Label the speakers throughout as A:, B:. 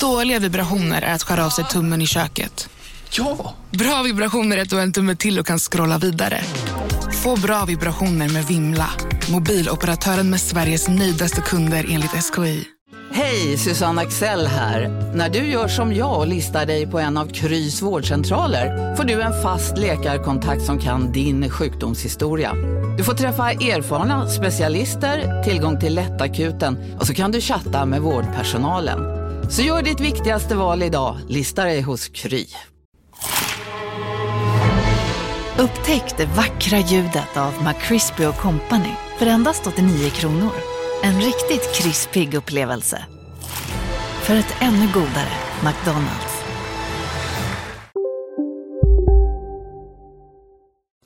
A: Dåliga vibrationer är att skära av sig tummen i köket.
B: Ja!
A: Bra vibrationer är att du har en tumme till och kan scrolla vidare. Få bra vibrationer med Vimla. Mobiloperatören med Sveriges nöjdaste kunder enligt SKI.
C: Hej, Susanne Axel här. När du gör som jag och listar dig på en av Krys vårdcentraler får du en fast läkarkontakt som kan din sjukdomshistoria. Du får träffa erfarna specialister, tillgång till lättakuten och så kan du chatta med vårdpersonalen. Så gör ditt viktigaste val idag, listar dig hos Kry.
D: Upptäck det vackra ljudet av McCrispy Company för endast 89 kronor. En riktigt krispig upplevelse. För ett ännu godare McDonalds.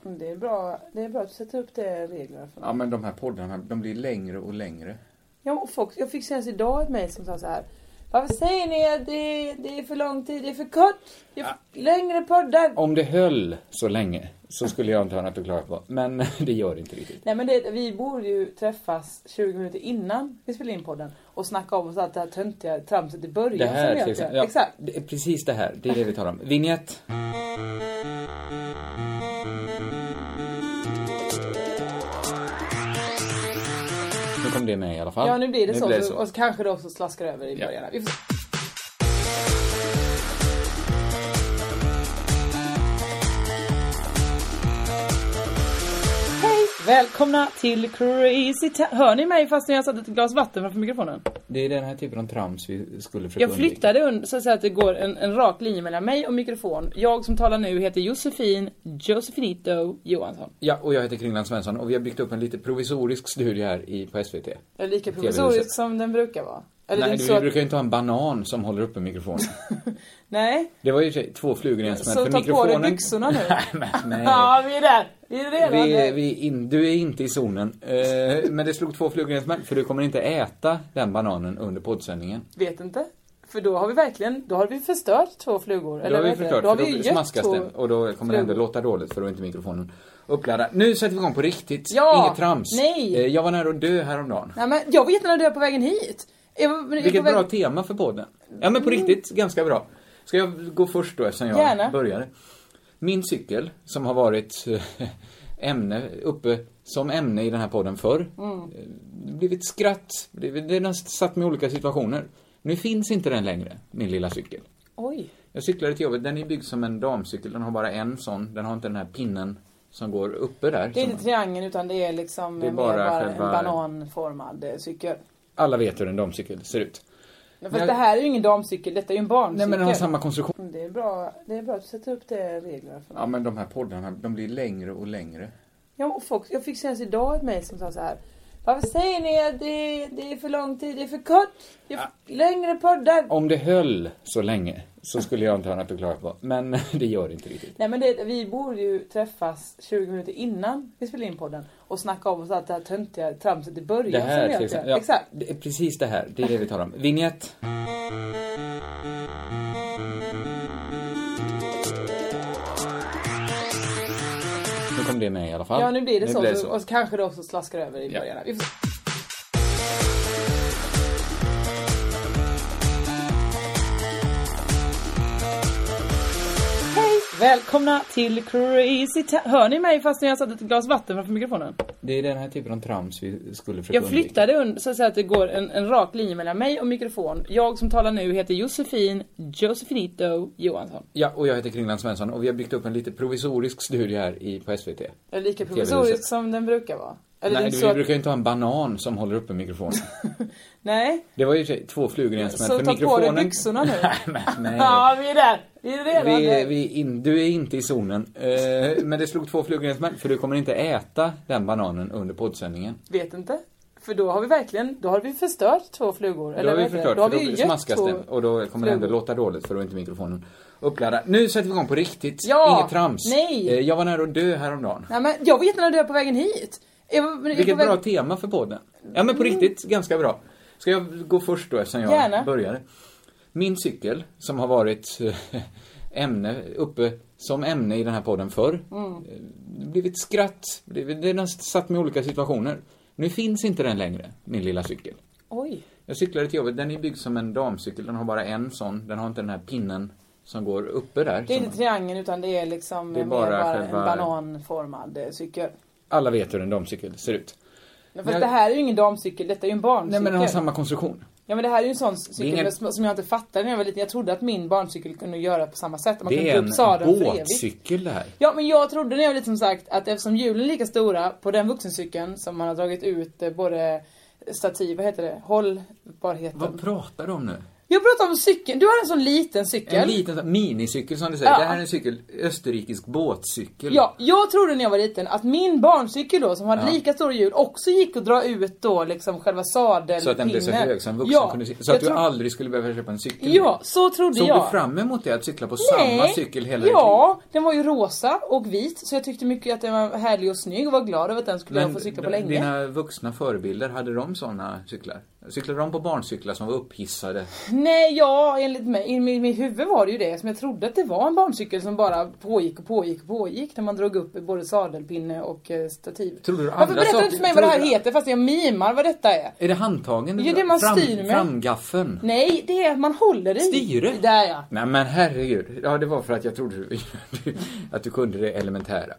E: Men Det är, bra, det är bra att sätta upp det reglerna för.
B: Ja men de här poddarna, de blir längre och längre.
E: Ja, och folk, jag fick senast idag ett mejl som sa så här. Varför säger ni att det, det är för lång tid, det är för kort, det är för längre poddar.
B: Om det höll så länge så skulle jag inte ha något att klaga på. Men det gör det inte riktigt.
E: Nej men det, vi borde ju träffas 20 minuter innan vi spelar in podden och snacka om oss allt det här töntiga tramset i början
B: Det
E: som
B: här
E: vi
B: till
E: alltid
B: exempel.
E: gör.
B: Ja,
E: Exakt.
B: Det är precis det här. Det är det vi talar om. Vignett. Nu kom det med i alla fall.
E: Ja nu blir det, så, så. Och så kanske det också slaskar över i
B: Ja.
E: början. Vi får se. Hej! Välkomna till Crazy Ta- Hör ni mig fast jag satt ett glas vatten framför mikrofonen?
B: Det är den här typen av trams vi skulle försöka
E: Jag flyttade un- så att säga att det går en, en rak linje mellan mig och mikrofon. Jag som talar nu heter Josefin Josefinito Johansson.
B: Ja, och jag heter Kringland Svensson och vi har byggt upp en lite provisorisk studio här i, på SVT.
E: Jag är lika
B: Trevligt.
E: provisorisk som den brukar vara. Eller det är
B: Nej,
E: inte
B: du,
E: så
B: vi
E: att-
B: brukar ju inte ha en banan som håller uppe mikrofonen.
E: Nej,
B: Det var ju i och för sig två flugor i en smäll.
E: så
B: för
E: ta på dig
B: mikrofonen-
E: byxorna nu.
B: nej, men nej.
E: ja, vi är där. Vi är redan
B: Vi,
E: där.
B: är- vi, är in, du är inte i zonen. Eh, men det slog två flugor i en smäll, för du kommer inte äta den bananen under poddsändningen.
E: Vet inte. För då har vi verkligen, då har vi förstört två flugor.
B: Då har vi
E: vad heter det?
B: förstört,
E: då har
B: för
E: vi
B: då
E: gött
B: smaskas
E: två-
B: den och då kommer det ändå
E: flugor.
B: låta dåligt för då är inte mikrofonen uppladdad. Nu sätter vi igång på riktigt.
E: Ja!
B: Inget trams.
E: Nej!
B: Eh, Jag var nära att dö häromdagen.
E: Nej men jag var jättenära död på vägen hit. Jag, var- men jag
B: Vilket
E: var på
B: bra
E: väg-
B: tema för podden. Ja men på riktigt, ganska bra. Ska jag gå först då eftersom jag
E: Mm. Gärna.
B: började? Min cykel, som har varit eh, ämne, uppe som ämne i den här podden förr. Mm. Blivit skratt, blivit- den har satt mig i olika situationer. Nu finns inte den längre, min lilla cykel.
E: Oj.
B: Jag cyklade till jobbet, den är byggd som en damcykel, den har bara en sån, den har inte den här pinnen som går uppe där.
E: Det är
B: som-
E: inte triangeln utan det är liksom
B: Det är
E: mer
B: bara
E: bara,
B: själva-
E: en bananformad eh, cykel.
B: Alla vet hur en damcykel ser ut.
E: Men
B: Men-
E: fast det här är ju ingen damcykel, detta är ju en
B: Nej
E: barncykel.
B: men den har samma konstruktion.
E: Mm, det, är bra, det är bra att sätta upp det reglerna för.
B: Ja men de här poddarna, de blir längre och längre.
E: Ja, och folk, jag fick senast idag ett mejl som sa så här. Varför säger ni att det, det är för lång tid, det är för kort, det
B: Ah.
E: är för längre poddar.
B: Om det höll så länge så skulle jag inte ha något att klaga på. Men det gör det inte riktigt.
E: Nej men det, vi borde ju träffas 20 minuter innan vi spelar in podden och snacka om oss allt det här töntiga tramset i början
B: Det
E: som
B: här
E: vi
B: till
E: alltid
B: exempel.
E: gör.
B: Ja,
E: Exakt.
B: Det är precis det här. Det är det vi talar om. Vignett. Nu kom det med i alla fall.
E: Ja nu blir det, så, så. Och så kanske det också slaskar över i
B: Ja.
E: början. Vi får se. Hej! Välkomna till Crazy Ta- Hör ni mig fast jag satt ett glas vatten framför mikrofonen?
B: Det är den här typen av trams vi skulle försöka
E: Jag flyttade un- så att säga att det går en, en rak linje mellan mig och mikrofon. Jag som talar nu heter Josefin Josefinito Johansson.
B: Ja, och jag heter Kringland Svensson och vi har byggt upp en lite provisorisk studio här i, på SVT.
E: Jag är lika
B: Trevligt.
E: provisorisk som den brukar vara. Eller det är
B: Nej,
E: inte
B: du,
E: så
B: vi
E: att-
B: brukar ju inte ha en banan som håller uppe mikrofonen.
E: Nej.
B: Det var ju i och för sig två flugor i en smäll.
E: Så
B: för
E: ta på dig
B: mikrofonen...
E: byxorna nu.
B: Nej, men nej.
E: Ja, vi är där. Vi är redan
B: Vi, är-
E: där.
B: vi är in, du är inte i zonen. Eh, men det slog två flugor i en smäll, för du kommer inte äta den bananen under poddsändningen.
E: Vet inte. För då har vi verkligen, då har vi förstört två flugor.
B: Då har
E: vad
B: vi
E: heter det?
B: förstört,
E: då har
B: för
E: vi
B: då
E: ju
B: smaskas
E: gett
B: den. Och då kommer det ändå
E: flugor.
B: låta dåligt, för då är inte mikrofonen uppladdad. Nu sätter vi igång på riktigt.
E: Ja!
B: Inget trams.
E: Nej!
B: Eh, jag var nära att dö häromdagen.
E: Nej men jag var jättenära död på vägen hit. Jag var, men jag
B: Vilket
E: var på
B: bra
E: väg...
B: tema för podden. Ja men på riktigt, ganska bra. Ska jag gå först då eftersom jag
E: Mm. Gärna.
B: började? Min cykel, som har varit eh, ämne, uppe som ämne i den här podden förr.
E: Mm.
B: eh, Blivit skratt, blivit, den har satt mig i olika situationer. Nu finns inte den längre, min lilla cykel.
E: Oj.
B: Jag cyklade till jobbet. Den är byggd som en damcykel. Den har bara en sån. Den har inte den här pinnen som går uppe där.
E: Det är
B: Som-
E: inte triangeln utan det är liksom
B: Det är
E: mer
B: bara
E: bara en
B: själva-
E: bananformad eh, cykel.
B: Alla vet hur en damcykel ser ut. Men
E: Men fast
B: jag-
E: det här är ju ingen damcykel, detta är ju en
B: Nej,
E: barncykel.
B: men den har samma konstruktion.
E: Ja men det här är ju en sån cykel
B: ingen-
E: som- som jag inte fattade när jag var liten. Jag trodde att min barncykel kunde göra på samma sätt. Man
B: Det
E: kunde
B: är
E: dra upp sadeln
B: en
E: för evigt.
B: båtcykel det här.
E: Ja men jag trodde när jag var liten som sagt att eftersom hjulen är lika stora på den vuxencykeln som man har dragit ut eh, både stativ, vad heter det, hållbarheten.
B: Vad pratar du om nu?
E: Jag pratar om cykeln, du har en sån liten cykel.
B: En liten sån- minicykel som du säger.
E: Ja.
B: Det här är en cykel, österrikisk båtcykel.
E: Ja, jag trodde när jag var liten att min barncykel då som hade
B: Ja.
E: lika stora hjul också gick att dra ut då liksom själva sadelpinnen.
B: Så att den blev så hög så en vuxen kunde cykla. Så
E: jag
B: att du
E: tro-
B: aldrig skulle behöva köpa en cykel.
E: Ja, så trodde
B: Såg
E: jag.
B: du fram emot det, att cykla på samma
E: Nej.
B: cykel hela ditt liv?
E: Ja, den var ju rosa och vit så jag tyckte mycket att den var härlig och snygg och var glad över att den skulle jag få cykla på
B: d-
E: länge.
B: dina vuxna förebilder, hade de såna cyklar? Cyklade de på barncyklar som var upphissade?
E: Nej, ja, enligt mig, i min, min huvud var det ju det som jag trodde att det var en barncykel som bara pågick och pågick och pågick när man drog upp både sadelpinne och eh, stativ.
B: Tror du
E: Varför
B: andra
E: berättar du
B: saker-
E: inte för mig vad det här
B: tror du-
E: heter fast jag mimar vad detta är?
B: Är det handtagen?
E: Ja, det man
B: Fram-
E: styr med.
B: Framgaffeln?
E: Nej, det är att man håller i.
B: Styret?
E: Där ja.
B: Nej men herregud. Ja, det var för att jag trodde du, att du kunde det elementära.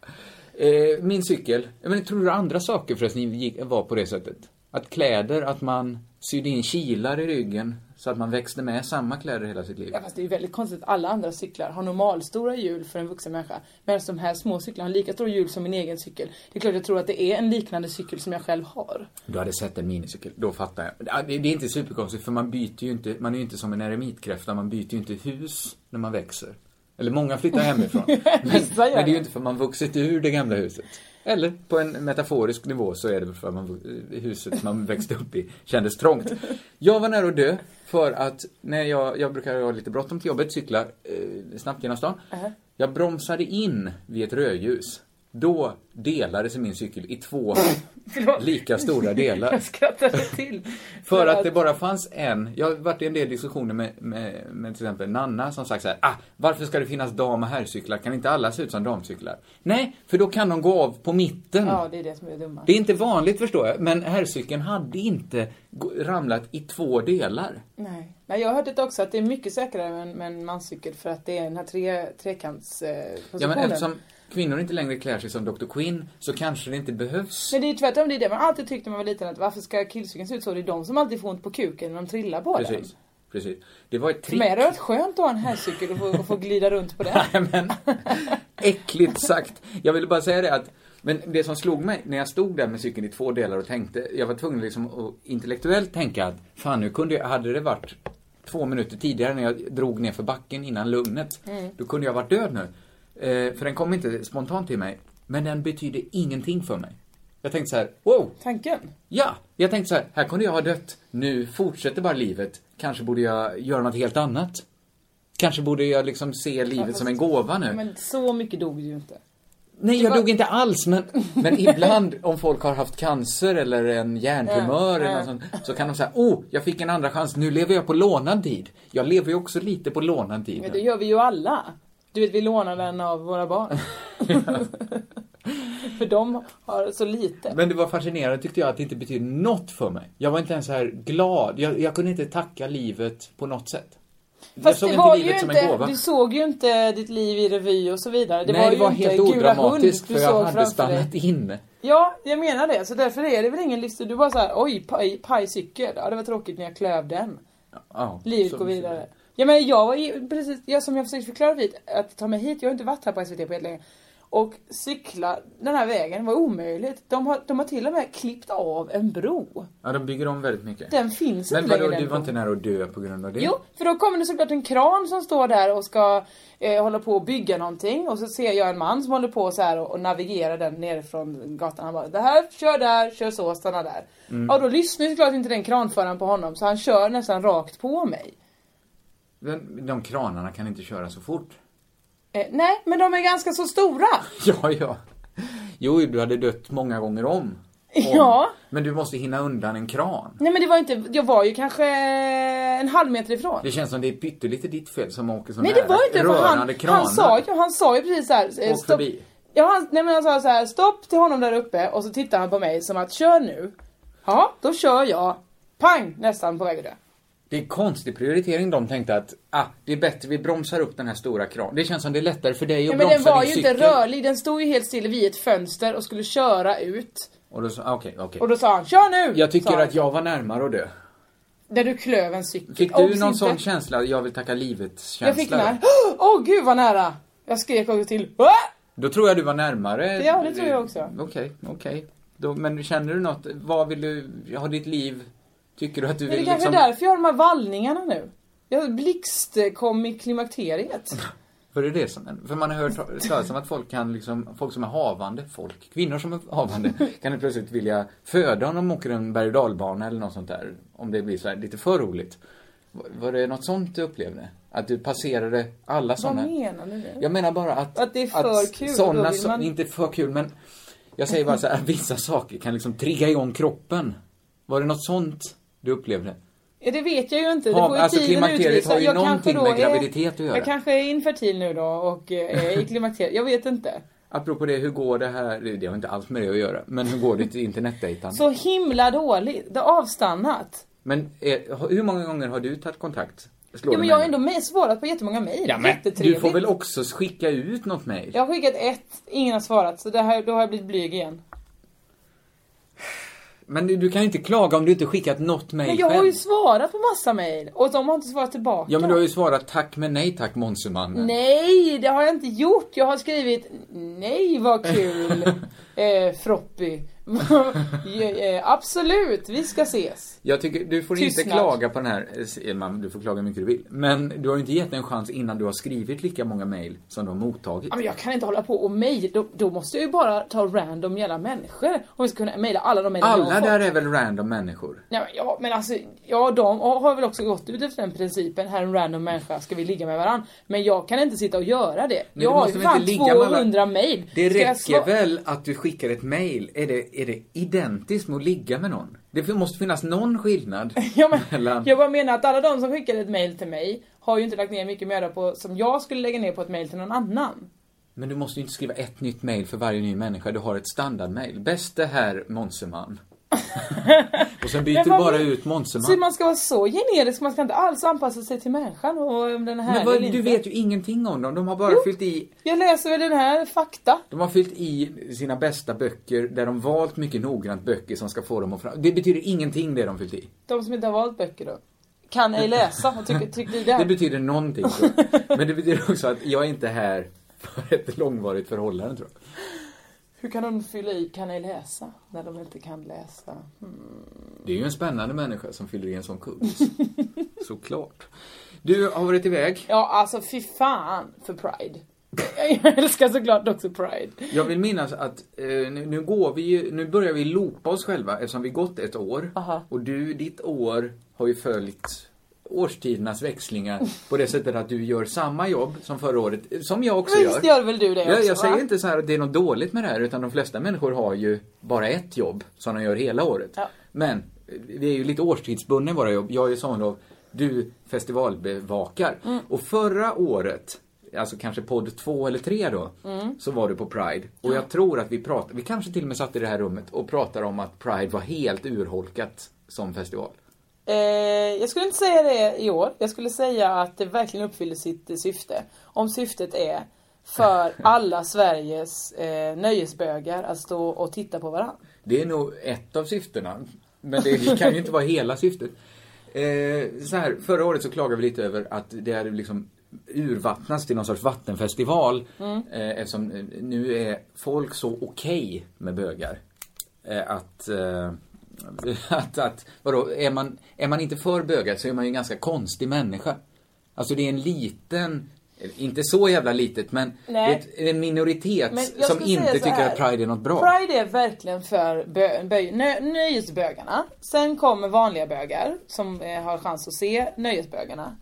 B: Eh, min cykel. Jag menar, tror du andra saker förresten gick, var på det sättet? Att kläder, att man sydde in kilar i ryggen så att man växte med samma kläder hela sitt liv.
E: ja. Fast det är ju väldigt konstigt att alla andra cyklar har normalstora hjul för en vuxen människa. Medan de här små cyklarna har lika stora hjul som min egen cykel. Det är klart jag tror att det är en liknande cykel som jag själv har.
B: Du hade sett en minicykel, då fattar jag. Ja, Det det är inte superkonstigt för man byter ju inte, man är ju inte som en eremitkräfta, man byter ju inte hus när man växer. Eller många flyttar hemifrån. men,
E: Vissa gör
B: men det är ju
E: det.
B: inte för man vuxit ur det gamla huset. Eller på en metaforisk nivå så är det väl för att man, huset man växte upp i kändes trångt. Jag var nära att dö för att när jag, jag brukar ha lite bråttom till jobbet, cykla eh, snabbt genom stan.
E: Uh-huh.
B: Jag bromsade in vid ett rödljus. Då delade sig min cykel i två
E: Förlåt.
B: lika stora delar.
E: Jag skrattade till.
B: För att det bara fanns en. Jag har varit i en del diskussioner med, med, med till exempel Nanna som sagt så här, ah, varför ska det finnas dam och herrcyklar? Kan inte alla se ut som damcyklar? Nej, för då kan de gå av på mitten.
E: Ja, det är det som är dumma.
B: Det är inte vanligt förstår jag, men herrcykeln hade inte gå- ramlat i två delar.
E: Nej. Nej, jag har hört det också att det är mycket säkrare med en, med en manscykel för att det är den här tre, eh, trekantspositionen.
B: Ja, men eftersom kvinnor inte längre klär sig som Dr. Quinn så kanske det inte behövs.
E: Men det är ju tvärtom, det är det man alltid tyckte när man var liten att varför ska killcykeln se ut så? Det är de som alltid får ont på kuken när de trillar på den.
B: Precis. Precis. Det var ett
E: För
B: trick.
E: mig hade det varit skönt att ha en herrcykel och få, och få glida runt på den.
B: Nej men, äckligt sagt. Jag ville bara säga det att, men det som slog mig när jag stod där med cykeln i två delar och tänkte, jag var tvungen liksom att intellektuellt tänka att, fan nu kunde jag, hade det varit två minuter tidigare när jag drog ner för backen innan lugnet, då kunde jag varit död nu. Eh, för den kom inte spontant till mig, men den betydde ingenting för mig. Jag tänkte så här, wow,
E: Tanken.
B: ja, jag tänkte så här, här kunde jag ha dött, nu fortsätter bara livet, kanske borde jag göra något helt annat. Kanske borde jag liksom se livet som en gåva nu.
E: Men så mycket dog ju inte.
B: Nej, jag
E: var-
B: dog inte alls, men, men ibland om folk har haft cancer eller en hjärntumör eller något sånt, så kan de säga, oh, jag fick en andra chans, nu lever jag på lånad tid. Jag lever ju också lite på lånad tid.
E: Men det
B: nu.
E: gör vi ju alla. Du vet, vi lånar den av våra barn. För de har så lite.
B: Men det var fascinerande tyckte jag att det inte betydde något för mig. Jag var inte ens så här glad, jag, jag kunde inte tacka livet på något sätt. jag
E: Fast
B: såg
E: det var
B: inte
E: ju
B: livet som en
E: inte,
B: gåva.
E: du såg ju inte ditt liv i revy och så vidare. Det
B: Nej,
E: var
B: det
E: ju
B: var
E: inte
B: helt
E: Gula
B: odramatiskt
E: hund
B: för
E: du
B: jag
E: såg
B: hade
E: framför dig.
B: stannat inne.
E: Ja, jag menar det. Så därför är det väl ingen livsstil. Du bara såhär, oj, paj, pajcykel. Ja, det var tråkigt när jag klöv den.
B: Ja,
E: Livet
B: så-
E: går vidare. Ja, men jag var ju, precis, jag, som jag försökte förklara vid, att ta mig hit, jag har inte varit här på SVT på helt länge. Och cykla den här vägen var omöjligt. De har, de har till och med klippt av en bro.
B: Ja, de bygger om väldigt mycket.
E: Den finns
B: Men
E: inte
B: vadå,
E: längre.
B: du
E: den
B: var
E: bron.
B: inte nära att dö på grund av det?
E: Jo, för då kommer det såklart en kran som står där och ska eh, hålla på och bygga någonting och så ser jag en man som håller på så här och, och navigerar den nerifrån gatan. Han bara, det här, kör där, kör så, stanna där.
B: Mm.
E: Ja, då lyssnar ju såklart inte den kranföraren på honom så han kör nästan rakt på mig.
B: Men De kranarna kan inte köra så fort.
E: Eh, nej, men de är ganska så stora.
B: Ja, ja. Jo, du hade dött många gånger om. om.
E: Ja.
B: Men du måste hinna undan en kran.
E: Nej men det var inte, jag var ju kanske en halv meter ifrån.
B: Det känns som det är pyttelite ditt fel som åker så
E: Nej
B: nära
E: det var inte för han,
B: rörande kranar.
E: han sa ju, han sa ju precis såhär. eh,
B: Åk
E: stopp.
B: förbi.
E: Ja, han, nej men han sa såhär, stopp till honom där uppe och så tittar han på mig som att kör nu. Ja, då kör jag. pang, nästan på väg att dö.
B: Det är konstig prioritering de tänkte att, ah, det är bättre vi bromsar upp den här stora kranen. Det känns som det är lättare för dig att
E: Ja, men den
B: bromsa
E: var
B: din
E: ju inte
B: cykel.
E: rörlig, den stod ju helt still vid ett fönster och skulle köra ut.
B: Och då sa, ah, okej, okej.
E: Och då sa han, kör nu!
B: Jag tycker
E: sa han,
B: att jag var närmare att dö.
E: Där du klöv en cykel.
B: Fick
E: Obs,
B: du någon
E: inte.
B: sån känsla, jag vill tacka livet-känsla?
E: Jag fick den här,
B: då?
E: åh gud vad nära! Jag skrek också till, "Åh!"
B: Då tror jag du var närmare.
E: Ja, det tror jag också.
B: Okej, okej. Då- Men känner du något, vad vill du, har ditt liv, tycker du att du
E: Men det
B: vill
E: kanske
B: liksom...
E: är därför jag har de här vallningarna nu. Jag blixt kom i klimakteriet.
B: För det är det som, för man har hört talas om att folk kan liksom, folk som är havande, folk, kvinnor som är havande, kan ju plötsligt vilja föda om de åker en berg och dalbana eller något sånt där. Om det blir så här lite för roligt. Var- Var det något sånt du upplevde? Att du passerade alla
E: Vad
B: sådana...
E: menar du nu?
B: Jag menar bara att...
E: Att det är för kul, då
B: Såna,
E: vill
B: som-
E: man-
B: Inte för kul, men... Jag säger bara så här, vissa saker kan liksom trigga igång kroppen. Var det något sånt du upplevde?
E: Ja, det vet jag ju inte. Det
B: Ja,
E: får ju
B: alltså,
E: tiden
B: klimakteriet
E: utvisa.
B: har ju
E: Jag
B: någonting
E: kanske då
B: med graviditet att göra.
E: Jag kanske är infertil nu då och eh, är i klimakteriet. Jag vet inte.
B: Apropå det, hur går det här... Det har inte alls med det att göra. Men hur går det till internetdejtande?
E: Så himla dåligt. Det har avstannat.
B: Men eh, hur många gånger har du tagit kontakt? Slår det
E: Ja, men
B: mig
E: jag har
B: nu.
E: ändå mejl- svarat på jättemånga mejl.
B: ja, men, Du
E: Jättetrevligt.
B: får väl också skicka ut något mejl?
E: Jag har skickat ett, ingen har svarat. Så det här, då har jag blivit blyg igen.
B: Men du, du kan ju inte klaga om du inte skickat något mejl
E: Men jag har
B: själv.
E: ju svarat på massa mejl och de har inte svarat tillbaka.
B: Ja, men du har ju svarat tack men nej tack, Monsumannen.
E: Nej, det har jag inte gjort. Jag har skrivit nej vad kul eh, Froppy. Ja, eh, Absolut, vi ska ses.
B: Jag tycker, du får inte
E: Tystnad.
B: klaga på den här, eh, man, du får klaga hur mycket du vill. Men du har ju inte gett en chans innan du har skrivit lika många mejl som du har mottagit.
E: Ja, men jag kan inte hålla på och mejla. Då, då måste jag ju bara ta random jävla människor om vi ska kunna mejla alla de mejlen jag har
B: Alla
E: fått.
B: där är väl random människor?
E: Nej, men, ja, men alltså, ja, de har väl också gått ut efter den principen. Här är en random människa, ska vi ligga med varandra? Men jag kan inte sitta och göra det.
B: du
E: jag har
B: måste
E: ju
B: väl
E: fan
B: inte ligga med alla-
E: 200 mejl.
B: Det
E: Ska jag
B: räcker
E: sva-
B: väl att du skickar ett mejl? Är det, är det identiskt med att ligga med någon? Det måste finnas någon skillnad
E: Ja, men,
B: mellan...
E: Jag bara menar att alla de som skickade ett mail till mig har ju inte lagt ner mycket möda på som jag skulle lägga ner på ett mail till någon annan.
B: Men du måste ju inte skriva ett nytt mejl för varje ny människa. Du har ett standardmejl. Bäste herr Monseman. och sen byter
E: Men
B: du
E: vad-
B: bara ut
E: Så
B: Monseman.
E: man ska vara så generisk, man ska inte alls anpassa sig till människan och om den här
B: Men vad,
E: eller
B: du
E: inte.
B: vet ju ingenting om dem. De har bara
E: Jo.
B: fyllt i
E: Jag läser väl den här fakta.
B: De har fyllt i sina bästa böcker där de valt mycket noggrant böcker som ska få dem att fram... Det betyder ingenting det de fyllt i.
E: De som inte har valt böcker då. Kan ej läsa och tycker, tycker det.
B: Det betyder någonting. Tror jag. Men det betyder också att jag är inte här för ett långvarigt förhållande tror jag.
E: Hur kan de fylla i kan ej läsa när de inte kan läsa?
B: Det är ju en spännande människa som fyller i en sån kurs. Såklart. Du har varit iväg.
E: Ja, alltså fy fan för Pride. Jag älskar såklart också Pride.
B: Jag vill minnas att eh, nu, nu går vi ju, nu börjar vi loopa oss själva eftersom vi gått ett år.
E: Aha.
B: Och du, ditt år har ju följt årstidernas
E: Oh.
B: växlingar på det sättet att du gör samma jobb som förra året, eh, som jag också
E: Visst
B: gör.
E: gör väl du det
B: Jag,
E: också,
B: jag säger
E: va?
B: inte så här att det är något dåligt med det här utan de flesta människor har ju bara ett jobb som de gör hela året.
E: Ja.
B: Men eh, vi är ju lite årstidsbundna i våra jobb. Jag är sommarlov, du festivalbevakar.
E: Mm.
B: Och förra året, alltså kanske podd två eller tre då,
E: Mm.
B: så var du på Pride. Och jag tror att vi pratade, vi kanske till och med satt i det här rummet och pratade om att Pride var helt urholkat som festival.
E: Eh, jag skulle inte säga det i år. Jag skulle säga att det verkligen uppfyller sitt eh, syfte. Om syftet är för alla Sveriges eh, nöjesbögar att stå och titta på varandra.
B: Det är nog ett av syftena. Men det kan ju inte vara hela syftet. Eh, så här, förra året så klagade vi lite över att det hade liksom urvattnats till någon sorts vattenfestival.
E: Mm.
B: Eh, eftersom eh, nu är folk så okej med bögar. Eh, att, eh, att, att, vadå, är man, är man inte för bögar så är man ju en ganska konstig människa. Alltså det är en liten, eh, inte så jävla litet men det är
E: Nej.
B: ett- en minoritet
E: Men jag
B: som
E: skulle säga
B: inte
E: så
B: tycker
E: här.
B: att Pride är något bra.
E: Pride är verkligen för bö, bö, nö, nöjesbögarna. Sen kommer vanliga bögar som eh, har chans att se nöjesbögarna.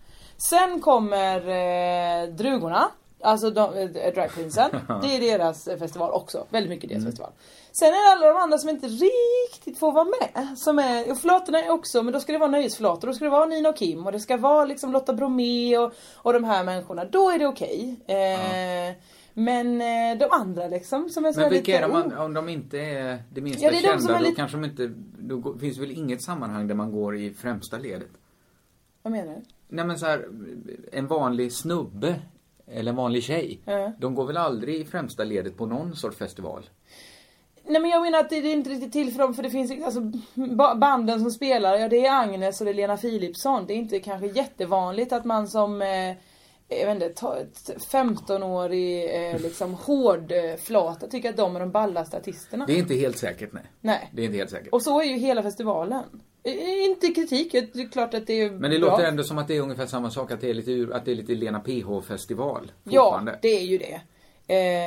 E: Sen kommer eh, drugorna, alltså de, eh, drag queensen. Det är deras eh, festival också, väldigt mycket
B: Mm.
E: deras festival. Sen är det alla de andra som inte riktigt får vara med. Som är, och flatorna är också, men då ska det vara nöjesflator. Då ska det vara Nina och Kim och det ska vara liksom Lotta Bromé och, och de här människorna. Då är det okej. Eh, Men eh, de andra liksom som är så här
B: Men vilka är
E: lite...
B: de,
E: oh.
B: an- om de inte är det minsta
E: Ja, det är de som
B: kända,
E: är
B: då
E: lite-
B: kanske de inte, då går- finns väl inget sammanhang där man går i främsta ledet?
E: Vad menar du?
B: Nej men så här, en vanlig snubbe eller en vanlig tjej,
E: Ja.
B: de går väl aldrig i främsta ledet på någon sorts festival?
E: Nej men jag menar att det, det är inte riktigt till för dem för det finns alltså, ba- banden som spelar, ja det är Agnes och det är Lena Philipsson. Det är inte kanske jättevanligt att man som eh, jag vet inte, ta- t- 15-årig eh, liksom hårdflata tycker att de är de ballaste artisterna.
B: Det är inte helt säkert, nej.
E: Nej.
B: Det är inte helt säkert.
E: Och så är ju hela festivalen. Eh, Inte kritik, det är klart att det är
B: Men det
E: bra.
B: låter ändå som att det är ungefär samma sak, att det är lite, ur- att det är lite Lena PH-festival
E: Ja,
B: fortfarande.
E: det är ju det.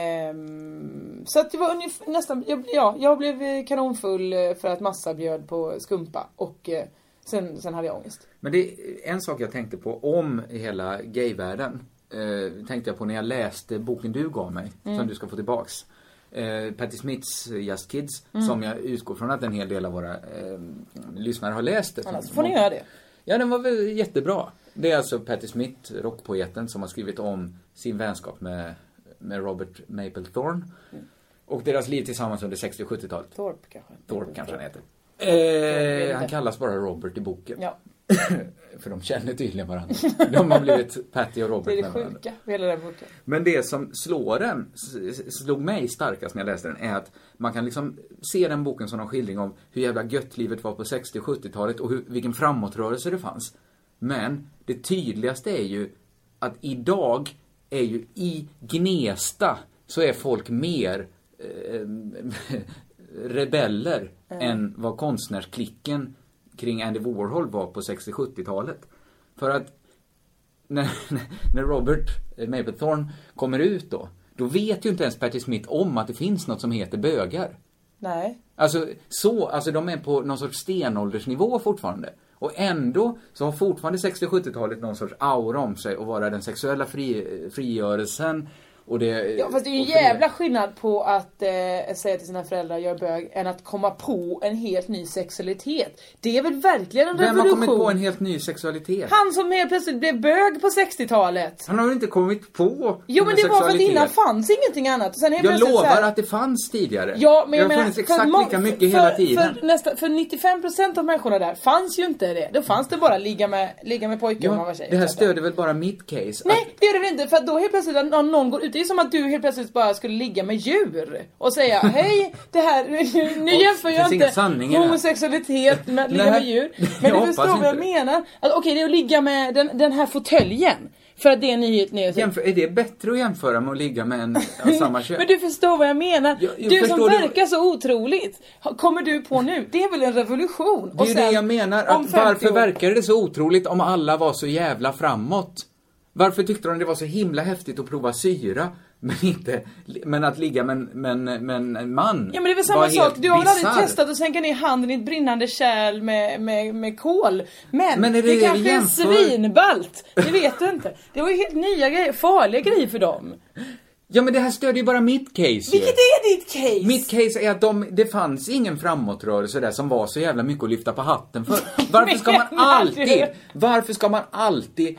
E: Ehm, så att det var ungefär, nästan, jag, ja, jag blev eh, kanonfull eh, för att massa bjöd på skumpa och eh, sen, sen hade jag ångest.
B: Men det är en sak jag tänkte på om hela gayvärlden. Eh, tänkte jag på när jag läste boken du gav mig,
E: Mm.
B: som du ska få tillbaks. Eh, Patti Smiths eh, Just Kids,
E: Mm.
B: som jag utgår från att en hel del av våra eh, lyssnare har läst. det.
E: Annars får ni göra det.
B: Ja, den var väl jättebra. Det är alltså Patti Smith, rockpoeten, som har skrivit om sin vänskap med, med Robert Mapplethorne. Och deras liv tillsammans under 60 och 70-talet.
E: Mm. Thorpe kanske.
B: Thorpe kanske han heter. Eh, han kallas bara Robert i boken.
E: Ja,
B: För de känner tydligen varandra. De har blivit Patty och Robert
E: det är det
B: med varandra.
E: sjuka med hela den boken.
B: Men det som slår den, s- s- slog mig starkast när jag läste den, är att man kan liksom se den boken som en skildring om hur jävla gött livet var på 60 och 70-talet och hur, vilken framåtrörelse det fanns. Men det tydligaste är ju att idag är ju i Gnesta så är folk mer eh, rebeller än vad konstnärsklicken kring Andy Warhol var på 60 och 70-talet. För att när, när Robert Mapplethorne kommer ut då, då vet ju inte ens Patti Smith om att det finns något som heter bögar.
E: Nej.
B: Alltså, så, alltså de är på någon sorts stenåldersnivå fortfarande. Och ändå så har fortfarande 60 och 70-talet någon sorts aura om sig och vara den sexuella fri, frigörelsen och det...
E: Ja, fast det är ju en
B: och fri-
E: jävla skillnad på att eh, säga till sina föräldrar jag är bög än att komma på en helt ny sexualitet. Det är väl verkligen en
B: Vem har
E: revolution?
B: kommit på en helt ny sexualitet?
E: Han som helt plötsligt blev bög på 60-talet.
B: Han har väl inte kommit på
E: Jo men det var för att
B: sexualitet?
E: innan fanns ingenting annat. Och sen helt
B: Jag
E: plötsligt så
B: lovar
E: här-
B: att det fanns tidigare.
E: Ja, men jag
B: det har
E: menar,
B: funnits
E: för
B: exakt
E: må-
B: lika mycket
E: för,
B: hela tiden.
E: För, nästa, för 95% av människorna där fanns ju inte det. Då fanns det bara ligga med, ligga med pojkar om man var tjej.
B: det här
E: till exempel.
B: stöder väl bara mitt case?
E: Nej det gör det väl inte för att då helt plötsligt när någon går ut, det är som att du helt plötsligt bara skulle ligga med djur och säga hej det här, nu
B: Och
E: jämför
B: det finns
E: jag
B: ingen
E: inte
B: sanning i det här.
E: homosexualitet med att ligga med
B: Nej,
E: djur.
B: jag
E: Men du
B: hoppas
E: förstår vad jag
B: inte.
E: menar? Att, okej det är att ligga med den, den här fåtöljen. För att det är en nyhet,
B: Att
E: nyhet.
B: jämför, är det bättre att jämföra med att ligga med en av samma kön?
E: Men du förstår vad jag menar.
B: Jag- jag
E: du som
B: förstår det.
E: verkar så otroligt. ha- Kommer du på nu? Det är väl en revolution?
B: det är ju det jag menar.
E: om
B: Att
E: 50
B: varför
E: år-
B: verkade det så otroligt om alla var så jävla framåt? Varför tyckte de det var så himla häftigt att prova syra? Men inte, men att ligga med, en- med, en- med en man
E: Ja men det är väl
B: var
E: samma sak.
B: helt
E: Du har väl aldrig
B: bisarr.
E: testat att sänka ner handen i ett brinnande kärl med, med, med kol. Men,
B: Men är det det vi
E: kanske är
B: jämför?
E: svinballt. Det vet du inte. Det var ju helt nya grejer, farliga grejer för dem.
B: Ja men det här stödjer ju bara mitt case ju.
E: Vilket är ditt case?
B: Mitt case är att de, det fanns ingen framåtrörelse där som var så jävla mycket att lyfta på hatten för. Varför ska man
E: Menar du?
B: alltid, varför ska man alltid,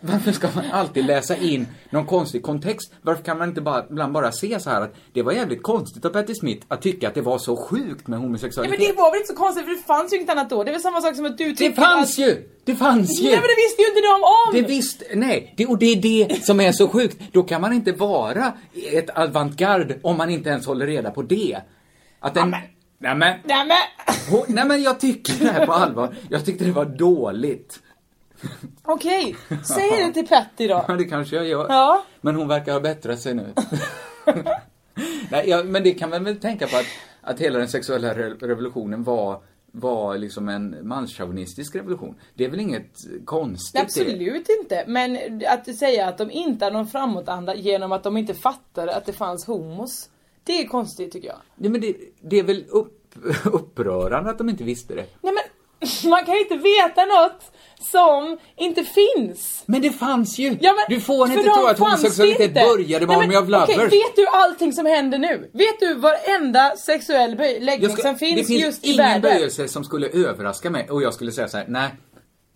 B: varför ska man alltid läsa in någon konstig kontext? Varför kan man inte bara, ibland bara se så här att det var jävligt konstigt av Patti Smith att tycka att det var så sjukt med
E: Ja, men
B: homosexualitet.
E: det var väl inte så konstigt för det fanns ju inget annat då. Det är väl samma sak som att du
B: det,
E: tycker
B: fanns
E: att...
B: ju! Det fanns ju!
E: Nej men det visste ju inte de om!
B: Det visst, nej, det, och det är det som är så sjukt. Då kan man inte vara ett avantgarde om man inte ens håller reda på det. Att en... Nej, men.
E: Nej men!
B: Hon, nej men jag tycker det här på allvar. Jag tyckte det var dåligt.
E: Okej, säg det till Patty då.
B: Ja, det kanske jag gör.
E: Ja.
B: Men hon verkar ha bättrat sig nu. nej, ja, men det kan man väl tänka på att, att hela den sexuella re- revolutionen var var liksom en manschauvinistisk revolution. Det är väl inget konstigt det?
E: Absolut inte. Men att säga att de inte har någon framåtanda genom att de inte fattade att det fanns homos. Det är konstigt tycker jag.
B: Nej men det, det är väl upp, upprörande att de inte visste det.
E: Nej men, man kan ju inte veta något som inte finns.
B: Men det fanns ju!
E: Ja, men,
B: du får
E: för
B: inte
E: de
B: tro att
E: fanns
B: homosexualitet
E: inte.
B: började med
E: Nej,
B: Army
E: men
B: of Lovers.
E: okej, vet du allting som händer nu? Vet du varenda sexuell böj- läggning
B: Jag ska-
E: som finns,
B: det finns
E: just i
B: ingen
E: världen?
B: böjelse som skulle överraska mig och jag skulle säga så här: nej,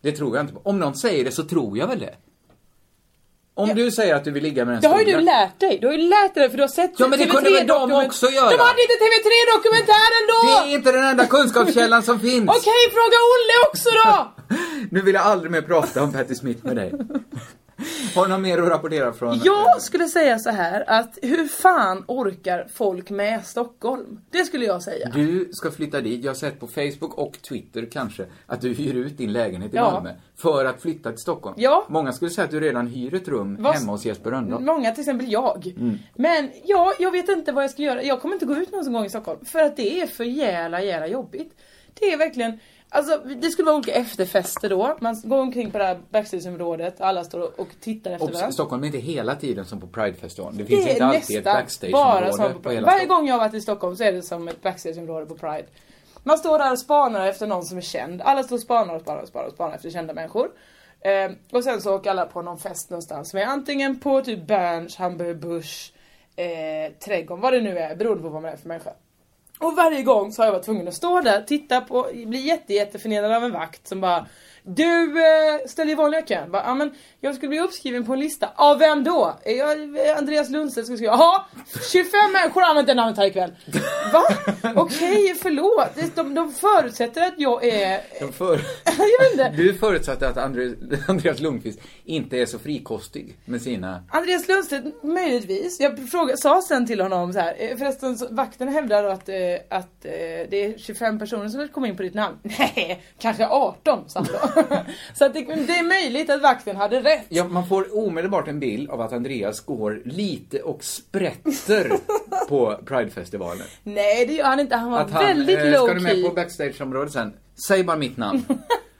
B: det tror jag inte på. Om någon säger det så tror jag väl det. Om du säger att du vill ligga med en
E: Det har ju
B: skola-
E: du lärt dig. Du har ju lärt dig det för du har sett
B: Ja, men det kunde väl de
E: TV3-dokument-
B: också göra?
E: De hade inte TV3-dokumentären då!
B: Det är inte den enda kunskapskällan som finns!
E: Okej, fråga Olle också då!
B: Nu vill jag aldrig mer prata om Patti Smith med dig. Har du något mer att rapportera från?
E: Jag skulle säga så här att hur fan orkar folk med Stockholm? Det skulle jag säga.
B: Du ska flytta dit. Jag har sett på Facebook och Twitter kanske att du hyr ut din lägenhet i
E: Ja.
B: Malmö för att flytta till Stockholm.
E: Ja.
B: Många skulle säga att du redan hyr ett rum
E: Vad-
B: hemma hos Jesper Rönndahl.
E: Många, till exempel jag. Men ja, jag vet inte vad jag ska göra. Jag kommer inte gå ut någon gång i Stockholm. För att det är för jävla, jävla jobbigt. Det är verkligen, alltså det skulle vara olika efterfester då. Man går omkring på det här backstageområdet, alla står och- och tittar efter
B: Obs,
E: varandra.
B: Stockholm är inte hela tiden som på Pridefestivalen. Det finns
E: Det
B: inte
E: är
B: alltid ett
E: nästan bara
B: backstageområde
E: som
B: på
E: på
B: hela
E: Varje
B: Stockholm.
E: gång jag har varit i Stockholm så är det som ett backstageområde på Pride. Man står där och spanar efter någon som är känd. Alla står och spanar och spanar och spanar, och spanar efter kända människor. Eh, och sen så åker alla på någon fest någonstans. Men antingen på typ Berns, Hamburg Busch, eh, Trädgården, vad det nu är. Beroende på vad man är för människa. Och varje gång så har jag varit tvungen att stå där, titta på, bli jätte, jätteförnedrad av en vakt som bara Du eh, ställer i vanliga kön. Bara, "Ja, men jag skulle bli uppskriven på en lista. Av vem då? Är Jag, eh, Andreas Lundstedt skulle skriva. Jaha! 25 människor har använt det namnet här ikväll. Va? Okej, förlåt. Det- De, de förutsätter att jag är...
B: De För,
E: Jag vet inte.
B: du förutsatte att Andre, Andreas Lundqvist inte är så frikostig med sina...
E: Andreas Lundstedt, möjligtvis. Jag fråga, sa sen till honom så här. eh, Förresten, så- vakten hävdar att, eh, att eh, det är 25 personer som vill komma in på ditt namn. Nej, kanske 18 sa han då. Så att det, det är möjligt att vakten hade rätt.
B: Ja, man får omedelbart en bild av att Andreas går lite och sprätter på Pridefestivalen.
E: Nej, det gör han inte. Han var
B: att han,
E: väldigt
B: eh,
E: low
B: Ska du med
E: key.
B: på backstageområdet sen? Säg bara mitt namn.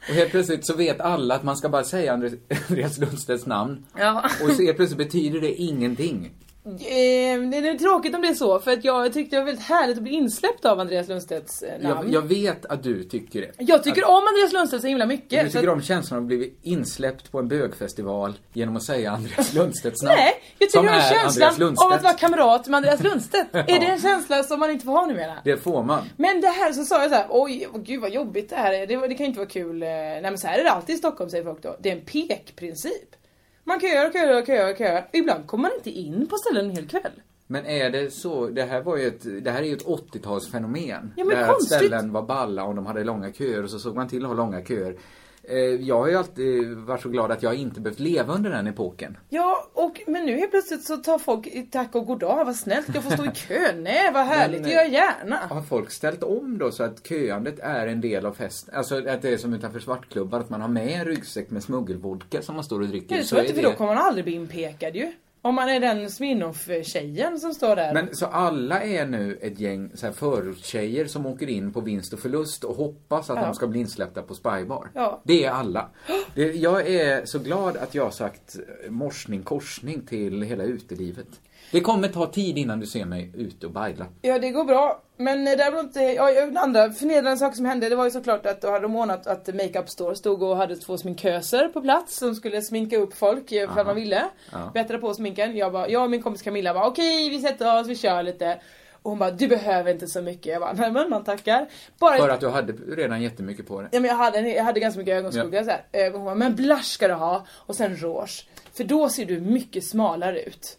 B: Och helt plötsligt så vet alla att man ska bara säga Andres- Andreas Lundstedts namn.
E: Ja.
B: Och så helt plötsligt betyder det ingenting.
E: Eh, det är tråkigt om det är så, för att jag tyckte det var väldigt härligt att bli insläppt av Andreas Lundstedts eh, namn.
B: Jag, jag vet att du tycker det.
E: Jag tycker om Andreas Lundstedt så himla mycket.
B: Du
E: så
B: tycker
E: att-
B: om känslan av att bli insläppt på en bögfestival genom att säga Andreas Lundstedts namn.
E: Nej, jag
B: Som
E: tycker om
B: är Andreas
E: känslan
B: Lundstedt.
E: av att vara kamrat med Andreas Lundstedt. Är det en känsla som man inte får ha numera?
B: Det får man.
E: Men det här så sa jag så här, oj vad- gud vad jobbigt det här är, det, var- det kan ju inte vara kul. eh, Nej men så här är det alltid i Stockholm säger folk då. Det är en pekprincip. Man köar och köar och köar och köar. Ibland kommer man inte in på ställen en hel kväll.
B: Men är det så, det här var ju ett, det här är ju ett 80-talsfenomen.
E: Ja, men
B: det här att
E: konstigt.
B: ställen var balla om de hade långa köer och så såg man till att ha långa köer. Eh, Jag har ju alltid varit så glad att jag inte behövt leva under den epoken.
E: Ja, och, men nu helt plötsligt så tar folk i tack och goddag, vad snällt, jag får stå i kö. Nej, vad härligt,
B: Men,
E: det gör jag gärna.
B: Har folk ställt om då så att köandet är en del av festen? Alltså att det är som utanför svartklubbar, att man har med en ryggsäck med smuggelvodka som man står och dricker.
E: Ja, det
B: Så
E: tror jag
B: är
E: inte, för
B: det-
E: då kommer man aldrig bli inpekad ju. Om man är den Sminoff-tjejen som står där.
B: Men så alla är nu ett gäng så här förortstjejer som åker in på vinst och förlust och hoppas att
E: Ja.
B: de ska bli insläppta på spybar.
E: Ja.
B: Det är alla. Det, jag är så glad att jag har sagt morsning korsning till hela utelivet. Det kommer ta tid innan du ser mig ute och bajla.
E: Ja, det går bra. Men eh, däremot, inte, ja, ja, den andra förnedrande saken som hände, det var ju såklart att då hade de ordnat att Makeup Store stod och hade två sminköser på plats som skulle sminka upp folk eh, ifall man ville.
B: Ja.
E: Bättra på sminken. Jag, bara, jag och min kompis Camilla bara okej, vi sätter oss, vi kör lite. Och hon bara, du behöver inte så mycket. Jag bara, nej men man tackar. Bara
B: För att du hade redan jättemycket på dig.
E: Ja, men jag, hade, en- jag hade ganska mycket ögonskugga
B: Ja.
E: så här. Eh, Hon bara, men blush ska du ha och sen rouge. För då ser du mycket smalare ut.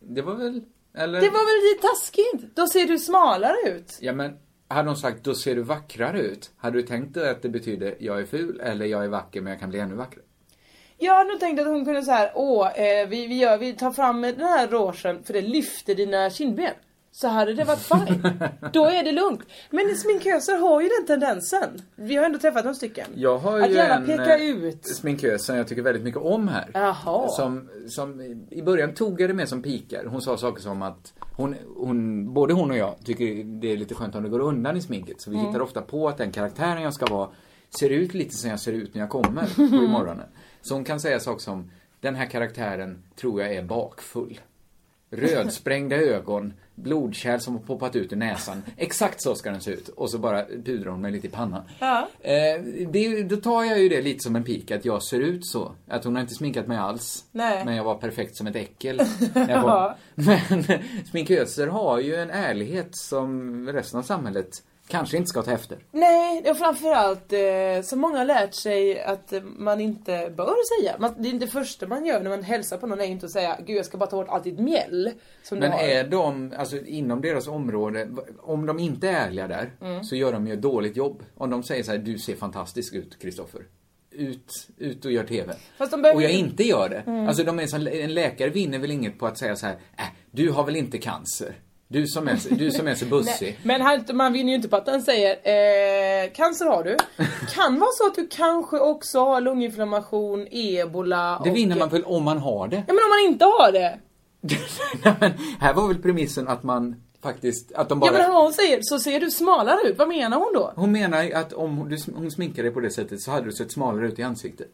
B: Det var väl... Eller?
E: Det var väl lite taskigt? Då ser du smalare ut.
B: Ja men, hade de sagt då ser du vackrare ut. Hade du tänkt dig att det betyder jag är ful eller jag är vacker men jag kan bli ännu vackrare?
E: Jag hade nog tänkt att hon kunde så här, åh, eh, vi, vi, gör, vi tar fram den här rogen för det lyfter dina kindben. Så hade det varit fine. Då är det lugnt. Men sminköser har ju den tendensen. Vi har ändå träffat några stycken.
B: Jag har
E: att
B: ju
E: gärna
B: en
E: peka
B: eh,
E: ut.
B: sminkös som jag tycker väldigt mycket om här.
E: Jaha.
B: Som, som i- i början tog jag det med som pikar. Hon sa saker som att hon, hon, både hon och jag tycker det är lite skönt om det går undan i sminket. Så vi
E: Mm.
B: hittar ofta på att den karaktären jag ska vara ser ut lite som jag ser ut när jag kommer på morgonen. Så hon kan säga saker som den här karaktären tror jag är bakfull. Rödsprängda ögon, blodkärl som har poppat ut ur näsan. Exakt så ska den se ut. Och så bara pudrar hon mig lite i pannan.
E: Ja.
B: Eh, det, är ju- då tar jag ju det lite som en pik, att jag ser ut så. Att hon har inte sminkat mig alls.
E: Nej.
B: Men jag var perfekt som ett äckel. när jag kom. Men sminköser har ju en ärlighet som resten av samhället kanske inte ska ta efter.
E: Nej, och framförallt eh, så många har lärt sig att eh, man inte bör säga. Man, det är inte det första man gör när man hälsar på någon är inte att säga Gud jag ska bara ta bort allt ditt mjäll. Som
B: Men
E: du har.
B: är de, alltså inom deras område, om de inte är ärliga där,
E: Mm.
B: så gör de ju ett dåligt jobb. Om de säger så här, du ser fantastisk ut Kristoffer. Ut, ut och gör TV.
E: Fast de behöver
B: och jag
E: ju- Mm.
B: inte gör det. Alltså de är som, en läkare vinner väl inget på att säga så här, äh, du har väl inte cancer? Du som är, så- du som är så bussig.
E: Nej, men han, man vinner ju inte på att han säger eh, cancer har du. kan vara så att du kanske också har lunginflammation, ebola
B: det
E: och-
B: vinner man väl om man har det?
E: Ja men om man inte har det.
B: Nej, men här var väl premissen att man faktiskt, att de bara...
E: Ja men hon säger så ser du smalare ut. Vad menar hon då?
B: Hon menar ju att om hon- du, sm- hon sminkade dig på det sättet så hade du sett smalare ut i ansiktet.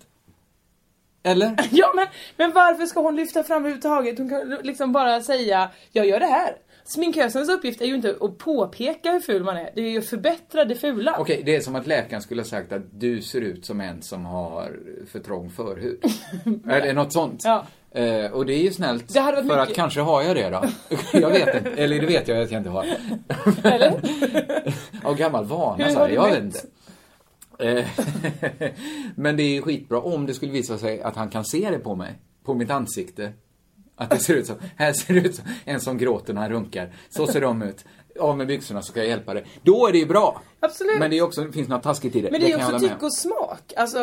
B: Eller?
E: Ja men, men varför ska hon lyfta fram överhuvudtaget? Hon kan liksom bara säga jag gör det här. Sminkösens uppgift är ju inte att påpeka hur ful man är. Det är ju att förbättra det fula.
B: Okej, det är som att läkaren skulle ha sagt att du ser ut som en som har för trång förhud. Eller något sånt.
E: Ja.
B: Eh, och det är ju snällt.
E: Det hade
B: för
E: varit
B: att
E: mycket-
B: kanske har jag det då. jag vet inte. Eller det vet jag att jag inte har.
E: Eller?
B: Av gammal vana
E: Hur
B: så här,
E: har du
B: jag vet inte.
E: mätt?
B: Eh, Men det är ju skitbra om det skulle visa sig att han kan se det på mig. På mitt ansikte. Att det ser ut som, här ser det ut som en som gråter när han runkar. Så ser de ut. Av med byxorna så ska jag hjälpa dig. Då är det ju bra.
E: Absolut.
B: Men det är också, det finns något taskigt i det.
E: Men det är
B: kan
E: ju
B: jag
E: också
B: hålla med
E: tycke och smak. Alltså,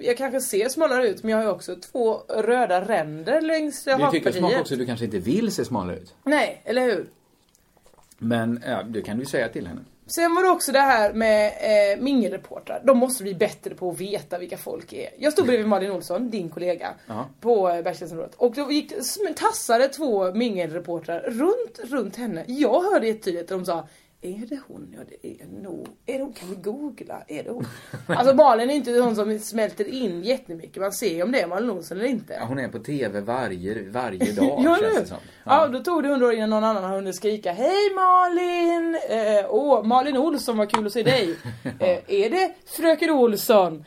E: jag kanske ser smalare ut men jag har ju också två röda ränder längs
B: om. Det tycker jag smak
E: hakpartiet.
B: också, du kanske inte vill se smalare ut.
E: Nej, eller hur?
B: Men ja, det kan du ju säga till henne.
E: Sen var det också det här med eh, mingelreportrar. De måste bli bättre på att veta vilka folk är. Jag stod bredvid Malin Olsson, din kollega,
B: Ja.
E: på eh, Bergslagsområdet. Och då gick, sm- tassade två mingelreportrar runt, runt henne. Jag hörde jättetydligt där de sa är det hon? Ja det är nog. Är det hon? Kan vi googla? Är det hon? Alltså Malin är inte hon som smälter in jättemycket. Man ser ju om det är Malin Olsson eller inte.
B: Ja, hon är på TV varje, varje dag
E: Ja,
B: känns
E: nu.
B: det som.
E: Ja. då tog det hundra år innan någon annan har hunnit skrika Hej Malin! Eh, åh, Malin Olsson, vad kul att se dig! Eh, är det fröken Olsson?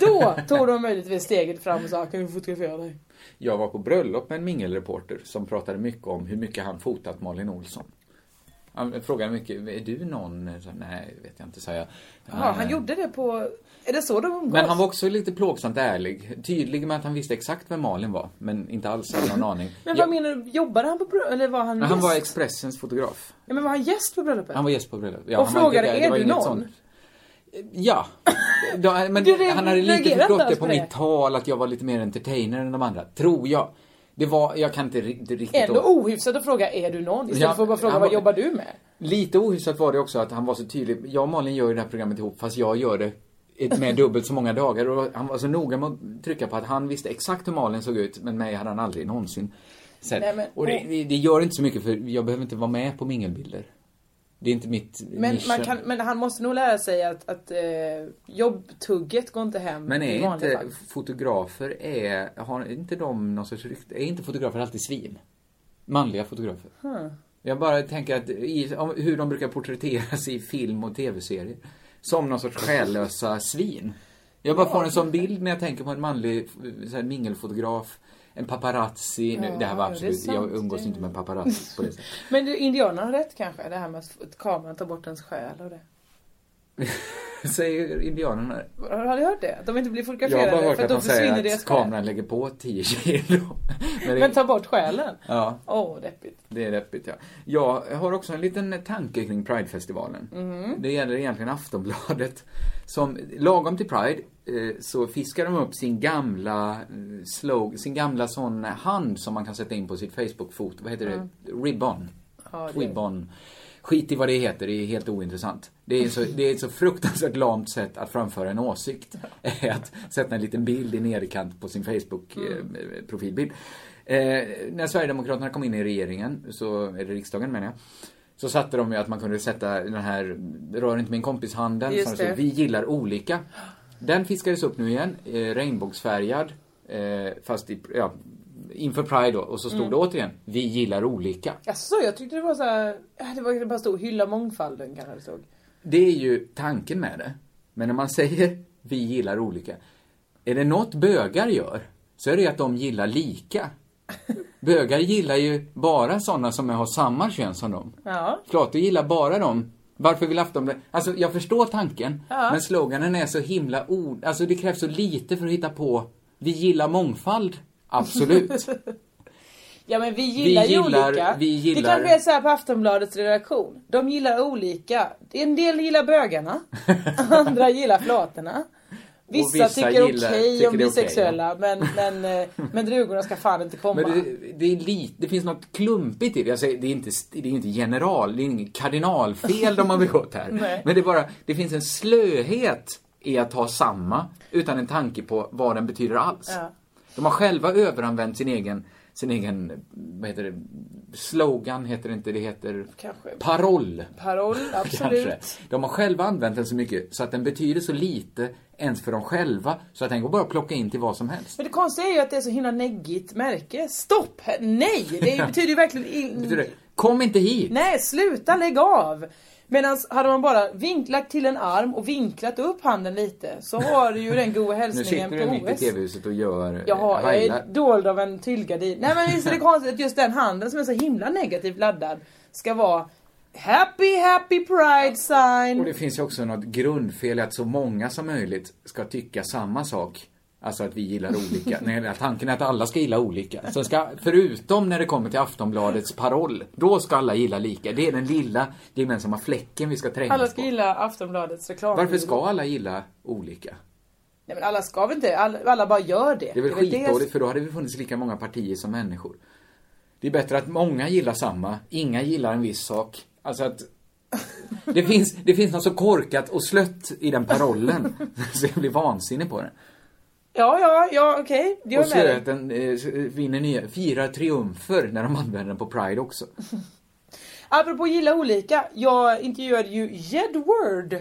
E: Då tog de möjligtvis steget fram och sa Kan vi fotografera dig?
B: Jag var på bröllop med en mingelreporter som pratade mycket om hur mycket han fotat Malin Olsson. Han frågade mycket, är du någon? Så, nej, vet jag inte, sa jag. Eh,
E: Ja, han gjorde det på... Är det så de umgås?
B: Ah. Men han var också lite plågsamt ärlig. Tydlig med att han visste exakt vem Malin var, men inte alls hade någon aning.
E: Men
B: Jag-
E: vad menar du? Jobbade han på bröllopet? Eller var han,
B: han var
E: gäst?
B: Expressens fotograf.
E: Ja, men var han gäst på bröllopet?
B: Han var gäst på bröllopet. Ja,
E: Och
B: han var inte där.
E: frågade, är
B: Det var
E: du
B: inget
E: någon?
B: sånt. Ja. Då- men
E: Du re-
B: han hade
E: reagerade
B: lite
E: inte
B: förstått det
E: alls
B: på
E: på det?
B: mitt tal, att jag var lite mer entertainer än de andra. Tror jag. Det var, jag kan inte ri- riktigt...
E: Ändå ohyfsat att fråga Är du någon? Istället
B: Ja,
E: för att bara fråga
B: han
E: Vad
B: var-
E: jobbar du med?
B: Lite ohyfsat var det också att han var så tydlig. Jag och Malin gör ju det här programmet ihop fast jag gör det ett- med dubbelt så många dagar. Och han var så noga med att trycka på att han visste exakt hur Malin såg ut men mig hade han aldrig någonsin sett.
E: Nej, men-
B: och det, det- det gör inte så mycket för jag behöver inte vara med på mingelbilder. Det är inte mitt
E: Men,
B: nisch.
E: man kan, men han måste nog lära sig att, att eh, jobbtugget går inte hem
B: Men
E: i
B: är
E: vanliga
B: inte
E: fall.
B: fotografer, är, har inte de någon sorts rykte? Är inte fotografer alltid svin? Manliga fotografer. Jag bara tänker att i, om, hur de brukar porträtteras i film och tv-serier. Som någon sorts själlösa svin. Jag bara får en sån bild när jag tänker på en manlig så här, mingelfotograf, en paparazzi. nu, det här var
E: Ja, det är
B: absolut, jag
E: sant,
B: umgås
E: det-
B: inte med paparazzi på det sättet.
E: Men du, indianerna har rätt kanske, det här med att f- kameran tar bort ens själ och det.
B: Säger indianerna.
E: Har har du hört det? Att de inte blir
B: Jag har
E: fotograferade
B: bara hört
E: för att
B: att
E: då
B: de
E: försvinner
B: säger att
E: deras själ.
B: kameran lägger på 10 kilo. Men det-
E: Men ta bort själen?
B: ja.
E: Åh, deppigt.
B: Det är deppigt, ja. Jag har också en liten tanke kring Pridefestivalen.
E: Mhm.
B: Det gäller egentligen Aftonbladet. Som, lagom till Pride, eh, så fiskar de upp sin gamla eh, slog, sin gamla sån hand som man kan sätta in på sitt Facebook-foto. Vad heter det? Ribbon.
E: Mm. Ja, det-
B: Twibbon. Skit i vad det heter, det är helt ointressant. Det är, så, det är ett så fruktansvärt lamt sätt att framföra en åsikt. Att sätta en liten bild i nederkant på sin
E: Mm.
B: Facebook-profilbild. Eh, när Sverigedemokraterna kom in i regeringen, så, eller riksdagen menar jag, så satte de ju att man kunde sätta den här rör inte min kompis-handen.
E: Just
B: som det står,
E: det.
B: Vi gillar olika. Den fiskades upp nu igen, eh, regnbågsfärgad. Eh, fast i, ja, inför Pride då. Och så
E: Mm.
B: stod det återigen, vi gillar olika.
E: Jaså, jag tyckte det var Alltså, så här, äh, det var det bara stod hylla mångfalden kanske det stod.
B: Det är ju tanken med det. Men när man säger vi gillar olika. Är det något bögar gör så är det ju att de gillar lika. Bögar gillar ju bara sådana som har samma kön som dem.
E: Ja.
B: Flator gillar bara dem Varför vill Aftonbladet... Alltså, jag förstår tanken, men sloganen är så himla ord... Alltså, det krävs så lite för att hitta på... Vi gillar mångfald. Absolut.
E: Ja men vi gillar, ju
B: gillar-
E: olika.
B: vi gillar-
E: Det kanske är så här på Aftonbladets redaktion. De gillar olika. En del gillar bögarna. andra gillar flatorna. Vissa,
B: vissa
E: tycker
B: gillar-
E: okej
B: tycker
E: om
B: det är okej,
E: bisexuella men, men, eh, men drugorna ska fan inte komma.
B: Men det, det, är lite, det finns något klumpigt i det. Jag säger, det, är inte, det är inte general, det är inget kardinalfel de har begått här.
E: Nej.
B: Men det är bara, det finns en slöhet i att ha samma utan en tanke på vad den betyder alls.
E: Ja.
B: De har själva överanvänt sin egen, sin egen, vad heter det, slogan heter det inte, det heter
E: Kanske.
B: paroll.
E: Paroll,
B: Kanske.
E: absolut.
B: De har själva använt den så mycket så att den betyder så lite ens för dem själva så att den går bara att plocka in till vad som helst.
E: Men det konstiga är ju att det är så himla neggigt märke. Stopp! Nej! Det är- betyder ju verkligen in...
B: Betyder det, Kom inte hit!
E: Nej, sluta, lägg av! Medan hade man bara vinklat till en arm och vinklat upp handen lite så har du ju den goa
B: Nu
E: hälsningen
B: sitter du
E: på
B: mitt i
E: OS.
B: TV-huset och gör eh,
E: Jaha, jag är
B: highlight.
E: dold av en tyllgardin. Nej men visst är det konstigt att just den handen som är så himla negativt laddad ska vara Happy happy pride
B: Och
E: sign.
B: det finns ju också något grundfel i att så många som möjligt ska tycka samma sak. Alltså att vi gillar olika. Nej, den här tanken är att alla ska gilla olika. Sen ska, förutom när det kommer till Aftonbladets paroll, då ska alla gilla lika. Det är den lilla gemensamma fläcken vi ska trängas
E: Alla ska
B: på.
E: gilla Aftonbladets reklam.
B: Varför ska alla gilla olika?
E: Nej men alla ska väl inte, alla, alla bara gör det.
B: Det är väl
E: väl det-
B: skitdåligt för då hade vi funnits lika många partier som människor. Det är bättre att många gillar samma, inga gillar en viss sak. Alltså att det finns, det finns något så korkat och slött i den parollen. Så jag blir vansinnig på den.
E: Ja, ja, ja okej. Det gör
B: Och
E: jag
B: så är
E: med
B: det att
E: dig.
B: den eh, vinner nya, firar triumfer när de använder den på Pride också.
E: Apropå gilla olika. Jag intervjuade ju Jedward.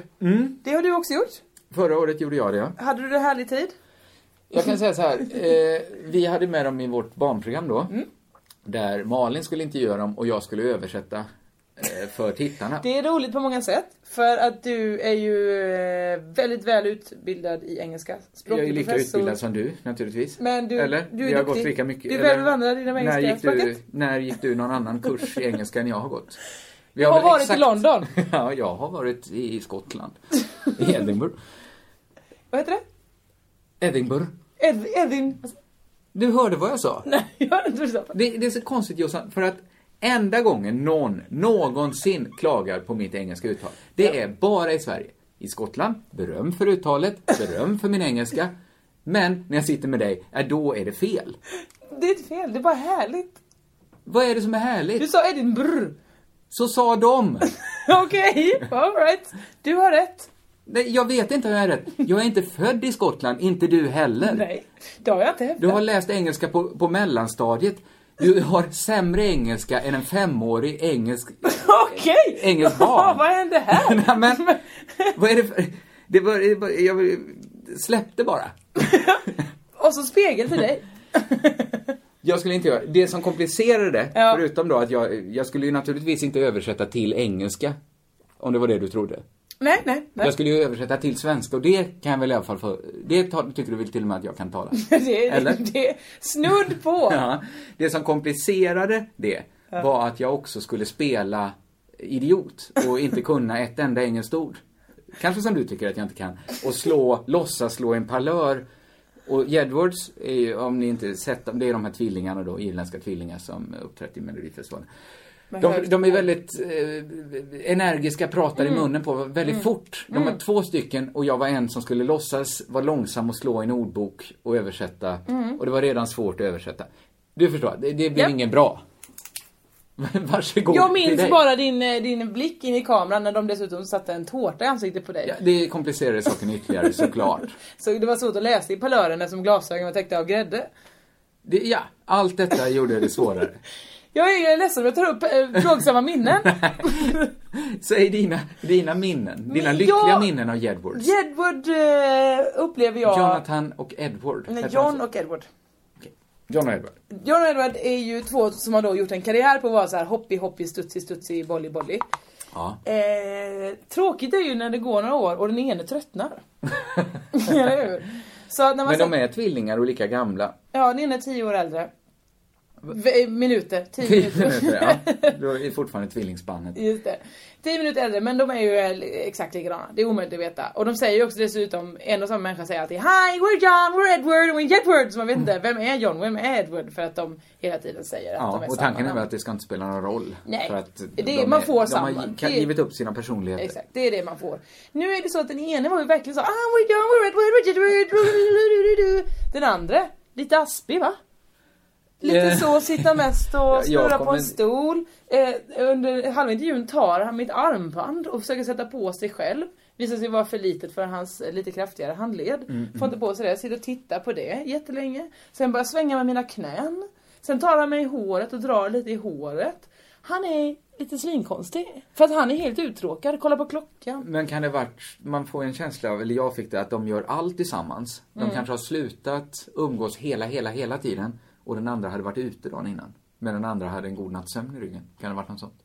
E: Det har du också gjort.
B: Förra året gjorde jag det ja.
E: Hade du det härlig tid?
B: Jag kan säga så här. Eh, vi hade med dem i vårt barnprogram då. Där Malin skulle intervjua dem och jag skulle översätta eh, för tittarna.
E: Det är roligt på många sätt. För att du är ju eh, väldigt väl utbildad i engelska.
B: Jag är ju lika
E: Språkprofessor.
B: utbildad som du naturligtvis.
E: Men du-
B: Eller?
E: du är
B: Vi har
E: duktig.
B: gått lika mycket.
E: Du är
B: eller-
E: välvandrad inom engelska
B: när gick, du,
E: språket.
B: när gick du någon annan kurs i engelska än jag har gått? Vi
E: Jag har
B: väl
E: varit i London.
B: ja, jag har varit i Skottland. I Edinburgh.
E: Vad heter det?
B: Edinburgh.
E: Ed, Edin...
B: Du hörde vad jag sa.
E: Nej, jag har inte förstått.
B: Det, det är så konstigt Jossan, för att enda gången någon någonsin klagar på mitt engelska uttal, det är bara i Sverige. I Skottland, beröm för uttalet, beröm för min engelska. Men när jag sitter med dig, ja, då är det fel.
E: Det är inte fel, det är bara härligt.
B: Vad är det som är
E: Du
B: härligt?
E: sa Edinburgh.
B: Så sa de!
E: Okej, alright. Du har rätt.
B: Nej, jag vet inte hur jag är rätt. Jag är inte född i Skottland, inte du heller.
E: Nej, det har jag inte hävdat.
B: Du har läst engelska på, på mellanstadiet. Du har sämre engelska än en femårig engelsk...
E: Okej!
B: Engelskt barn.
E: Vad hände här?
B: Nej, men, vad är det för... Det var, det var, jag släppte bara.
E: Och så spegel till dig.
B: Jag skulle inte göra det. som komplicerade det,
E: Ja.
B: förutom då att jag, jag skulle ju naturligtvis inte översätta till engelska. Om det var det du trodde.
E: Nej, nej, nej.
B: Jag skulle ju översätta till svenska och det kan jag väl i alla fall få... Det tar- tycker du väl till och med att jag kan tala?
E: Det,
B: Eller?
E: det, det, snudd på.
B: Ja, det som komplicerade det var att jag också skulle spela idiot och inte kunna ett enda engelskt ord. Kanske som du tycker att jag inte kan. Och slå, låtsas slå en parlör. Och Jedwards, är ju, om ni inte sett dem, det är de här tvillingarna då, irländska tvillingar som uppträtt i Melodifestivalen. De, de är väldigt eh, energiska, pratar
E: Mm.
B: i munnen på väldigt fort. De är två stycken och jag var en som skulle låtsas vara långsam och slå i en ordbok och översätta. Och det var redan svårt att översätta. Du förstår, det, det blev
E: Mm. Ja.
B: ingen bra. Varsågod.
E: Jag
B: det är
E: minns
B: dig.
E: bara din, eh, din blick in i kameran när de dessutom satte en tårta i ansiktet på dig.
B: Ja, det komplicerade saken ytterligare såklart.
E: Så det var svårt att läsa i parlören eftersom glasögonen var täckta av grädde.
B: Det, ja, allt detta gjorde det svårare.
E: Jag är, jag är ledsen om jag tar upp eh, plågsamma minnen.
B: Säg dina, dina minnen, dina
E: Men
B: lyckliga
E: jag-
B: minnen av Jedwards.
E: Jedward eh, upplever jag...
B: Jonathan och Edward.
E: Nej,
B: Hette han
E: John
B: så?
E: och Edward.
B: John och Edward.
E: John och Edward är ju två som har då gjort en karriär på att vara så här hoppy hoppy studsi studsi bolly bolly.
B: Ja.
E: Eh, tråkigt är ju när det går några år och den ene tröttnar. Eller hur? Så att när man
B: Men de
E: ser-
B: är tvillingar och lika gamla.
E: Ja, den ene är tio år äldre. V- eh, minuter, 10
B: Tio
E: minuter.
B: minuter, ja. Då är fortfarande tvillingspannet.
E: Just det. 10 minuter äldre, men de är ju eh, exakt likadana. Det är omöjligt att veta. Och de säger ju också dessutom, en och samma människa säger alltid Hi, we're John, we're Edward, we're Edward. Så man vet inte, vem är John, vem är Edward? För att de hela tiden säger att de
B: Ja,
E: är
B: och
E: samma
B: tanken är
E: namn.
B: väl att det ska inte spela någon roll.
E: Nej,
B: för att
E: det-
B: de
E: man får
B: de
E: samma.
B: har
E: Det-
B: gi- givit upp sina personligheter.
E: Exakt, det är det man får. Nu är det så att den ene var ju verkligen så ah, we're John, we're Edward, we're Edward, we're Edward. Den andra, lite aspig va? Lite
B: Eh.
E: så, sitta mest och
B: jag
E: snurra på
B: kommer-
E: en stol. Eh, under halva intervjun tar han mitt armband och försöker sätta på sig själv. Visar sig vara för litet för hans eh, lite kraftigare handled.
B: Mm,
E: Får inte på sig det, sitter och tittar på det jättelänge. Sen börjar jag svänga med mina knän. Sen tar han mig i håret och drar lite i håret. Han är lite svinkonstig. För att han är helt uttråkad, kolla på klockan.
B: Men kan det varit, man får en känsla av, eller jag fick det, att de gör allt tillsammans. De
E: Mm.
B: kanske har slutat umgås hela, hela, hela tiden. Och den andra hade varit ute dagen innan. Men den andra hade en god natts sömn i ryggen. Kan det varit något sånt?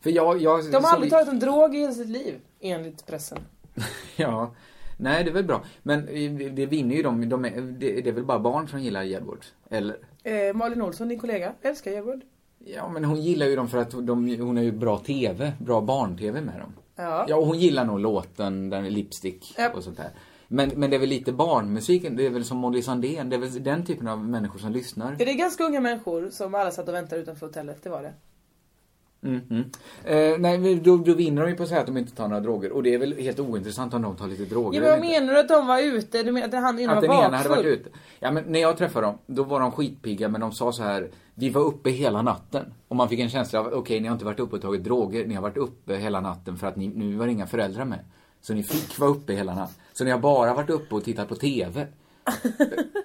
B: För jag, jag...
E: De har
B: så-
E: aldrig tagit en drog i hela sitt liv, enligt pressen.
B: Ja. Nej, det är väl bra. Men eh, det vinner ju de, de är, det, det är väl bara barn som gillar Edward? Eller?
E: Eh, Malin Olsson, din kollega, älskar Edward.
B: Ja, men hon gillar ju dem för att de, hon har ju bra TV, bra barn-TV med dem.
E: Ja.
B: Ja, och hon gillar nog låten, den är Lipstick
E: Japp.
B: och sånt där. Men, men det är väl lite barnmusiken, det är väl som Molly Sandén, det är väl den typen av människor som lyssnar.
E: Det är ganska unga människor som alla satt och väntade utanför hotellet, det var det.
B: Mm, mm. Eh, nej, men då, då vinner de ju på att säga att de inte tar några droger. Och det är väl helt ointressant om de tar lite droger
E: Ja, men vad
B: eller inte.
E: menar du att de var ute? Du menar att han innan
B: Att
E: var
B: den ena hade
E: bakfull?
B: varit ute. Ja, men när jag träffade dem, då var de skitpigga men de sa så här, vi var uppe hela natten. Och man fick en känsla av, okej ni har inte varit uppe och tagit droger, ni har varit uppe hela natten för att ni, nu var det inga föräldrar med. Så ni fick vara uppe hela natten. Så ni har bara varit uppe och tittat på TV.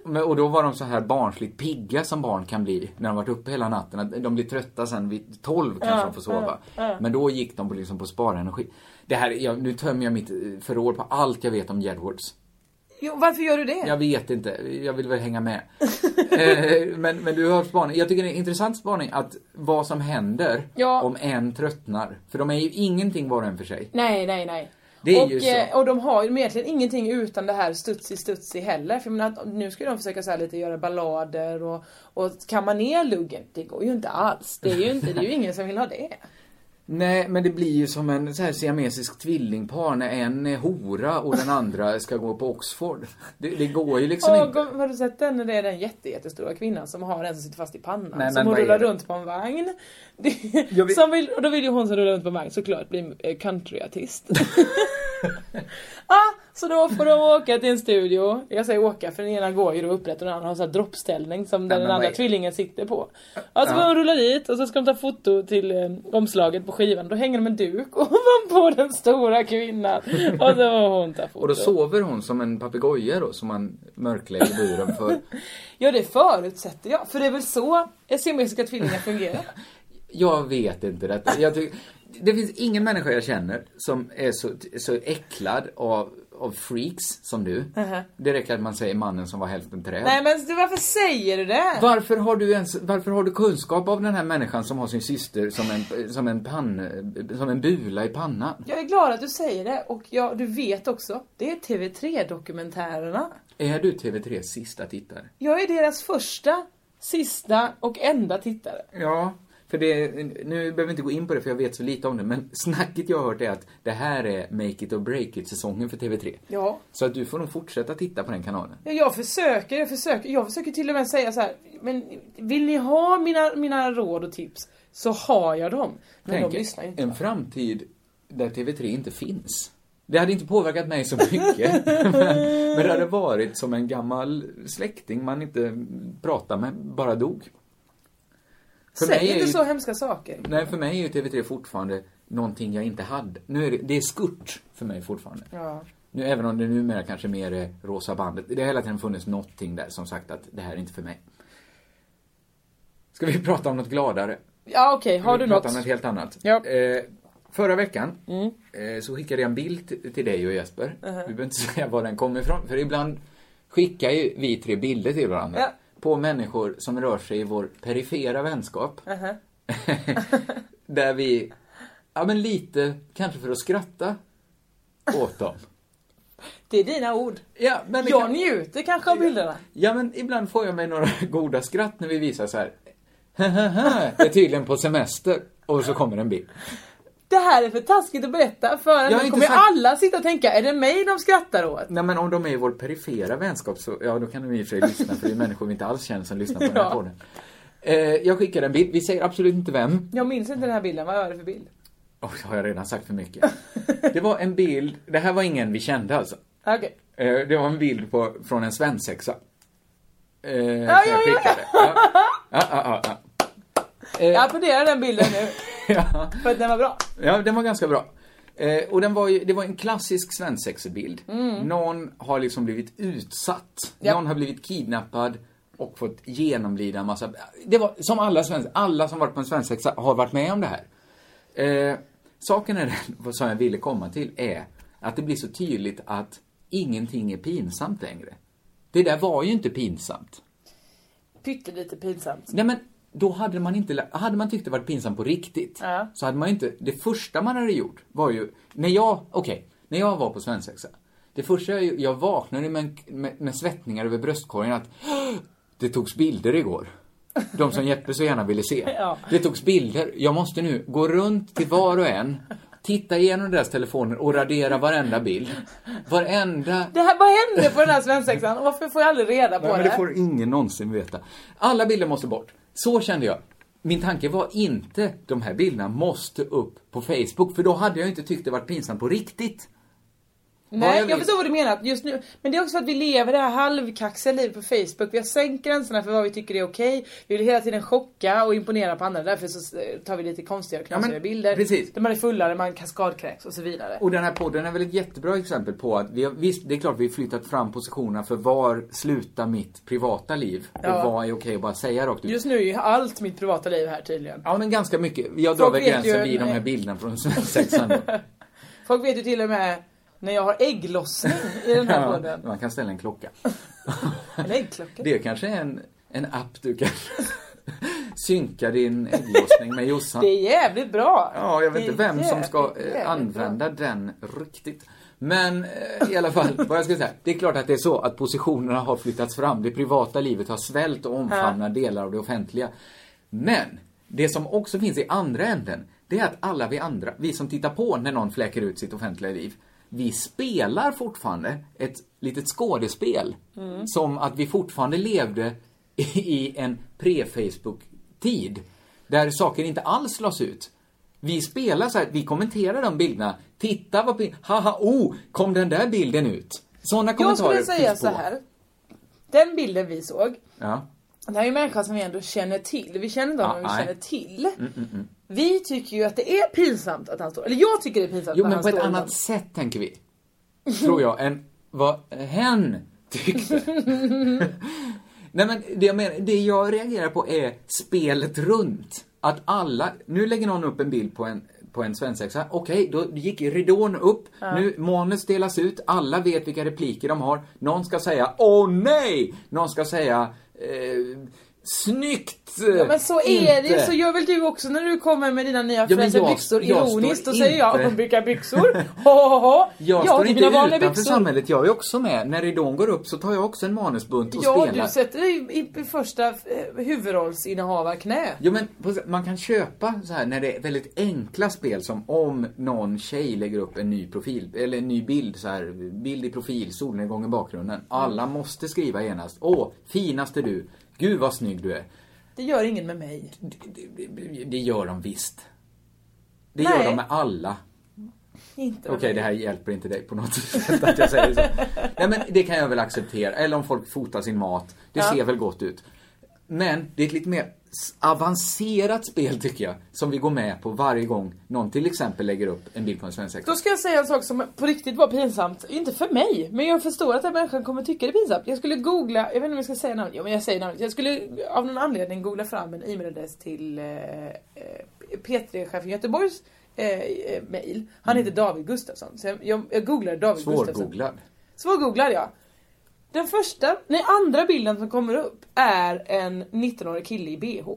B: Men, och då var de så här barnsligt pigga som barn kan bli när de varit uppe hela natten. Att De blir trötta sen vid 12 kanske de får sova. Men då gick de på, liksom på sparenergi. Det här, jag, nu tömmer jag mitt eh, förråd på allt jag vet om Jedwards.
E: Jo, varför gör du det?
B: Jag vet inte, jag vill väl hänga med. Eh, men, men du har spaning. Jag tycker det är en intressant spaning att vad som händer
E: Ja.
B: om en tröttnar. För de är ju ingenting var och en för sig.
E: Nej, nej, nej.
B: Det är
E: och,
B: ju så.
E: eh, och de har ju egentligen ingenting utan det här studsi studsi heller. För jag menar, att nu ska de försöka så här lite göra ballader och, och kamma ner luggen. Det går ju inte alls. Det är ju, inte, det är ju ingen som vill ha det.
B: Nej, men det blir ju som en så här siamesisk tvillingpar när en är hora och den andra ska gå på Oxford. Det, det går ju liksom
E: Och,
B: inte.
E: har du sett den? Det är den jätte, jättestora kvinnan som har en som sitter fast i pannan.
B: Nej,
E: som
B: men
E: hon
B: vad är
E: rullar
B: det?
E: runt på en vagn. Det,
B: Jag vet-
E: som vill, och då vill ju hon som rullar runt på en vagn såklart bli eh, countryartist. ah, så då får de åka till en studio. Jag säger åka för den ena går ju då upprätt och den andra har så här droppställning som
B: Nej,
E: den
B: men
E: andra
B: vad är-
E: tvillingen sitter på. Ja, så
B: Ja.
E: får de rulla dit och så ska de ta foto till eh, omslaget på skivan. Då hänger de en duk ovanpå den stora kvinnan. Och så får hon ta foto.
B: Och då sover hon som en papegoja då, som man mörklägger buren för.
E: Ja det förutsätter jag, för det är väl så siamesiska tvillingar fungerar?
B: Jag vet inte detta. Jag tycker, det finns ingen människa jag känner som är så, så äcklad av, av freaks som du. Det räcker att man säger mannen som var hälften träd.
E: Uh-huh. Nej men du, varför säger du det?
B: Varför har, du ens, varför har du kunskap av den här människan som har sin syster som en, som en, pann, som en bula i pannan?
E: Jag är glad att du säger det och jag, du vet också, det är TV3-dokumentärerna.
B: Är du TV3 sista tittare?
E: Jag är deras första, sista och enda tittare.
B: Ja, för det, nu behöver vi inte gå in på det för jag vet så lite om det, men snacket jag har hört är att det här är Make it or break it-säsongen för TV3.
E: Ja.
B: Så att du får nog fortsätta titta på den kanalen.
E: Ja, Jag försöker, jag försöker, jag försöker till och med säga så här. men vill ni ha mina, mina råd och tips så har jag dem. Men
B: Tänk
E: de lyssnar ju inte.
B: en framtid där TV3 inte finns. Det hade inte påverkat mig så mycket. men, men det hade varit som en gammal släkting man inte pratar med, bara dog. För
E: Säg
B: mig är
E: inte
B: ju-
E: så hemska saker.
B: Nej, för mig är ju TV3 fortfarande någonting jag inte hade. Nu är det, det är skurt för mig fortfarande.
E: Ja.
B: Nu, även om det numera kanske mer är rosa bandet. Det har hela tiden funnits någonting där som sagt att det här är inte för mig. Ska vi prata om något gladare?
E: Ja okej, har du
B: Vi pratar
E: något?
B: om något helt annat.
E: Ja. Mm.
B: Eh, förra veckan eh, så skickade jag en bild t- till dig och Jesper. Vi behöver inte säga var den kommer ifrån. För ibland skickar ju vi tre bilder till varandra.
E: Ja.
B: På människor som rör sig i vår perifera vänskap.
E: Mhm.
B: Där vi, ja men lite, kanske för att skratta åt dem.
E: Det är dina ord.
B: Ja, men det
E: Jag
B: kan-
E: njuter kanske av bilderna.
B: Ja, men ibland får jag mig några goda skratt när vi visar så här. är tydligen på semester. Och så kommer en bild.
E: Det här är för taskigt att berätta för
B: har
E: nu
B: inte
E: kommer
B: sagt-
E: alla sitta och tänka, är det mig de skrattar åt?
B: Nej men om de är i vår perifera vänskap så, ja då kan de i och för sig lyssna för det är människor vi inte alls känner som lyssnar på den här
E: Ja.
B: podden. Eh, jag skickar en bild, vi säger absolut inte vem.
E: Jag minns inte den här bilden, vad var det för bild?
B: Oj, har jag redan sagt för mycket? Det var en bild, det här var ingen vi kände alltså.
E: Okej.
B: Eh, det var en bild på, från en svensexa. Eh, som
E: ja,
B: jag
E: ja.
B: skickade. Ja, ja, ja, ja.
E: Jag applåderar den bilden nu,
B: Eh. ja.
E: för att den var bra.
B: Ja, den var ganska bra. Eh, och den var ju, det var en klassisk svensexbild. Någon har liksom blivit utsatt.
E: Ja.
B: Någon har blivit kidnappad och fått genomlida en massa... Det var som alla svenskar, alla som varit på en svensexa har varit med om det här. Eh, saken är den, vad som jag ville komma till, är att det blir så tydligt att ingenting är pinsamt längre. Det där var ju inte pinsamt.
E: Pyttelite pinsamt.
B: Nej men, då hade man inte, lä- hade man tyckt det varit pinsamt på riktigt,
E: Ja.
B: så hade man ju inte, det första man hade gjort var ju, när jag, okej, när jag var på svensexa, det första jag, jag vaknade med, en- med, med svettningar över bröstkorgen att det togs bilder igår. De som Jeppe så gärna ville se.
E: Ja.
B: Det togs bilder. Jag måste nu gå runt till var och en, titta igenom deras telefoner och radera varenda bild. Varenda
E: Det här, vad hände på den här svensexan? Och Varför får jag aldrig reda på
B: Nej,
E: det?
B: men det får ingen någonsin veta. Alla bilder måste bort. Så kände jag. Min tanke var inte de här bilderna måste upp på Facebook, för då hade jag inte tyckt det varit pinsamt på riktigt. Vad
E: Nej, jag,
B: vill-
E: förstår vad du menar. Just nu. Men det är också för att vi lever det här halvkaxiga livet på Facebook. Vi har sänkt gränserna för vad vi tycker är okej. Vi vill hela tiden chocka och imponera på andra. Därför så eh, tar vi lite konstiga och knasiga
B: Ja, men
E: bilder.
B: precis.
E: Där man är fullare, man kaskadkräks och så vidare.
B: Och den här podden är väl ett jättebra exempel på att vi har, visst, det är klart vi har flyttat fram positionerna för var slutar mitt privata liv och
E: Ja.
B: vad är okej att bara säga rakt ut.
E: Typ. Just nu är ju allt mitt privata liv här tydligen.
B: Ja, men ganska mycket. Jag drar
E: Folk
B: väl
E: vet ju-
B: gränsen vid de
E: nej.
B: här bilderna från svensexan då.
E: Folk vet ju till och med när jag har ägglossning i den här
B: ja,
E: podden.
B: Man kan ställa en klocka.
E: En äggklocka.
B: Det är kanske en, en app du kan synka din ägglossning med Jossan.
E: Det är jävligt bra.
B: Ja, jag
E: Det
B: vet
E: är
B: inte vem som ska
E: jävligt,
B: eh,
E: jävligt bra.
B: använda den riktigt. Men eh, i alla fall, vad jag ska säga. Det är klart att det är så att positionerna har flyttats fram. Det privata livet har svällt och omfamnar delar av det offentliga. Men, det som också finns i andra änden, det är att alla vi andra, vi som tittar på när någon fläker ut sitt offentliga liv, vi spelar fortfarande ett litet skådespel.
E: Mm.
B: Som att vi fortfarande levde i- i en pre-Facebook-tid. Där saker inte alls lades ut. Vi spelar så här, vi kommenterar de bilderna. Titta vad bild- haha, oh, kom den där bilden ut? Sådana
E: Jag
B: kommentarer
E: skulle säga
B: finns
E: så
B: på.
E: här. Den bilden vi såg.
B: Ja.
E: Det här är ju människor som vi ändå känner till. Vi känner inte honom, men
B: Ah,
E: vi
B: nej. mm,
E: känner till. Vi tycker ju att det är pinsamt att han står... Eller jag tycker det är pinsamt
B: Jo,
E: när
B: men
E: han
B: på ett
E: står
B: annat
E: där.
B: sätt tänker vi. Tror jag, än vad hen tyckte. Nej men det jag menar, det jag reagerar på är spelet runt. Att alla, nu lägger någon upp en bild på en, på en svensexa, okej då gick ridån upp, nu manus delas ut, alla vet vilka repliker de har, någon ska säga åh nej! Någon ska säga eh, snyggt!
E: Ja, men så är det ju.
B: inte."
E: Så gör väl du också när du kommer med dina nya
B: men
E: fräscha
B: jag-
E: byxor
B: jag står
E: ironiskt. Då säger jag,
B: inte-
E: vilka byxor? Ho, ho, ho.
B: Jag
E: Ja,
B: står
E: till
B: inte
E: mina vanliga
B: utanför
E: byxor.
B: samhället, jag är också med. När ridån går upp så tar jag också en manusbunt och
E: Ja,
B: spelar.
E: du sätter dig i, i första eh, huvudrollsinnehavarknä.
B: Jo men på- man kan köpa så här när det är väldigt enkla spel som om någon tjej lägger upp en ny profil, eller en ny bild så här, bild i profil, solnedgång i bakgrunden.
E: Mm.
B: Alla måste skriva genast, åh, finaste du, gud vad snygg du är.
E: Det gör ingen med mig.
B: Det, det, det gör de visst. Det
E: Nej.
B: gör de med alla.
E: Inte
B: Okej,
E: med mig.
B: det här hjälper inte dig på något sätt att jag säger så. Nej men det kan jag väl acceptera. Eller om folk fotar sin mat. Det ser väl gott ut. Men det är ett lite mer s- avancerat spel tycker jag. Som vi går med på varje gång någon till exempel lägger upp en bild på en svensexa.
E: Då ska jag säga en sak som på riktigt var pinsamt. Inte för mig, men jag förstår att den människan kommer tycka det är pinsamt. Jag skulle googla, jag vet inte om jag ska säga namnet, jo men jag säger namnet. Jag skulle av någon anledning googla fram en e-mailadress till eh, eh, P3-chefen Göteborgs eh, eh, mail.
B: Mm.
E: Han heter David Gustafsson. Så jag, jag, jag googlade David Gustafsson.
B: Svårgooglad.
E: Svårgooglad ja. Den första, nej andra bilden som kommer upp är en 19-årig kille i bh.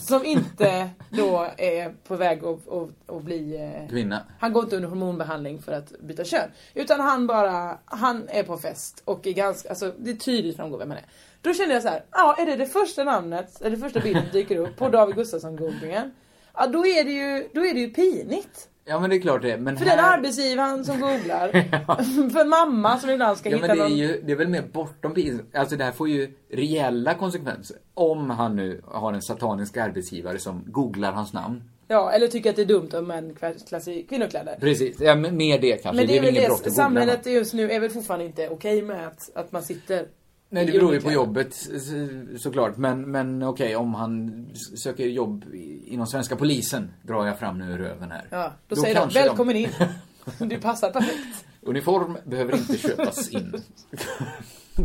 E: Som inte då är på väg att, att, att bli... eh,
B: Kvinna.
E: Han går inte under hormonbehandling för att byta kön. Utan han bara, han är på fest och är ganska, alltså det är tydligt framgår vem han är. Då kände jag så här, ja är det det första namnet, eller det första bilden som dyker upp på David Gustafsson-googlingen. Ja då är det ju, då är det ju pinigt.
B: Ja men det är klart det Men
E: För
B: här...
E: den arbetsgivaren som googlar. För mamma som ibland ska
B: Ja
E: hitta
B: men det är
E: någon...
B: ju, det är väl mer bortom pin- Alltså det här får ju reella konsekvenser. Om han nu har en satanisk arbetsgivare som googlar hans namn.
E: Ja, eller tycker att det är dumt om män klär sig i kvinnokläder.
B: Precis, ja, men mer det kanske.
E: Men det är väl
B: väl inget brott att
E: det,
B: googla
E: samhället
B: någon.
E: just nu är väl fortfarande inte okej med att, att man sitter
B: Nej det
E: i
B: beror ju på
E: olika-
B: jobbet så- såklart. Men, men okej om han s- söker jobb i- inom svenska polisen. Drar jag fram nu ur röven här.
E: Ja, då, säger de
B: kanske
E: välkommen in. Du passar perfekt.
B: Uniform behöver inte köpas in.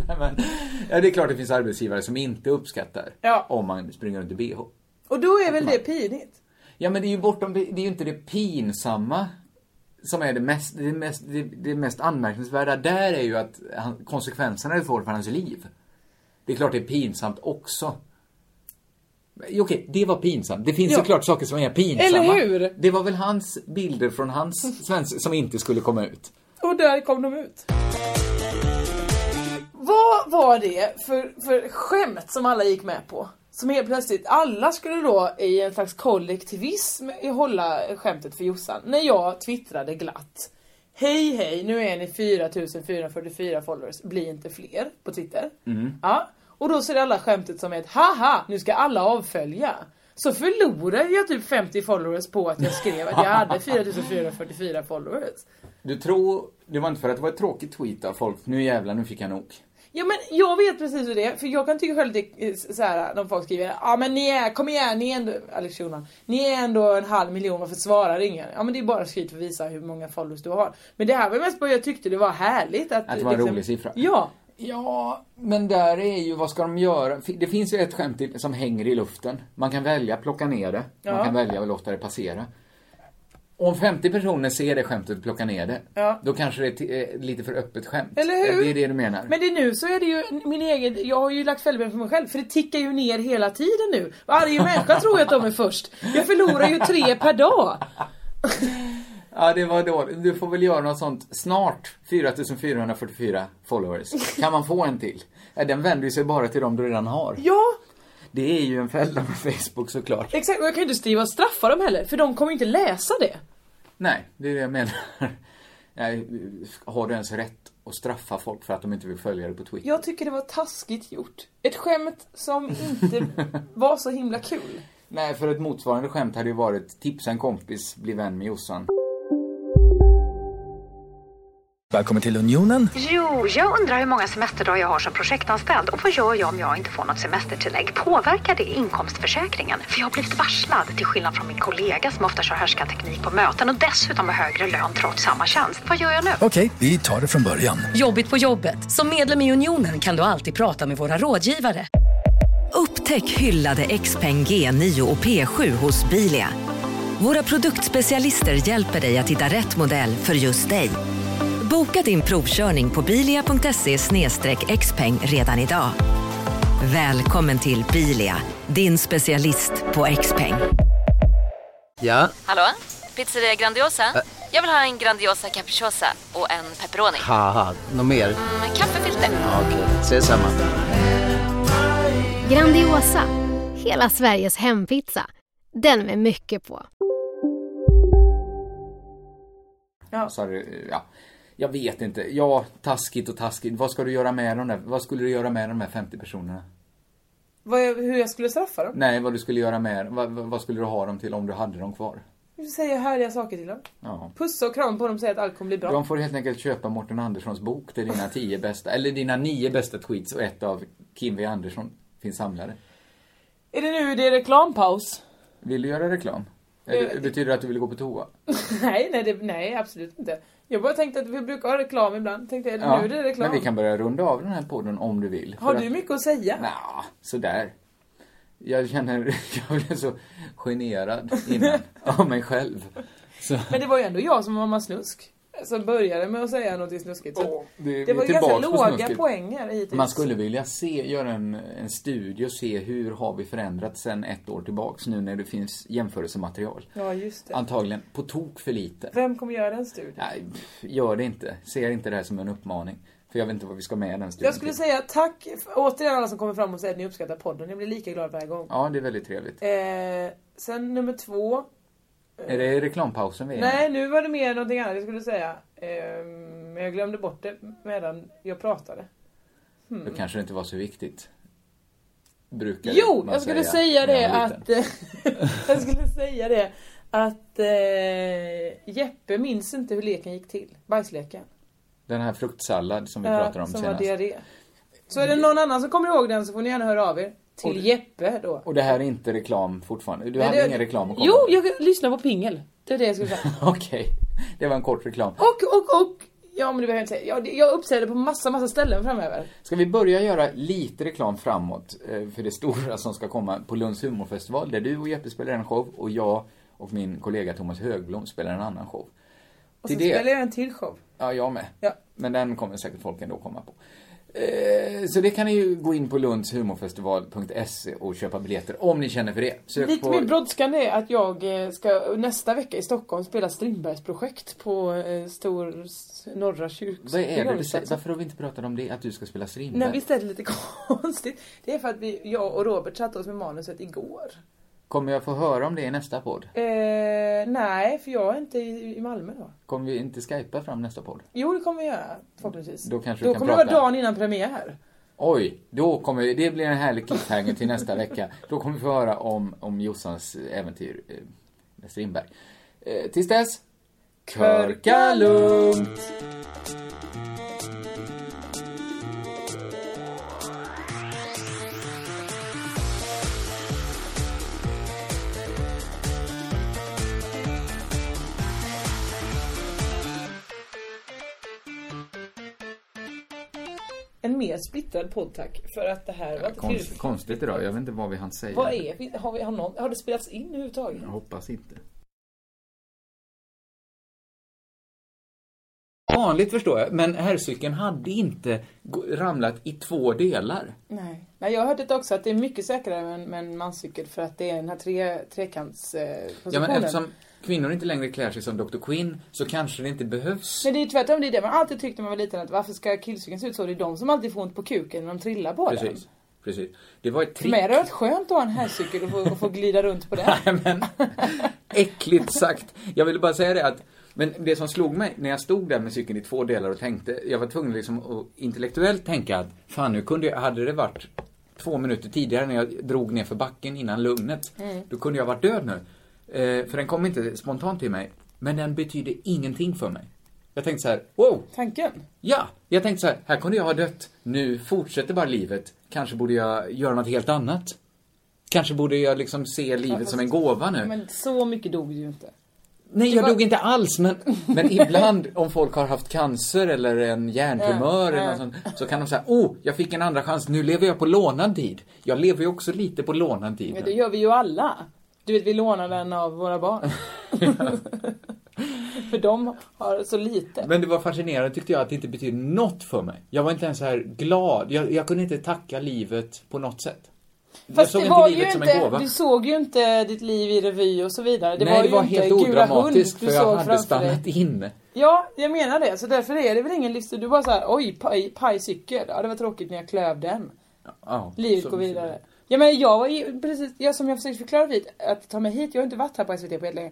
B: Nej, men, ja, det är klart det finns arbetsgivare som inte uppskattar
E: Ja.
B: om man springer runt i bh.
E: Och då är väl det pinigt?
B: Ja, men det är ju bortom, det är ju inte det pinsamma som är det mest, det mest, det, det mest anmärkningsvärda där är ju att han, konsekvenserna det får för hans liv. Det är klart det är pinsamt också. Men, Okej, det var pinsamt. Det finns
E: Ja.
B: såklart saker som är pinsamma.
E: Eller hur?
B: Det var väl hans bilder från hans svensk som inte skulle komma ut.
E: Och där kom de ut. Vad var det för, för skämt som alla gick med på? Som helt plötsligt, alla skulle då i en slags kollektivism hålla skämtet för Jossan. När jag twittrade glatt. Hej hej, nu är ni 4444 followers, bli inte fler på Twitter. Ja. Och då ser alla skämtet som ett haha, nu ska alla avfölja. Så förlorade jag typ 50 followers på att jag skrev att jag hade 4444 followers.
B: Du tror, det var inte för att det var ett tråkigt tweet av folk, nu jävlar, nu fick jag nog.
E: Ja men jag vet precis hur det är, för jag kan tycka själv det är eh, så här när folk skriver Ja men ni är, kom igen, ni är ändå, Alex Schulman, ni är ändå en halv miljon, varför svarar ingen? Ja men det är bara skryt för att visa hur många followers du har. Men det här var mest bara jag tyckte det var härligt att... liksom-
B: Att det var en rolig siffra.
E: Ja.
B: Ja, men där är ju, vad ska de göra? F- Det finns ju ett skämt till som hänger i luften. Man kan välja att plocka ner det. Man
E: Ja.
B: kan välja att låta det passera. Om 50 personer ser det skämtet och plockar ner det,
E: Ja.
B: då kanske det är ti- eh, lite för öppet skämt.
E: Eller hur?
B: Det är det du menar.
E: Men det nu så är det ju min egen, jag har ju lagt fällben för mig själv för det tickar ju ner hela tiden nu. Varje människa tror ju att de är först. Jag förlorar ju tre per dag.
B: Ja, det var då. Du får väl göra något sånt snart. 4444 followers. Kan man få en till? Ja, Den vänder ju sig bara till de du redan har.
E: Ja,
B: Det är ju en fälla med Facebook såklart.
E: exakt. Och jag kan ju inte skriva och straffa dem heller, för de kommer ju inte läsa det.
B: Nej, det är det jag menar. Nej, har du ens rätt att straffa folk för att de inte vill följa dig på Twitter?
E: Jag tycker det var taskigt gjort. Ett skämt som inte var så himla kul.
B: Nej, för ett motsvarande skämt hade ju varit tipsa en kompis, bli vän med Jossan.
F: Välkommen till Unionen.
G: Jo, jag undrar hur många semesterdagar jag har som projektanställd och vad gör jag om jag inte får något semestertillägg? Påverkar det inkomstförsäkringen? För jag har blivit varslad, till skillnad från min kollega som ofta kör härskarteknik på möten och dessutom har högre lön trots samma tjänst. Vad gör jag nu?
F: Okej, vi tar det från början.
H: Jobbigt på jobbet. Som medlem i Unionen kan du alltid prata med våra rådgivare.
I: Upptäck hyllade XPeng G9 och P7 hos Bilia. Våra produktspecialister hjälper dig att hitta rätt modell för just dig. Boka din provkörning på bilia.se xpeng redan idag. Välkommen till Bilia, din specialist på XPeng.
C: Ja,
J: Hallå? Pizzeria Grandiosa? Jag vill ha en Grandiosa capriciosa och en pepperoni.
C: haha, något mer?
J: Med kaffefilter.
C: Ja, Okej, ses samma.
K: Grandiosa, hela Sveriges hempizza. Den med mycket på.
B: Så hade, det- ja, jag vet inte. Ja, taskigt och taskigt. Vad ska du göra med de där, vad skulle du göra med de där 50 personerna?
E: Vad jag, hur jag skulle straffa dem?
B: Nej, vad du skulle göra med, vad, vad vad skulle du ha dem till om du hade dem kvar?
E: Jag säger härliga saker till dem.
B: Ja.
E: Pussa och kram på dem och säga att allt kommer bli bra.
B: De får helt enkelt köpa Mårten Anderssons bok. Det är dina tio bästa, eller dina nio bästa tweets och ett av Kim V Andersson finns samlade.
E: Är det nu det är reklampaus?
B: Vill du göra reklam? Eller, betyder det att du vill gå på toa?
E: Nej, nej, det, nej absolut inte. Jag bara tänkte att vi brukar ha reklam ibland. Tänkte, är det nu det är reklam?
B: Men vi kan börja runda av den här podden om du vill.
E: Har
B: För
E: du
B: att-
E: mycket att säga?
B: Nja, sådär. Jag känner, jag blev så generad innan av mig själv. Så,
E: Men det var ju ändå jag som var mamma Snusk. som började med att säga något snuskigt. Så
B: Åh, det-
E: det,
B: vi är
E: var ju ganska
B: tillbaks på
E: låga
B: snusket.
E: poänger hittills.
B: Man skulle vilja se, göra en, en studie och se hur har vi förändrats sen ett år tillbaks nu när det finns jämförelsematerial.
E: Ja, just det.
B: Antagligen på tok för lite.
E: Vem kommer göra den studien?
B: Nej, pff, gör det inte. Ser inte det här som en uppmaning. För jag vet inte vad vi ska med i den studien
E: Jag skulle
B: till.
E: säga tack för- återigen alla som kommer fram och säger att ni uppskattar podden. Jag blir lika glad varje gång.
B: Ja, det är väldigt trevligt.
E: Eh, sen nummer två.
B: Är det reklampausen vi är i?
E: Nej, nu var det mer någonting annat jag skulle säga. Eh, men jag glömde bort det medan jag pratade. Hmm.
B: Då kanske det inte var så viktigt. Brukar
E: Jo,
B: man
E: jag skulle
B: säga
E: säga
B: när
E: det
B: man var liten.
E: att... jag skulle säga det att eh, Jeppe minns inte hur leken gick till. Bajsleken.
B: Den här fruktsallad som vi
E: Ja,
B: pratade om
E: som
B: senast.
E: var diarré. Så är det någon annan som kommer ihåg den så får ni gärna höra av er. Till
B: Och-
E: Jeppe då.
B: Och det här är inte reklam fortfarande. Du
E: Men
B: hade
E: det-
B: ingen reklam att komma
E: Jo,
B: med.
E: jag lyssnar på pingel. Det är det jag skulle säga.
B: Okej, det var en kort reklam.
E: Och, och, och. Ja men det behöver jag inte säga. Jag, jag uppträder på massa, massa ställen framöver.
B: Ska vi börja göra lite reklam framåt eh, för det stora som ska komma på Lunds humorfestival där du och Jeppe spelar en show och jag och min kollega Thomas Högblom spelar en annan show.
E: Och
B: Till
E: sen
B: det-
E: spelar jag en till show.
B: Ja, jag med.
E: Ja.
B: Men den kommer säkert folk ändå komma på. Eh, Så det kan ni ju gå in på lundshumorfestival.se och köpa biljetter om ni känner för det. Sök
E: Lite
B: på...
E: mer brådskande är att jag eh, ska nästa vecka i Stockholm spela Strindbergs projekt på eh, Stor s- Norra kyrkogården.
B: Vad är det du säger? Varför har vi inte pratat om det? Att du ska spela Strindberg?
E: Nej visst är det lite konstigt? Det är för att vi, jag och Robert satte oss med manuset igår.
B: Kommer jag få höra om det i nästa podd?
E: Eh, nej, för jag är inte i, i Malmö då.
B: Kommer vi inte skypa fram nästa podd?
E: Jo, det kommer vi göra förhoppningsvis.
B: Då kanske vi
E: Då
B: kan
E: kommer det
B: prata.
E: vara dagen innan premiär.
B: Oj, då kommer vi, det blir en härlig cliffhanger till nästa vecka. Då kommer vi få höra om, om Jossans äventyr eh, med Strindberg. Eh, tills dess, körka lugnt!
E: En mer splittrad podd tack, för att det här var inte
B: Konst,
E: tillräckligt.
B: konstigt idag, jag vet inte vad vi hann säga.
E: Vad är, har, vi, har, någon, har det spelats in överhuvudtaget?
B: Jag hoppas inte. Vanligt förstår jag, men herrcykeln hade inte gå- ramlat i två delar.
E: Nej. Nej, jag har hört det också att det är mycket säkrare med en, med en manscykel för att det är den här tre, eh, trekantspositionen.
B: Ja, men eftersom kvinnor inte längre klär sig som Dr. Quinn så kanske det inte behövs.
E: Men det är ju tvärtom, det är det man alltid tyckte när man var liten att varför ska killcykeln se ut så? Det är de som alltid får ont på kuken när de trillar på den.
B: Precis. Precis. Det var ett
E: För
B: trick.
E: mig hade det varit skönt att ha en herrcykel och få, och få glida runt på den.
B: Äckligt sagt. Jag ville bara säga det att, men det som slog mig när jag stod där med cykeln i två delar och tänkte, jag var tvungen liksom att intellektuellt tänka att, fan nu kunde jag, hade det varit två minuter tidigare när jag drog ner för backen innan lugnet,
L: Mm.
B: då kunde jag varit död nu. Eh, för den kom inte spontant till mig, men den betydde ingenting för mig. Jag tänkte så här, wow,
E: Tanken?
B: Ja, jag tänkte så här, här kunde jag ha dött. Nu fortsätter bara livet. Kanske borde jag göra något helt annat. Kanske borde jag liksom se
E: Ja,
B: livet
E: fast-
B: som en gåva nu.
E: Men så mycket dog du ju inte.
B: Nej, jag
E: var-
B: dog inte alls, men, men ibland om folk har haft cancer eller en hjärntumör
E: Ja,
B: eller
E: ja.
B: något sånt, så kan de säga, oh, jag fick en andra chans, nu lever jag på lånad tid. Jag lever ju också lite på lånad tid.
E: Men det gör vi ju alla. Du vet, vi lånar den av våra barn. För de har så lite.
B: Men det var fascinerande tyckte jag att det inte betydde något för mig. Jag var inte ens så här glad. Jag, jag kunde inte tacka livet på något sätt. jag
E: Fast
B: såg
E: det
B: inte
E: var
B: livet
E: ju
B: som
E: inte,
B: en gåva.
E: du såg ju inte ditt liv i revy och så vidare. Det
B: Nej,
E: var
B: det
E: ju
B: var
E: inte
B: helt
E: Gula
B: odramatiskt
E: hund
B: för
E: du
B: jag
E: såg
B: hade
E: framför
B: stannat
E: dig.
B: inne.
E: Ja, jag menar det. Så därför är det väl ingen livsstil. Du bara såhär, oj, paj, pajcykel. Ja, det var tråkigt när jag klöv den.
B: Ja,
E: Livet
B: så-
E: går vidare. Ja, men jag var ju, precis, jag, som jag försökte förklara hit, att ta mig hit, jag har inte varit här på SVT på helt länge.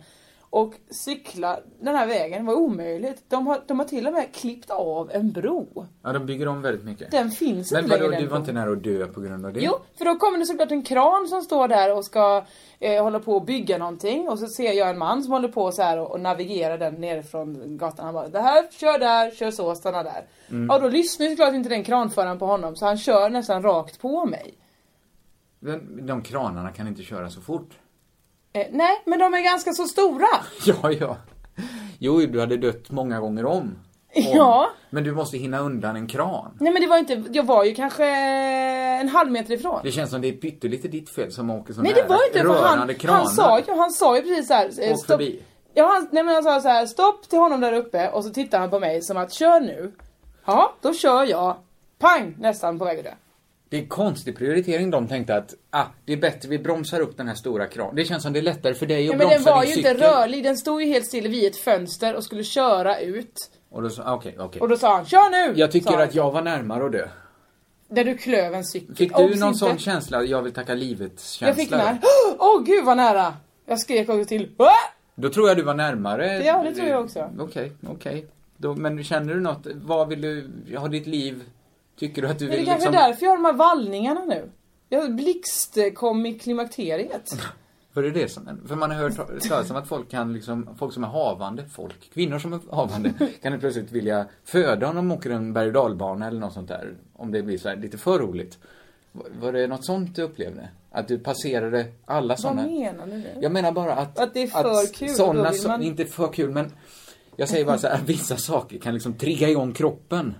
E: Och cykla den här vägen var omöjligt. De har, de har till och med klippt av en bro.
B: Ja, de bygger om väldigt mycket.
E: Den finns
B: Men
E: inte
B: vadå,
E: längre. den
B: du var
E: bron.
B: inte nära att dö på grund av det?
E: Jo, för då kommer det såklart en kran som står där och ska eh, hålla på och bygga någonting. Och så ser jag en man som håller på så här och, och navigerar den nerifrån gatan. Han bara, det här, kör där, kör så, stanna där.
B: Mm.
E: Ja, då lyssnar ju såklart inte den kranföraren på honom så han kör nästan rakt på mig.
B: Men de kranarna kan inte köra så fort.
E: Eh, nej, men de är ganska så stora.
B: Ja, ja. Jo, du hade dött många gånger om. om.
E: Ja.
B: Men du måste hinna undan en kran.
E: Nej men det var inte, jag var ju kanske en halv meter ifrån.
B: Det känns som det är pyttelite ditt fel som åker så
E: Nej
B: nära
E: det var inte för
B: rörande
E: han,
B: kranar.
E: han sa ju, han sa ju precis så här. eh,
B: Åk förbi.
E: Ja, han, nej men han sa så här: stopp till honom där uppe och så tittar han på mig som att kör nu. Ja, då kör jag. Pang! Nästan på väg att dö.
B: Det är konstig prioritering de tänkte att, ah, det är bättre vi bromsar upp den här stora kranen. Det känns som det är lättare för dig att
E: Ja, men den
B: bromsa
E: var
B: din
E: ju
B: cykel.
E: inte rörlig, den stod ju helt still vid ett fönster och skulle köra ut.
B: Och då sa, okej, okej.
E: Och då sa han, kör nu!
B: Jag
E: sa
B: tycker
E: han.
B: att jag var närmare att dö.
E: Där du klöv en cykel.
B: Fick
E: Obs,
B: du någon
E: inte.
B: sån känsla, jag vill tacka livet-känsla?
E: Jag fick den här,
B: då?
E: åh oh, gud vad nära! Jag skrek också till, Äh! Åh!
B: Då tror jag du var närmare.
E: Ja, det tror jag också.
B: Okej, okej. Då- Men känner du något, vad vill du, har ditt liv, tycker du att du
E: Men det
B: vill
E: kanske
B: liksom...
E: är därför jag har de här vallningarna nu. Jag blixtkom i klimakteriet.
B: För det är det som, för man har hört talas om att folk kan liksom, folk som är havande, folk, kvinnor som är havande, kan ju plötsligt vilja föda om de åker en berg och dalbana eller något sånt där. Om det blir så här lite för roligt. Var- Var det något sånt du upplevde? Att du passerade alla
E: Vad
B: sådana?
E: menar du nu?
B: Jag menar bara att...
E: Att det är för kul, och då
B: Såna,
E: vill
B: som-
E: man-
B: Inte för kul, men jag säger bara så här, vissa saker kan liksom trigga igång kroppen.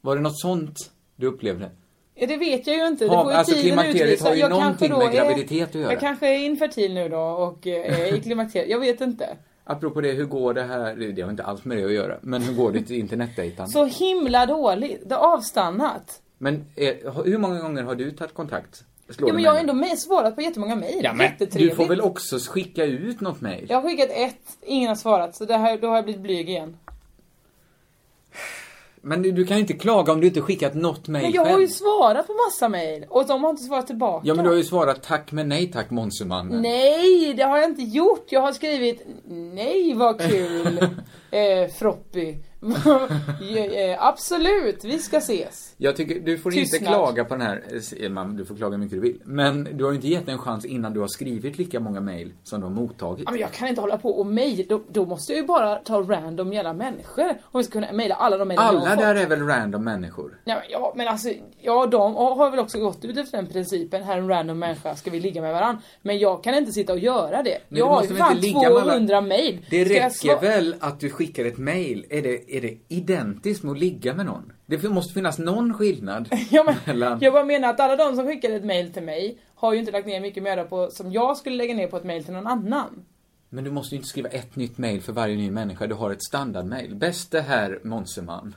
B: Var det något sånt du upplevde?
E: Ja, det vet jag ju inte. Det
B: Ja,
E: får ju
B: alltså,
E: tiden
B: klimakteriet har
E: utvisa.
B: ju
E: Jag kanske
B: någonting
E: då
B: med
E: är-
B: graviditet att göra.
E: Jag kanske är infertil nu då och eh, är i klimakteriet. Jag vet inte.
B: Apropå det, hur går det här, det har inte alls med det att göra, men hur går det till internetdejtande?
E: Så himla dåligt. Det har avstannat.
B: Men eh, hur många gånger har du tagit kontakt? Slår
E: Ja,
B: du
E: men jag har
B: mig?
E: ändå med- svarat på jättemånga mejl.
B: ja, men, Du
E: Jättetrevligt.
B: får väl också skicka ut något mejl?
E: Jag har skickat ett, ingen har svarat. Så det här, då har jag blivit blyg igen.
B: Men du, du kan ju inte klaga om du inte skickat något mejl
E: Men jag har
B: själv.
E: ju svarat på massa mejl och de har inte svarat tillbaka.
B: Ja men du har ju svarat tack men nej tack Monsumannen.
E: Nej, det har jag inte gjort. Jag har skrivit nej vad kul, eh, Froppy. Ja, eh, Absolut, vi ska ses.
B: Jag tycker, du får inte
E: Tystnad.
B: klaga på den här, eh, Elman, du får klaga hur mycket du vill. Men du har ju inte gett en chans innan du har skrivit lika många mejl som du har mottagit.
E: Ja, men jag kan inte hålla på och mejla, då, då måste jag ju bara ta random jävla människor om vi ska kunna mejla alla de mejl jag har
B: Alla
E: fått.
B: där är väl random människor?
E: Nej, men, ja, men alltså, ja de har väl också gått ut efter den principen, här är en random människa, ska vi ligga med varandra? Men jag kan inte sitta och göra det.
B: Men
E: jag
B: du
E: har
B: måste
E: ju
B: väl
E: fan
B: inte ligga med alla-
E: 200 mejl.
B: Det
E: Ska jag
B: räcker
E: sva-
B: väl att du skickar ett mejl? Är det, är det identiskt med att ligga med någon? Det måste finnas någon skillnad
E: Ja, men,
B: mellan...
E: Jag bara menar att alla de som skickade ett mail till mig har ju inte lagt ner mycket möda på som jag skulle lägga ner på ett mail till någon annan.
B: Men du måste ju inte skriva ett nytt mail för varje ny människa. Du har ett standardmail. Bäste herr Monseman.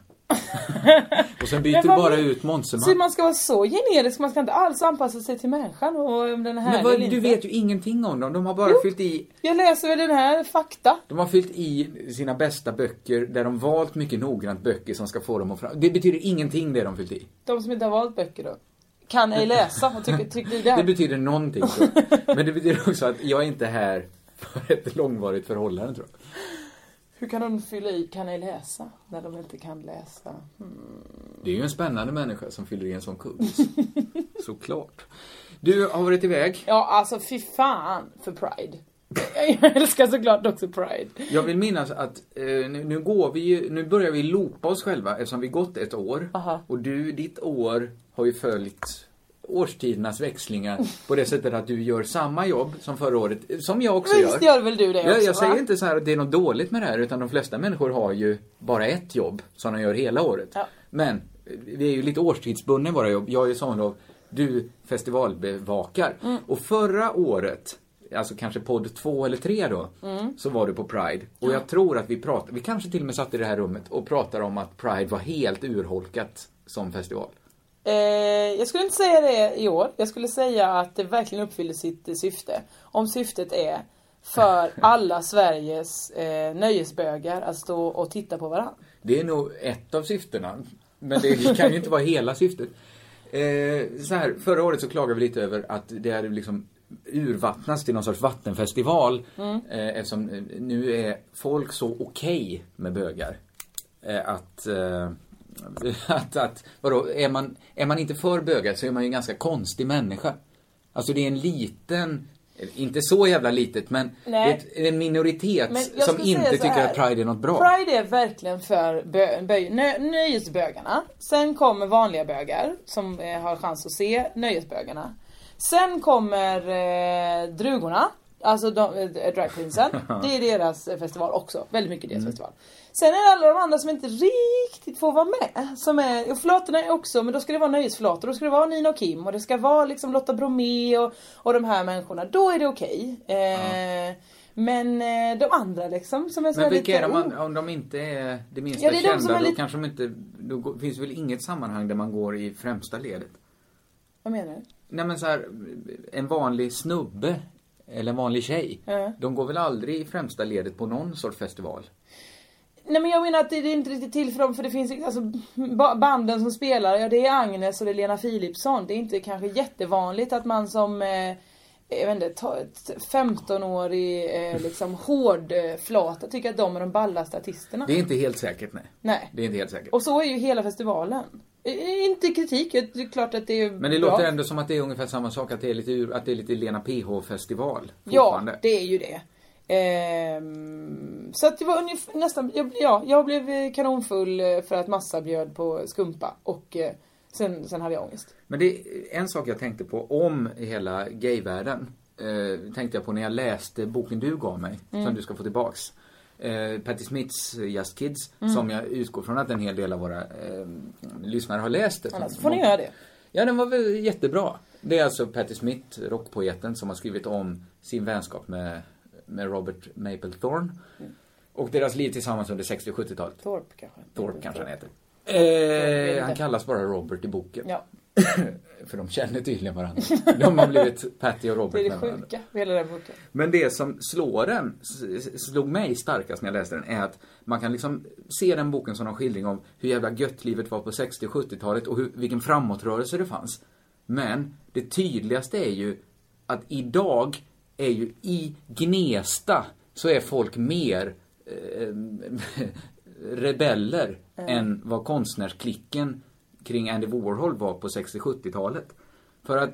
B: och sen byter
E: Men
B: du
E: vad-
B: bara ut
E: Så
B: Monseman.
E: man ska vara så generisk, man ska inte alls anpassa sig till människan och om den här
B: Men vad,
E: eller
B: du
E: inte.
B: vet ju ingenting om dem. De har bara fyllt i
E: Jag läser väl den här fakta.
B: de har fyllt i sina bästa böcker där de valt mycket noggrant böcker som ska få dem att fram... Det betyder ingenting det de fyllt i.
E: De som inte har valt böcker då. Kan ej läsa och tycker, tycker det
B: Det
E: där.
B: betyder någonting tror jag. Men det betyder också att jag är inte här för ett långvarigt förhållande tror jag.
E: Hur kan de fylla i kan ej läsa när de inte kan läsa? Hmm.
B: Det är ju en spännande människa som fyller i en sån kurs. Såklart. Du har varit iväg.
E: Ja, alltså fy fan för Pride. Jag älskar såklart också Pride.
B: Jag vill minnas att eh, nu, nu går vi ju, nu börjar vi loopa oss själva eftersom vi gått ett år.
E: Aha.
B: Och du, ditt år har ju följt årstidernas växlingar
E: Oh.
B: på det sättet att du gör samma jobb som förra året, eh, som jag också
E: Visst
B: gör.
E: gör väl du det
B: jag,
E: också?
B: jag säger
E: va?
B: inte så här att det är något dåligt med det här utan de flesta människor har ju bara ett jobb som de gör hela året.
E: Ja.
B: Men eh, vi är ju lite årstidsbundna i våra jobb. Jag är sommarlov, du festivalbevakar.
E: Mm.
B: Och förra året, alltså kanske podd två eller tre då,
E: Mm.
B: så var du på Pride. Och jag tror att vi pratade, vi kanske till och med satt i det här rummet och pratade om att Pride var helt urholkat som festival.
E: Eh, jag skulle inte säga det i år. Jag skulle säga att det verkligen uppfyller sitt eh, syfte. Om syftet är för alla Sveriges eh, nöjesbögar att stå och titta på varandra.
B: Det är nog ett av syftena. Men det kan ju inte vara hela syftet. Eh, så här, förra året så klagade vi lite över att det hade liksom urvattnats till någon sorts vattenfestival.
E: Mm.
B: Eh, eftersom eh, nu är folk så okej med bögar. Eh, att, eh, att, att, vadå, är man, är man inte för bögar så är man ju en ganska konstig människa. Alltså det är en liten, eh, inte så jävla litet men
E: Nej.
B: det är en minoritet
E: Men jag
B: som
E: skulle säga
B: inte
E: så
B: tycker
E: här.
B: att Pride är något bra.
E: Pride är verkligen för bö, bö, nö, nöjesbögarna. Sen kommer vanliga bögar som eh, har chans att se nöjesbögarna. Sen kommer eh, drugorna. Alltså de, eh, dragqueensen. Det är deras eh, festival också. Väldigt mycket
B: Mm.
E: deras festival. Sen är det alla de andra som inte riktigt får vara med. Som är, och flatorna är också, men då ska det vara nöjesflator. Då ska det vara Nina och Kim och det ska vara liksom Lotta Bromé och, och de här människorna. Då är det okej. Eh, Men eh, de andra liksom som är så
B: Men
E: här
B: vilka är
E: lite...
B: de,
E: oh.
B: an- om de inte är det minsta
E: Ja, det är de
B: kända,
E: som är
B: då
E: lite-
B: kanske de inte, då går- finns väl inget sammanhang där man går i främsta ledet?
E: Vad menar du?
B: Nej men så här, en vanlig snubbe eller en vanlig tjej,
E: Ja.
B: de går väl aldrig i främsta ledet på någon sorts festival?
E: Nej men jag menar att det det är inte riktigt till för dem för det finns alltså ba- banden som spelar, ja det är Agnes och det är Lena Philipsson. Det är inte kanske jättevanligt att man som eh, jag vet inte, ta- ett 15-årig eh, liksom hård eh, flata tycker att de är de ballaste artisterna.
B: Det är inte helt säkert nej.
E: Nej.
B: Det är inte helt säkert.
E: Och så är ju hela festivalen. I- i- Inte kritik, det är klart att det är
B: Men det
E: bra.
B: låter ändå som att det är ungefär samma sak, att det är lite, ur- att det är lite Lena PH-festival
E: Ja,
B: fortfarande.
E: det är ju det. Ehm, så att det var ungefär, nästan, jag, ja, jag blev eh, kanonfull eh, för att massa bjöd på skumpa och eh, sen, sen hade jag ångest.
B: Men det är en sak jag tänkte på om hela gayvärlden. Eh, tänkte jag på när jag läste boken du gav mig,
E: Mm.
B: som du ska få tillbaks. Eh, Patti Smiths Just Kids,
E: Mm.
B: som jag utgår från att en hel del av våra eh, lyssnare har läst. det.
E: Annars får ni göra det.
B: Ja, den var väl jättebra. Det är alltså Patti Smith, rockpoeten, som har skrivit om sin vänskap med, med Robert Mapplethorne. Och deras liv tillsammans under 60 och 70-talet.
E: Mm. Thorpe kanske.
B: Thorpe kanske han heter.
E: vet
B: Eh,
E: inte.
B: han kallas bara Robert i boken.
E: Ja.
B: För de känner tydligen varandra. De har blivit Patty och Robert
E: Det är det
B: med varandra.
E: sjuka med hela den boken.
B: Men det som slår en, s- slog mig starkast när jag läste den, är att man kan liksom se den boken som en skildring om hur jävla gött livet var på 60 och 70-talet och hur, vilken framåtrörelse det fanns. Men det tydligaste är ju att idag är ju i Gnesta så är folk mer eh, rebeller
L: Mm.
B: än vad konstnärsklicken kring Andy Warhol var på 60 och 70-talet. För att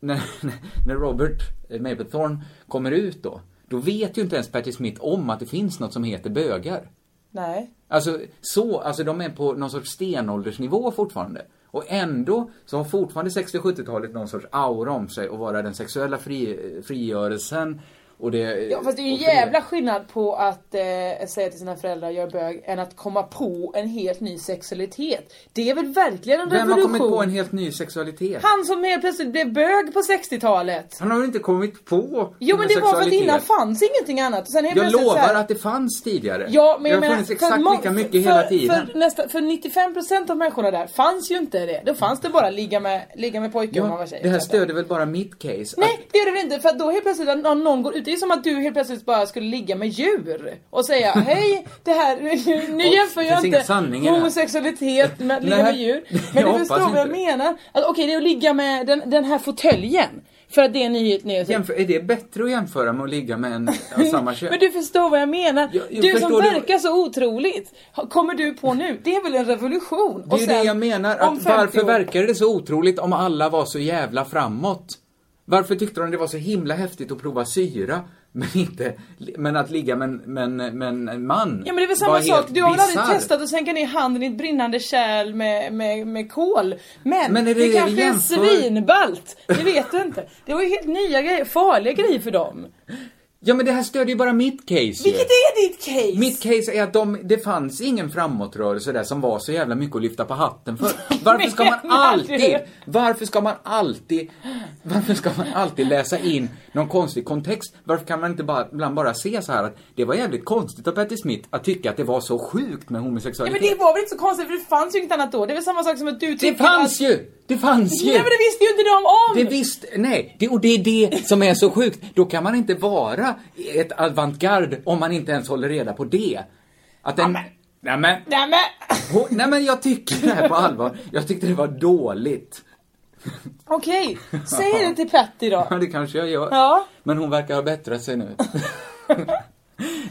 B: när, när Robert Mapplethorne kommer ut då, då vet ju inte ens Patti Smith om att det finns något som heter bögar.
E: Nej.
B: Alltså, så, alltså de är på någon sorts stenåldersnivå fortfarande. Och ändå så har fortfarande 60 och 70-talet någon sorts aura om sig och vara den sexuella fri, frigörelsen och det...
E: Ja, fast det är ju en
B: och fri-
E: jävla skillnad på att eh, säga till sina föräldrar jag är bög än att komma på en helt ny sexualitet. Det är väl verkligen en
B: Vem har
E: revolution?
B: kommit på en helt ny sexualitet?
E: Han som helt plötsligt blev bög på 60-talet.
B: Han har väl inte kommit på
E: Jo men
B: någon
E: det var för att
B: sexualitet?
E: innan fanns ingenting annat. Och sen helt
B: Jag
E: plötsligt så
B: lovar
E: här-
B: att det fanns tidigare.
E: Ja, men jag
B: det har
E: menar,
B: funnits
E: för
B: exakt
E: må-
B: lika mycket
E: för,
B: hela tiden.
E: För, nästa, för 95% av människorna där fanns ju inte det. Då fanns det bara ligga med, ligga med pojkar om man var
B: Ja,
E: tjej.
B: det här
E: Så att-
B: stöder väl bara mitt case?
E: Nej det gör det väl inte för att då helt plötsligt när någon, någon går ut, det är som att du helt plötsligt bara skulle ligga med djur och säga hej det här, nu
B: Och
E: jämför
B: det finns
E: jag
B: ingen
E: inte
B: sanning i det här.
E: homosexualitet med att ligga
B: Nej,
E: med djur. Men
B: jag
E: du förstår
B: hoppas
E: vad jag
B: inte.
E: menar. Alltså, Okej det är att ligga med den, den här fåtöljen för att det är en nyhet, nyhet.
B: Jämför, är det bättre att jämföra med att ligga med en av samma kön?
E: Men du förstår vad jag menar.
B: jag
E: du som
B: förstår det.
E: verkar så otroligt, ha- kommer du på nu? Det är väl en revolution?
B: det är ju det jag menar.
E: om
B: Att
E: 50
B: varför
E: år.
B: verkade det så otroligt om alla var så jävla framåt? Varför tyckte de det var så himla häftigt att prova syra, men inte, men att ligga med, en- men, men en man?
E: Ja men det är väl
B: var
E: samma sak,
B: helt
E: du har väl aldrig
B: bisarrt.
E: testat att sänka ner handen i ett brinnande kärl med, med, med kol? Men,
B: Men är
E: det,
B: det det vi
E: kanske
B: jämför?
E: är svinballt, det vet du inte. Det var ju helt nya grejer, farliga grejer för dem.
B: Ja men det här stödjer ju bara mitt case ju.
E: Vilket är ditt case?
B: Mitt case är att de, det fanns ingen framåtrörelse där som var så jävla mycket att lyfta på hatten för. Varför ska man
E: Menar du?
B: alltid, varför ska man alltid, varför ska man alltid läsa in någon konstig kontext? Varför kan man inte bara, ibland bara se så här att det var jävligt konstigt av Patti Smith att tycka att det var så sjukt med
E: Ja
B: homosexualitet.
E: men det var väl inte så konstigt för det fanns ju inget annat då, det är väl samma sak som att du
B: det,
E: tyckte
B: fanns
E: att...
B: ju! Det fanns ju!
E: Nej men det visste ju inte de om!
B: Det visst, nej, det, och det är det som är så sjukt. Då kan man inte vara ett avantgarde om man inte ens håller reda på det. Att en, nej men,
E: Nej men,
B: hon- nej men jag tycker det här på allvar. Jag tyckte det var dåligt.
E: okej, säg det till Patty då.
B: Ja, det kanske jag gör.
E: Ja.
B: Men hon verkar ha bättrat sig nu.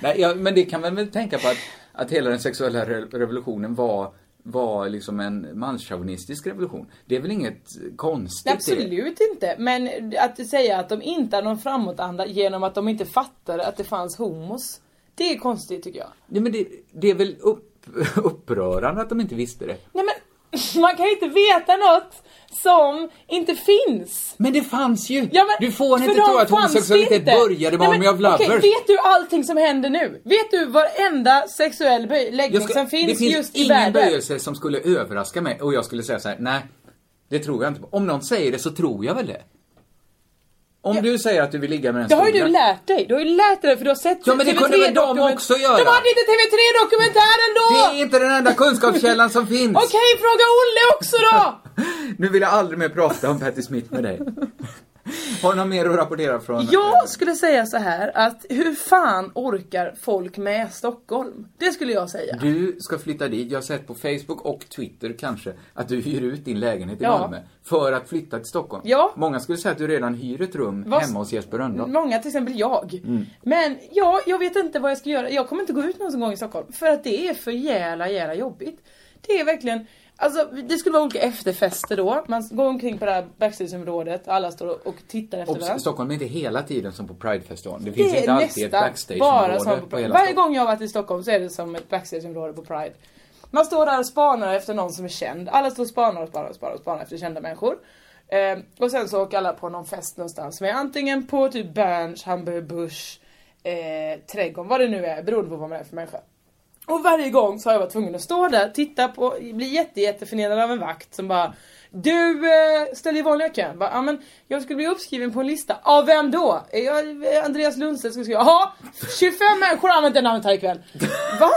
B: nej, jag, men det kan man väl tänka på att, att hela den sexuella re- revolutionen var var liksom en manschauvinistisk revolution. Det är väl inget konstigt i
E: Nej,
B: det?
E: absolut inte. Men att säga att de inte har någon framåtanda genom att de inte fattade att det fanns homos. Det är konstigt tycker jag.
B: Nej men det, det är väl upp, upprörande att de inte visste det.
E: Nej men man kan ju inte veta något som inte finns.
B: Men det fanns ju!
E: Ja, men,
B: Du får
E: för
B: inte
E: de
B: tro att
E: fanns
B: homosexualitet
E: inte.
B: började med
E: Nej, men
B: Army of Lovers.
E: okej, vet du allting som händer nu? Vet du varenda sexuell böj- läggning
B: Jag ska-
E: som
B: det
E: finns,
B: finns
E: just i
B: ingen
E: världen?
B: böjelse som skulle överraska mig och jag skulle säga så här: nej, det tror jag inte på. Om någon säger det så tror jag väl det. Om du säger att du vill ligga med en
E: Det har ju
B: stor-
E: du lärt dig. Du har ju lärt dig det för du har sett
B: Ja, men det kunde väl de
E: TV3-dokument-
B: också göra?
E: De hade inte TV3-dokumentären då!
B: Det är inte den enda kunskapskällan som finns!
E: Okej, fråga Olle också då!
B: Nu vill jag aldrig mer prata om Patti Smith med dig. Har du något mer att rapportera från? Eh,
E: Jag skulle säga så här att hur fan orkar folk med Stockholm? Det skulle jag säga.
B: Du ska flytta dit. Jag har sett på Facebook och Twitter kanske att du hyr ut din lägenhet i
E: Ja.
B: Malmö för att flytta till Stockholm.
E: Ja.
B: Många skulle säga att du redan hyr ett rum
E: Vad-
B: hemma hos Jesper Rönndahl.
E: Många, till exempel jag.
B: Mm.
E: Men ja, jag vet inte vad jag ska göra. Jag kommer inte gå ut någon gång i Stockholm. För att det är för jävla, jävla jobbigt. Det är verkligen, alltså det skulle vara olika efterfester då. Man går omkring på det här backstageområdet, alla står och tittar efter
B: Och
E: varandra.
B: Stockholm är inte hela tiden som på Pridefestivalen. Det finns inte
E: är
B: alltid ett
E: nästan bara som
B: backstageområde
E: på
B: på hela
E: Varje
B: Stockholm.
E: gång jag har varit i Stockholm så är det som ett backstageområde på Pride. Man står där och spanar efter någon som är känd. Alla står och spanar och spanar och spanar, och spanar efter kända människor. Eh, och sen så åker alla på någon fest någonstans som är antingen på typ Berns, Hamburg Busch, eh, Trädgården, vad det nu är beroende på vad man är för människa. Och varje gång så har jag varit tvungen att stå där, titta på, bli jätte, jätteförnedrad av en vakt som bara Du, eh, ställ i vanliga kön. Bara, "Ja, men jag skulle bli uppskriven på en lista. Av vem då? "Eh, Jag, eh, Andreas Lundstedt skulle skriva. Jaha, 25 människor har använt det namnet här ikväll. Va?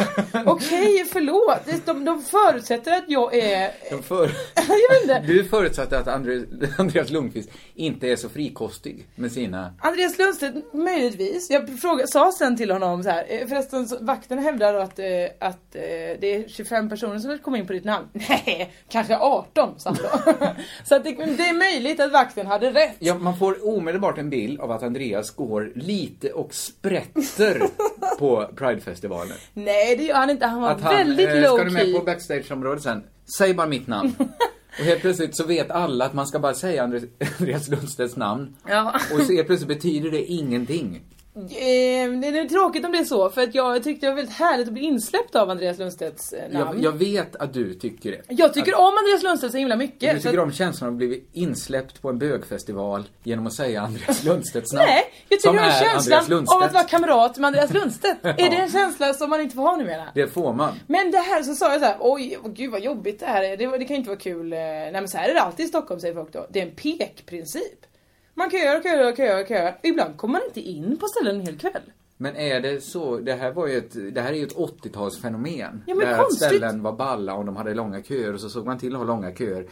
E: Okej, förlåt. Det- De, de förutsätter att jag är...
B: De För...
E: jag vet inte.
B: Du förutsatte att Andreas, Andreas Lundqvist inte är så frikostig med sina...
E: Andreas Lundstedt, möjligtvis. Jag fråga, sa sen till honom så här. eh, Förresten, så- vakten hävdar att, eh, att eh, det är 25 personer som kom in på ditt namn. Nej, kanske 18 sa han då. Så att det, det är möjligt att vakten hade rätt.
B: Ja, man får omedelbart en bild av att Andreas går lite och sprätter på Pridefestivalen.
E: Nej, det gör han inte. Han var
B: Att han,
E: väldigt
B: eh,
E: low
B: Ska du med
E: key.
B: på backstageområdet sen? Säg bara mitt namn. Och helt plötsligt så vet alla att man ska bara säga Andres- Andreas Lundstedts namn.
E: Ja.
B: Och så helt plötsligt betyder det ingenting.
E: Eh, det är tråkigt om det är så, för att jag tyckte det var väldigt härligt att bli insläppt av Andreas Lundstedts eh, namn.
B: Jag,
E: Jag,
B: jag vet att du tycker det.
E: tycker
B: att,
E: om Andreas Lundstedt så himla mycket.
B: Du
E: så
B: tycker
E: att-
B: om känslan av att bli insläppt på en bögfestival genom att säga Andreas Lundstedts namn.
E: Nej, jag
B: Som
E: tycker om
B: är Andreas
E: känslan
B: Lundstedt.
E: av att vara kamrat med Andreas Lundstedt. Är det en känsla som man inte får ha numera?
B: Det får man.
E: Men det här så sa jag så här, oj åh, gud vad jobbigt det här är, det, var- det kan inte vara kul. eh, Nej men så här är det alltid i Stockholm säger folk då. Det är en pekprincip. Man köar och köar och köar och köar. Ibland kommer man inte in på ställen en hel kväll.
B: Men är det så, det här var ju ett, det här är ju ett 80-talsfenomen.
E: Ja, men
B: det här
E: konstigt.
B: att ställen var balla om de hade långa köer och så såg man till att ha långa köer.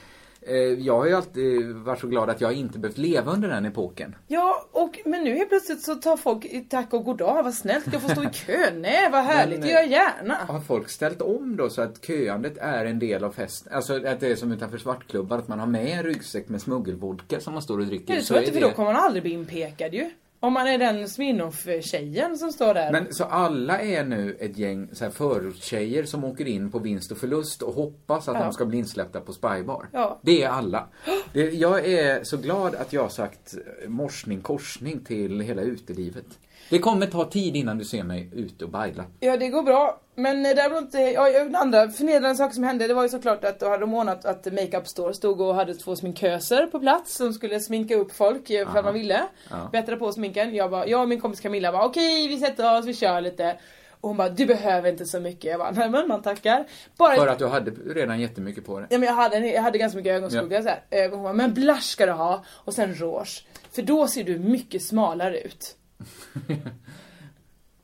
B: Eh, Jag har ju alltid varit så glad att jag inte behövt leva under den epoken.
E: Ja, och, men nu helt plötsligt så tar folk i tack och goddag, vad snällt, jag får stå i kö. Nej, vad härligt,
B: Men,
E: det gör jag gärna.
B: Har folk ställt om då så att köandet är en del av festen? Alltså att det är som utanför svartklubbar, att man har med en ryggsäck med smuggelvodka som man står och dricker.
E: Ja, det
B: Så
E: tror jag
B: är
E: inte, för
B: det-
E: då kommer man aldrig bli inpekad ju. Om man är den Sminoff-tjejen som står där.
B: Men så alla är nu ett gäng så här förortstjejer som åker in på vinst och förlust och hoppas att
E: Ja.
B: de ska bli insläppta på spybar.
E: Ja.
B: Det är alla. Det, jag är så glad att jag har sagt eh, morsning korsning till hela utelivet. Det kommer ta tid innan du ser mig ute och baila.
E: Ja, det går bra. Men eh, däremot, inte, ja, ja, den andra förnedrande saken som hände, det var ju såklart att då hade de ordnat att Makeup Store stod och hade två sminköser på plats som skulle sminka upp folk eh, för
L: Aha.
E: att man ville.
L: Ja.
E: Bättra på sminken. Jag, bara, jag och min kompis Camilla bara okej, vi sätter oss, vi kör lite. Och hon bara, du behöver inte så mycket. Jag bara, nej men man tackar. Bara
B: För att du hade redan jättemycket på dig.
E: Ja, men jag, hade, en- jag hade ganska mycket ögonskugga så här. Eh, Hon bara, men blush ska du ha och sen rouge. För då ser du mycket smalare ut.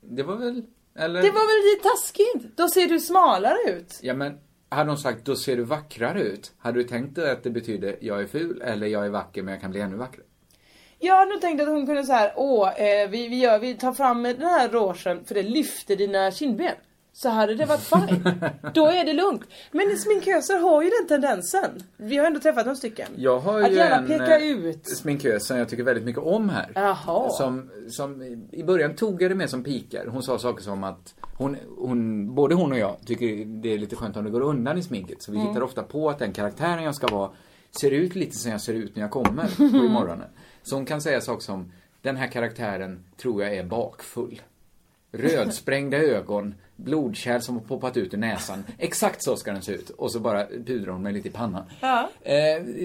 B: Det var väl, eller?
E: Det var väl lite taskigt? Då ser du smalare ut.
B: Ja men, hade de sagt då ser du vackrare ut, hade du tänkt dig att det betyder jag är ful eller jag är vacker men jag kan bli ännu vackrare?
E: Jag hade nog tänkt att hon kunde så här, åh, eh, vi, vi, gör, vi tar fram den här rogen för det lyfter dina kindben. Så hade det varit fine. Då är det lugnt. Men sminköser har ju den tendensen. Vi har ändå träffat några stycken.
B: Jag har
E: att
B: ju
E: gärna
B: en
E: peka
B: eh,
E: ut.
B: sminkös som jag tycker väldigt mycket om här.
E: Jaha.
B: Som, som i- i början tog jag det med som pikar. Hon sa saker som att hon, hon, både hon och jag tycker det är lite skönt om det går undan i sminket. Så vi
M: Mm.
B: hittar ofta på att den karaktären jag ska vara ser ut lite som jag ser ut när jag kommer på imorgonen. Så hon kan säga saker som den här karaktären tror jag är bakfull. Rödsprängda ögon, blodkärl som har poppat ut ur näsan. Exakt så ska den se ut. Och så bara pudrar hon mig lite i pannan.
E: Ja.
B: Eh,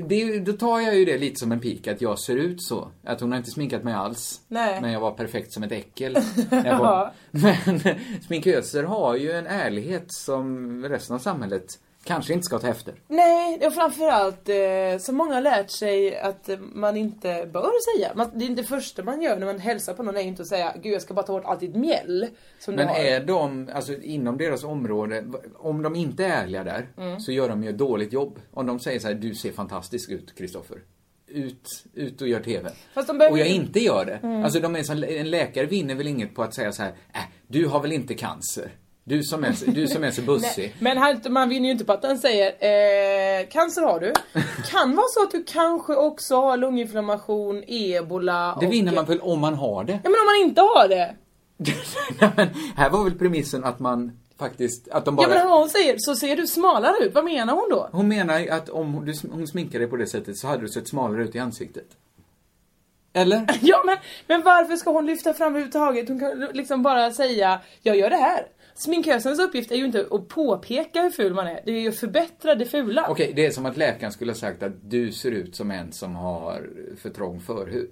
B: det, är ju- då tar jag ju det lite som en pik, att jag ser ut så. Att hon har inte sminkat mig alls.
E: Nej.
B: Men jag var perfekt som ett äckel. när jag kom. Men sminköser har ju en ärlighet som resten av samhället Kanske inte ska ta efter.
E: Nej, och framförallt eh, så många har lärt sig att eh, man inte bör säga. Man, det är inte det första man gör när man hälsar på någon är inte att säga Gud jag ska bara ta bort allt ditt mjäll. Som
B: Men
E: du har.
B: är de, alltså inom deras område, om de inte är ärliga där,
E: Mm.
B: så gör de ju ett dåligt jobb. Om de säger så här, du ser fantastisk ut Kristoffer. Ut, ut och gör TV.
E: Fast de behöver
B: och jag
E: ju-
B: inte gör det.
E: Mm.
B: Alltså de är som, en läkare vinner väl inget på att säga så här, äh, du har väl inte cancer? Du som är, så- du som är så bussig.
E: Nej, Eh, men han, man vinner ju inte på att den säger eh, cancer har du. kan vara så att du kanske också har lunginflammation, ebola
B: Det
E: och...
B: vinner man väl om man har det?
E: Ja men om man inte har det.
B: Här var väl premissen att man faktiskt, att de bara...
E: Ja men om hon säger så ser du smalare ut, vad menar hon då?
B: Hon menar ju att om hon- du, sm- hon sminkade dig på det sättet så hade du sett smalare ut i ansiktet. Eller?
E: Ja men, men varför ska hon lyfta fram överhuvudtaget? Hon kan liksom bara säga jag gör det här. Sminkösens uppgift är ju inte att påpeka hur ful man är, det är ju att förbättra det fula.
B: Okej, det är som att läkaren skulle ha sagt att du ser ut som en som har för trång förhud.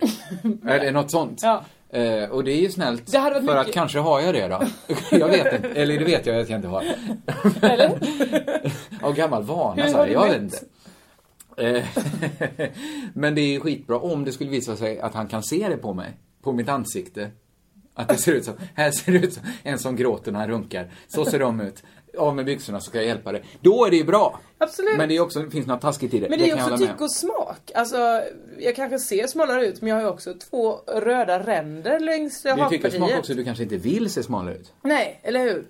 B: Eller något sånt.
E: Ja.
B: Eh, och det är ju snällt.
E: Det hade
B: för
E: varit
B: att
E: mycket-
B: kanske har jag det då. jag vet inte. Eller det vet jag att jag inte har. Eller? Av gammal vana
E: Hur
B: så
E: har
B: här.
E: du
B: Jag vet
E: mätt?
B: inte. Eh, Men det är ju skitbra om det skulle visa sig att han kan se det på mig. På mitt ansikte. Att det ser ut som, här ser det ut som en som gråter när han runkar. Så ser de ut. Av med byxorna så ska jag hjälpa dig. Då är det ju bra.
E: Absolut.
B: Men det är också, finns något taskigt i det.
E: Men det
B: kan
E: är ju
B: jag
E: också
B: hålla med
E: tycke och smak. Alltså, jag kanske ser smalare ut men jag har ju också två röda ränder längs
B: om. Det är tycke och smak
E: hakpartiet.
B: också. Du kanske inte vill se smalare ut.
E: Nej, eller hur?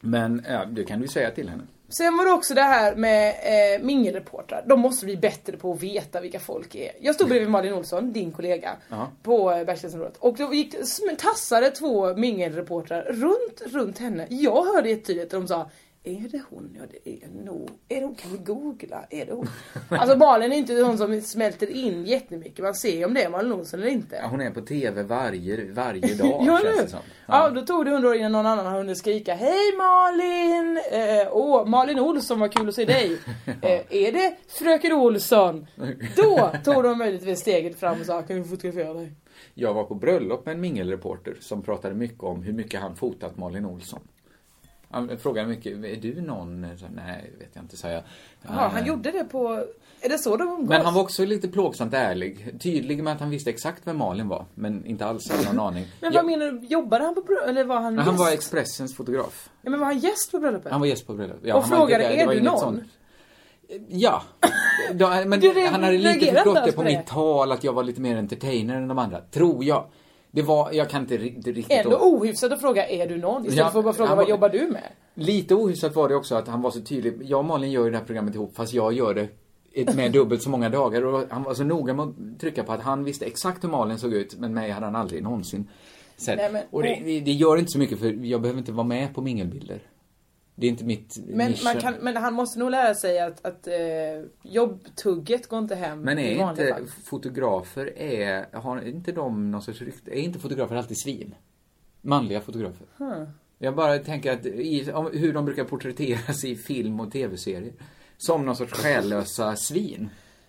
B: Men ja, det kan du säga till henne.
E: Sen var det också det här med eh, mingelreportrar. De måste bli bättre på att veta vilka folk är. Jag stod bredvid Malin Olsson, din kollega,
B: Ja.
E: på eh, Bergslagsområdet. Och då gick, sm- tassade två mingelreportrar runt, runt henne. Jag hörde jättetydligt att de sa är det hon? Ja det är nog. Är det hon? Kan vi googla? Är det hon? Alltså Malin är inte hon som smälter in jättemycket. Man ser ju om det är Malin Olsson eller inte.
B: Ja, Hon är på TV varje, varje dag
E: Ja,
B: känns
E: nu.
B: det som.
E: Ja, då tog det hundra år innan någon annan har hunnit skrika Hej Malin! Eh, åh, Malin Olsson, vad kul att se dig! Eh, är det fröken Olsson? Då tog de möjligtvis steget fram och sa Kan vi fotografera dig?
B: Jag var på bröllop med en mingelreporter som pratade mycket om hur mycket han fotat Malin Olsson. Han frågade mycket, är du någon? Så, Nej, vet jag inte, sa jag. Eh,
E: Ja, han gjorde det på... Är det så de umgås?
B: Men han var också lite plågsamt ärlig. Tydlig med att han visste exakt vem Malin var, men inte alls hade någon aning.
E: Men
B: Ja,
E: vad menar du? Jobbade han på bröllopet? Eller var han
B: men han
E: gäst?
B: var Expressens fotograf.
E: ja, men var han gäst på bröllopet?
B: Han var gäst på bröllopet. Ja,
E: och
B: han var inte
E: frågade,
B: där. Det
E: är
B: var
E: du
B: inget
E: någon?
B: sånt. Eh, Ja. Då, eh, men
E: Du re-
B: han hade lite
E: reagerade
B: förstått
E: inte
B: det
E: alls
B: på
E: på det.
B: mitt tal, att jag var lite mer entertainer än de andra. Tror jag. Det var, jag kan inte ri- riktigt...
E: Ändå ohyfsat att fråga är du någon? Istället
B: Ja,
E: för att bara fråga
B: han
E: vad
B: var-
E: jobbar du med?
B: Lite ohyfsat var det också att han var så tydlig. Jag och Malin gör ju det här programmet ihop fast jag gör det ett- med dubbelt så många dagar. Och han var så noga med att trycka på att han visste exakt hur Malin såg ut men mig hade han aldrig någonsin sett.
E: Nej, men-
B: och det, det- det gör inte så mycket för jag behöver inte vara med på mingelbilder. Det är inte mitt
E: Men, man
B: nisch.
E: kan, men han måste nog lära sig att, att eh, jobbtugget går inte hem
B: Men
E: i
B: är
E: vanliga
B: inte
E: fall.
B: fotografer, är, har inte de någon sorts rykte? Är inte fotografer alltid svin? Manliga fotografer.
E: Hmm.
B: Jag bara tänker att i, om, hur de brukar porträtteras i film och tv-serier. Som någon sorts själlösa svin.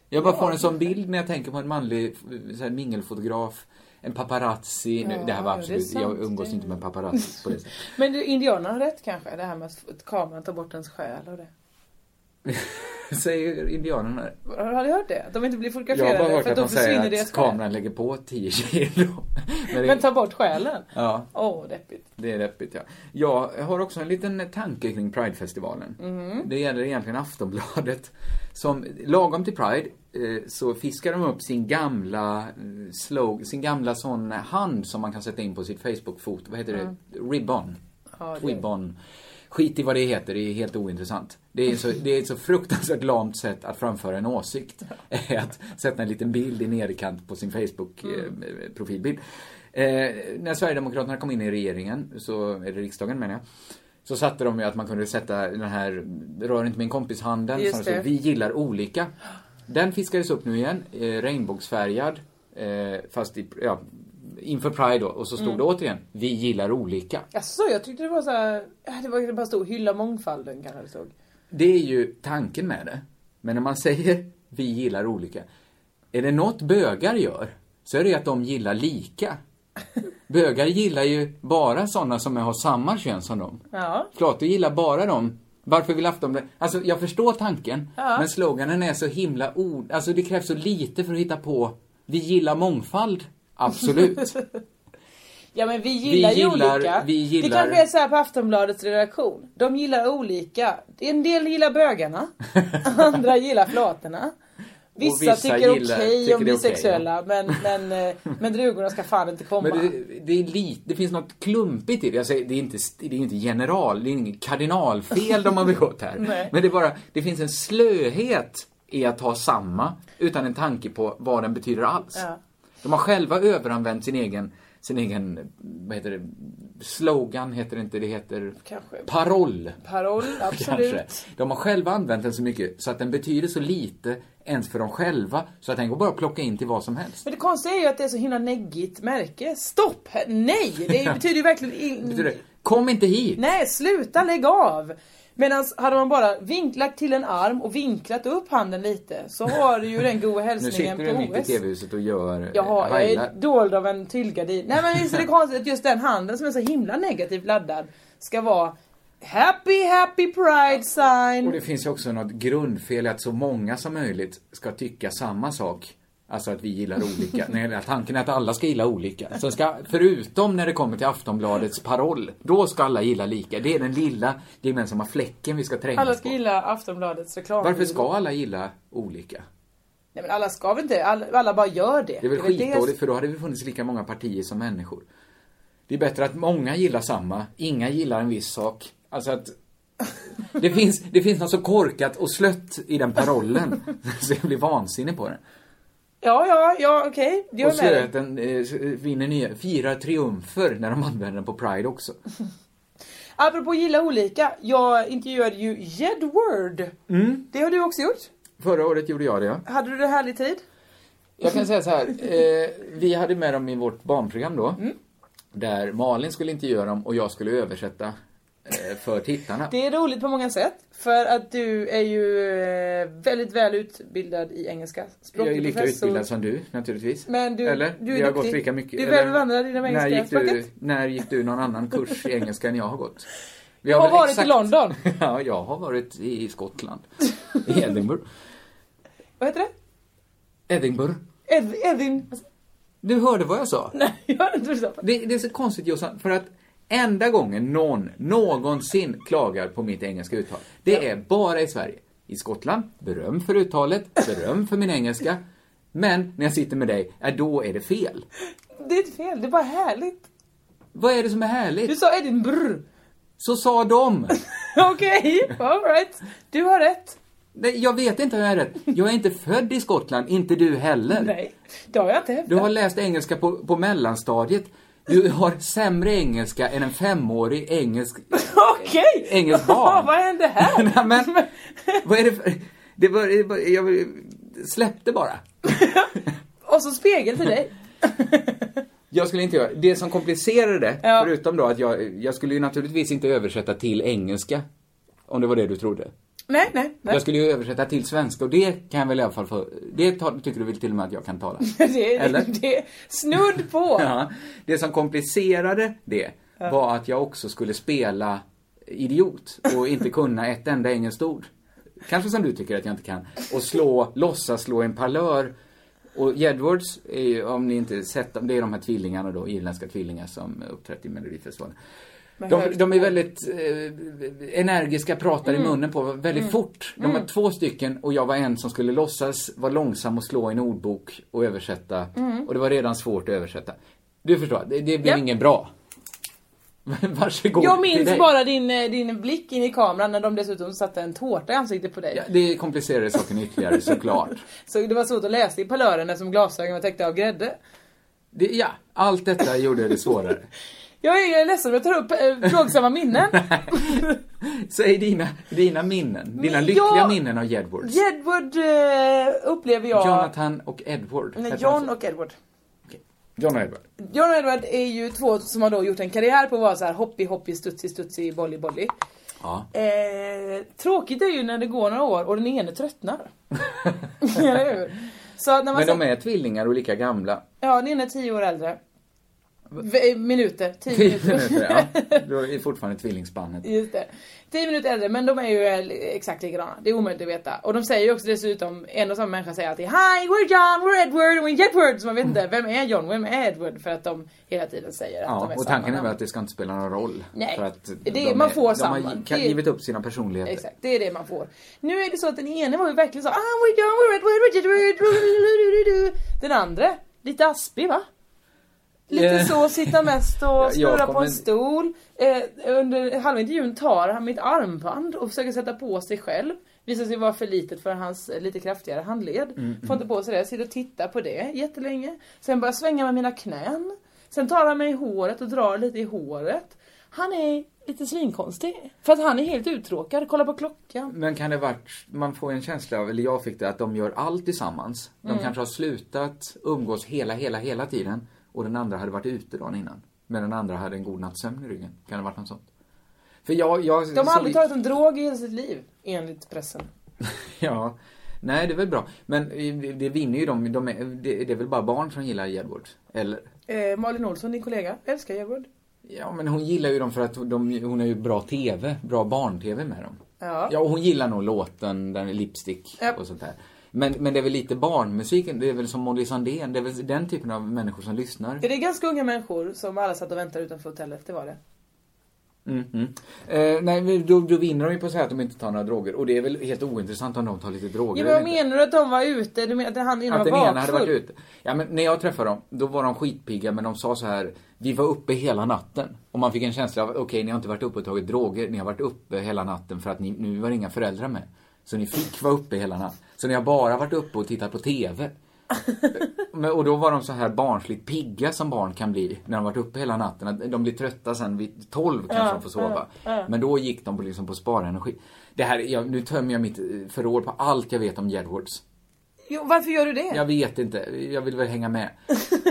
B: Jag bara får en sån bild när jag tänker på en manlig eh, så här, mingelfotograf, en paparazzi. nu,
E: Ja,
B: det här var
E: det är
B: absolut,
E: sant,
B: jag umgås
E: det-
B: inte med paparazzi på det sättet.
E: Men du, indianerna har rätt kanske, det här med att f- kameran tar bort ens själ och det.
B: Säger indianerna.
E: Har har du hört det? Att de inte blir fotograferade
B: Jag har bara hört
E: för
B: att
E: att
B: de
E: då försvinner
B: säger
E: deras
B: att
E: själ.
B: kameran lägger på 10 kilo. Men det-
E: Men tar bort själen?
B: ja.
E: Åh, deppigt.
B: Det är deppigt, ja. Jag har också en liten tanke kring Pridefestivalen.
E: Mhm.
B: Det gäller egentligen Aftonbladet. Som, lagom till Pride, eh, så fiskar de upp sin gamla eh, slog, sin gamla sån hand som man kan sätta in på sitt Facebook-foto. Vad heter det? Ribbon.
E: Ja, det-
B: Ribbon. Skit i vad det heter, det är helt ointressant. Det är, så, det är ett så fruktansvärt lamt sätt att framföra en åsikt. att sätta en liten bild i nederkant på sin Facebook-profilbild.
E: Mm.
B: Eh, när Sverigedemokraterna kom in i regeringen, så, eller riksdagen menar jag, så satte de ju att man kunde sätta den här rör inte min kompis-handen.
E: Just
B: som det stod,
E: det.
B: Vi gillar olika. Den fiskades upp nu igen, eh, regnbågsfärgad. Eh, fast i, ja, inför Pride då. Och så stod
E: Mm.
B: det återigen, vi gillar olika.
E: Jaså, jag tyckte det var så här, äh, det var det bara stod hylla mångfalden kanske det stod.
B: Det är ju tanken med det. Men när man säger vi gillar olika. Är det något bögar gör så är det ju att de gillar lika. Bögar gillar ju bara sådana som har samma kön som dem.
E: Ja.
B: Klart, du gillar bara dem Varför vill Aftonbladet... Alltså, jag förstår tanken,
E: Ja.
B: men sloganen är så himla ord... Alltså, det krävs så lite för att hitta på... Vi gillar mångfald. Absolut.
E: Ja men vi gillar ju
B: gillar-
E: olika.
B: vi gillar-
E: Det kanske är så här på Aftonbladets redaktion. De gillar olika. En del gillar bögarna. andra gillar flatorna. Vissa,
B: vissa
E: tycker
B: gillar-
E: okej
B: tycker
E: om
B: det är okej,
E: bisexuella men, men, eh, men drugorna ska fan inte komma.
B: Men det, det, är lite, det finns något klumpigt i det. Jag säger, det är inte, det är inte general, det är inget kardinalfel de har begått här.
E: Nej.
B: Men det är bara, det finns en slöhet i att ha samma utan en tanke på vad den betyder alls.
E: Ja.
B: De har själva överanvänt sin egen, sin egen, vad heter det, slogan heter det inte, det heter
E: Kanske.
B: paroll.
E: Paroll,
B: Kanske.
E: absolut.
B: De har själva använt den så mycket så att den betyder så lite ens för dem själva så att den går bara att plocka in till vad som helst.
E: Men det konstiga är ju att det är så himla neggigt märke. Stopp! Nej! Det betyder ju verkligen in...
B: Betyder det, Kom inte hit!
E: Nej, sluta, lägg av! Medan hade man bara vinklat till en arm och vinklat upp handen lite så har du ju den goa
B: Nu
E: hälsningen
B: sitter du
E: på
B: mitt i
E: OS.
B: TV-huset och gör eh,
E: Jaha, eh, jag
B: hajlar.
E: är dold av en tyllgardin. Nej men visst är det konstigt att just den handen som är så himla negativt laddad ska vara Happy happy pride
B: Och det
E: sign.
B: finns ju också något grundfel i att så många som möjligt ska tycka samma sak. Alltså att vi gillar olika. Nej, eller tanken är att alla ska gilla olika. Så ska, förutom när det kommer till Aftonbladets paroll, då ska alla gilla lika. Det är den lilla gemensamma fläcken vi ska
E: Alla
B: trängas
E: ska
B: på.
E: gilla Aftonbladets reklam.
B: Varför ska alla gilla olika?
E: Nej men alla ska väl inte, alla, alla bara gör det.
B: Det är väl
E: väl
B: skitdåligt, för då hade det funnits lika många partier som människor. Det är bättre att många gillar samma, inga gillar en viss sak. Alltså att... Det finns, det finns något så korkat och slött i den parollen, så jag blir vansinnig på den.
E: Ja, ja, ja okej. Okay.
B: Och
E: Jag är
B: så
E: med
B: är det att
E: dig.
B: den eh, vinner nya, firar triumfer när de använder den på Pride också.
E: Apropå gilla olika, jag intervjuade ju Jedward.
B: Mm.
E: Det har du också gjort.
B: Förra året gjorde jag det, ja.
E: Hade du det härlig tid?
B: Jag kan säga så här, eh, vi hade med dem i vårt barnprogram då. Där Malin skulle intervjua dem och jag skulle översätta eh, för tittarna.
E: Det är roligt på många sätt. För att du är ju eh, väldigt väl utbildad i engelska.
B: Jag är
E: Språklig
B: lika
E: professor.
B: utbildad som du naturligtvis.
E: Men du-
B: Eller?
E: du är
B: Vi har
E: duktig.
B: gått lika mycket.
E: Du är
B: eller-
E: väl bevandrad i det engelska
B: när gick, du,
E: språket.
B: när gick du någon annan kurs i engelska än jag har gått? Vi
E: Jag har
B: väl
E: varit i London.
B: ja, jag har varit i Skottland. I Edinburgh.
E: Vad heter det?
B: Edinburgh.
E: Ed, Edin...
B: Du hörde vad jag sa.
E: Nej, jag har inte förstått.
B: Det, det är så konstigt Jossan, för att enda gången någon någonsin klagar på mitt engelska uttal, det är bara i Sverige. I Skottland, beröm för uttalet, beröm för min engelska. Men när jag sitter med dig, ja, då är det fel.
E: Det är inte fel, det är bara härligt.
B: Vad är det som är
E: Du
B: härligt?
E: sa Edinburgh.
B: Så sa de!
E: Okej, alright. Du har rätt.
B: Nej, jag vet inte hur jag är rätt. Jag är inte född i Skottland, inte du heller.
E: Nej, det har jag inte hävdat.
B: Du har läst engelska på, på mellanstadiet. Du har sämre engelska än en femårig engelsk
E: Okej!
B: Engelskt barn.
E: Vad hände här?
B: Nej, men, vad är det för... Det var, det var, jag släppte bara.
E: Och så spegel till dig.
B: Jag skulle inte göra det. som komplicerade det,
E: Ja.
B: förutom då att jag, jag skulle ju naturligtvis inte översätta till engelska. Om det var det du trodde.
E: nej, nej, nej.
B: Jag skulle ju översätta till svenska och det kan jag väl i alla fall få, det ta- tycker du väl till och med att jag kan tala?
E: Det,
B: Eller?
E: Eller? det snudd på.
B: Ja. Det som komplicerade det var att jag också skulle spela idiot och inte kunna ett enda engelskt ord. Kanske som du tycker att jag inte kan. Och slå, låtsas slå en parlör. Och Jedwards, är ju, om ni inte sett dem, det är de här tvillingarna då, irländska tvillingar som uppträtt i Melodifestivalen. De, de är väldigt eh, energiska, pratar
E: Mm.
B: i munnen på väldigt fort. De var två stycken och jag var en som skulle låtsas vara långsam och slå i en ordbok och översätta. Och det var redan svårt att översätta. Du förstår, det, det blev
E: Mm. Ja.
B: ingen bra. Varsågod
E: Jag
B: till
E: minns
B: dig.
E: bara din, eh, din blick in i kameran när de dessutom satte en tårta i ansiktet på dig.
B: Ja, det komplicerade saken ytterligare såklart.
E: Så det var svårt att läsa i parlören eftersom glasögonen var täckta av grädde.
B: Det, ja, allt detta gjorde det svårare.
E: Jag är, jag är ledsen om jag tar upp eh, plågsamma minnen.
B: Säg dina, dina minnen, dina
E: Men
B: lyckliga
E: jag-
B: minnen av Jedwards.
E: Jedward eh, upplever jag...
B: alltså- Jonathan och Edward.
E: Nej,
B: Hette han
E: John
B: så?
E: och Edward.
B: John och Edward.
E: John och Edward är ju två som har då gjort en karriär på att vara så här hoppy, hoppy, studsig, studsig, bolly, bolly.
B: Ja.
E: Eh, tråkigt är ju när det går några år och den ene tröttnar. Eller hur? Så att när man
B: Men
E: ser-
B: de är tvillingar och lika gamla.
E: Ja, den ena är tio år äldre. V- eh, Minuter, 10
B: Tio
E: minuter.
B: minuter, ja. Då är fortfarande tvillingspannet.
E: Just det. 10 minuter äldre men de är ju eh, exakt likadana. Det är omöjligt att veta. Och de säger ju också dessutom, en och samma människa säger alltid Hi, we're John, we're Edward, we're Jedward. Så man vet inte, vem är John, vem är Edward? För att de hela tiden säger att de
B: Ja,
E: är
B: och
E: samma
B: tanken är väl
E: namn.
B: att det ska inte spela någon roll.
E: Nej,
B: för att
E: det-
B: de
E: man
B: är-
E: får
B: De har
E: samman.
B: gi-
E: Det-
B: givit upp sina personligheter.
E: Exakt, det är det man får. Nu är det så att den ene var ju verkligen så ah, we're John, we're Edward, we're Jedward. Den andra, lite aspig va? Lite
B: Eh.
E: så, sitta mest och
B: Jag
E: snurra på
B: kommer-
E: en stol. Eh, under halva intervjun tar han mitt armband och försöker sätta på sig själv. Visar sig vara för litet för hans eh, lite kraftigare handled. Får inte på sig det, sitter och tittar på det jättelänge. Sen börjar jag svänga med mina knän. Sen tar han mig i håret och drar lite i håret. Han är lite svinkonstig. För att han är helt uttråkad, kolla på klockan.
B: Men kan det varit, man får en känsla av, eller jag fick det, att de gör allt tillsammans. De
E: Mm.
B: kanske har slutat umgås hela, hela, hela tiden. Och den andra hade varit ute dagen innan. Men den andra hade en god natts sömn i ryggen. Kan det varit något sånt? För jag, jag...
E: De har aldrig
B: såg-
E: tagit en drog i hela sitt liv, enligt pressen.
B: Ja. Nej, det är väl bra. Men eh, det vinner ju de, de är, det, det är väl bara barn som gillar Edward? Eller?
E: Eh, Malin Olsson, din kollega, älskar Edward.
B: Ja, men hon gillar ju dem för att de, hon är ju bra TV, bra barn-TV med dem.
E: Ja.
B: Ja, och hon gillar nog låten, den är Lipstick
E: Japp.
B: och sånt där. Men, men det är väl lite barnmusiken, det är väl som Molly Sandén, det är väl den typen av människor som lyssnar.
E: Det är ganska unga människor som alla satt och väntade utanför hotellet, det var det.
B: Mm, mm. Eh, nej, men då, då vinner de ju på att säga att de inte tar några droger. Och det är väl helt ointressant om de tar lite droger
E: Ja, men vad
B: eller inte.
E: menar du att de var ute? Du menar att han innan
B: Att den
E: var
B: ena hade varit
E: bakfull?
B: ute. Ja, men när jag träffade dem, då var de skitpigga men de sa så här, vi var uppe hela natten. Och man fick en känsla av, okej ni har inte varit uppe och tagit droger, ni har varit uppe hela natten för att ni, nu var det inga föräldrar med. Så ni fick vara uppe hela natten. Så ni har bara varit uppe och tittat på TV. Men, och då var de så här barnsligt pigga som barn kan bli när de varit uppe hela natten. Att De blir trötta sen vid 12 kanske
E: Ja,
B: de får sova.
E: ja, ja.
B: Men då gick de på, liksom på sparenergi. Det här, jag, nu tömmer jag mitt eh, förråd på allt jag vet om Jedwards.
E: Jo, varför gör du det?
B: Jag vet inte, jag vill väl hänga med.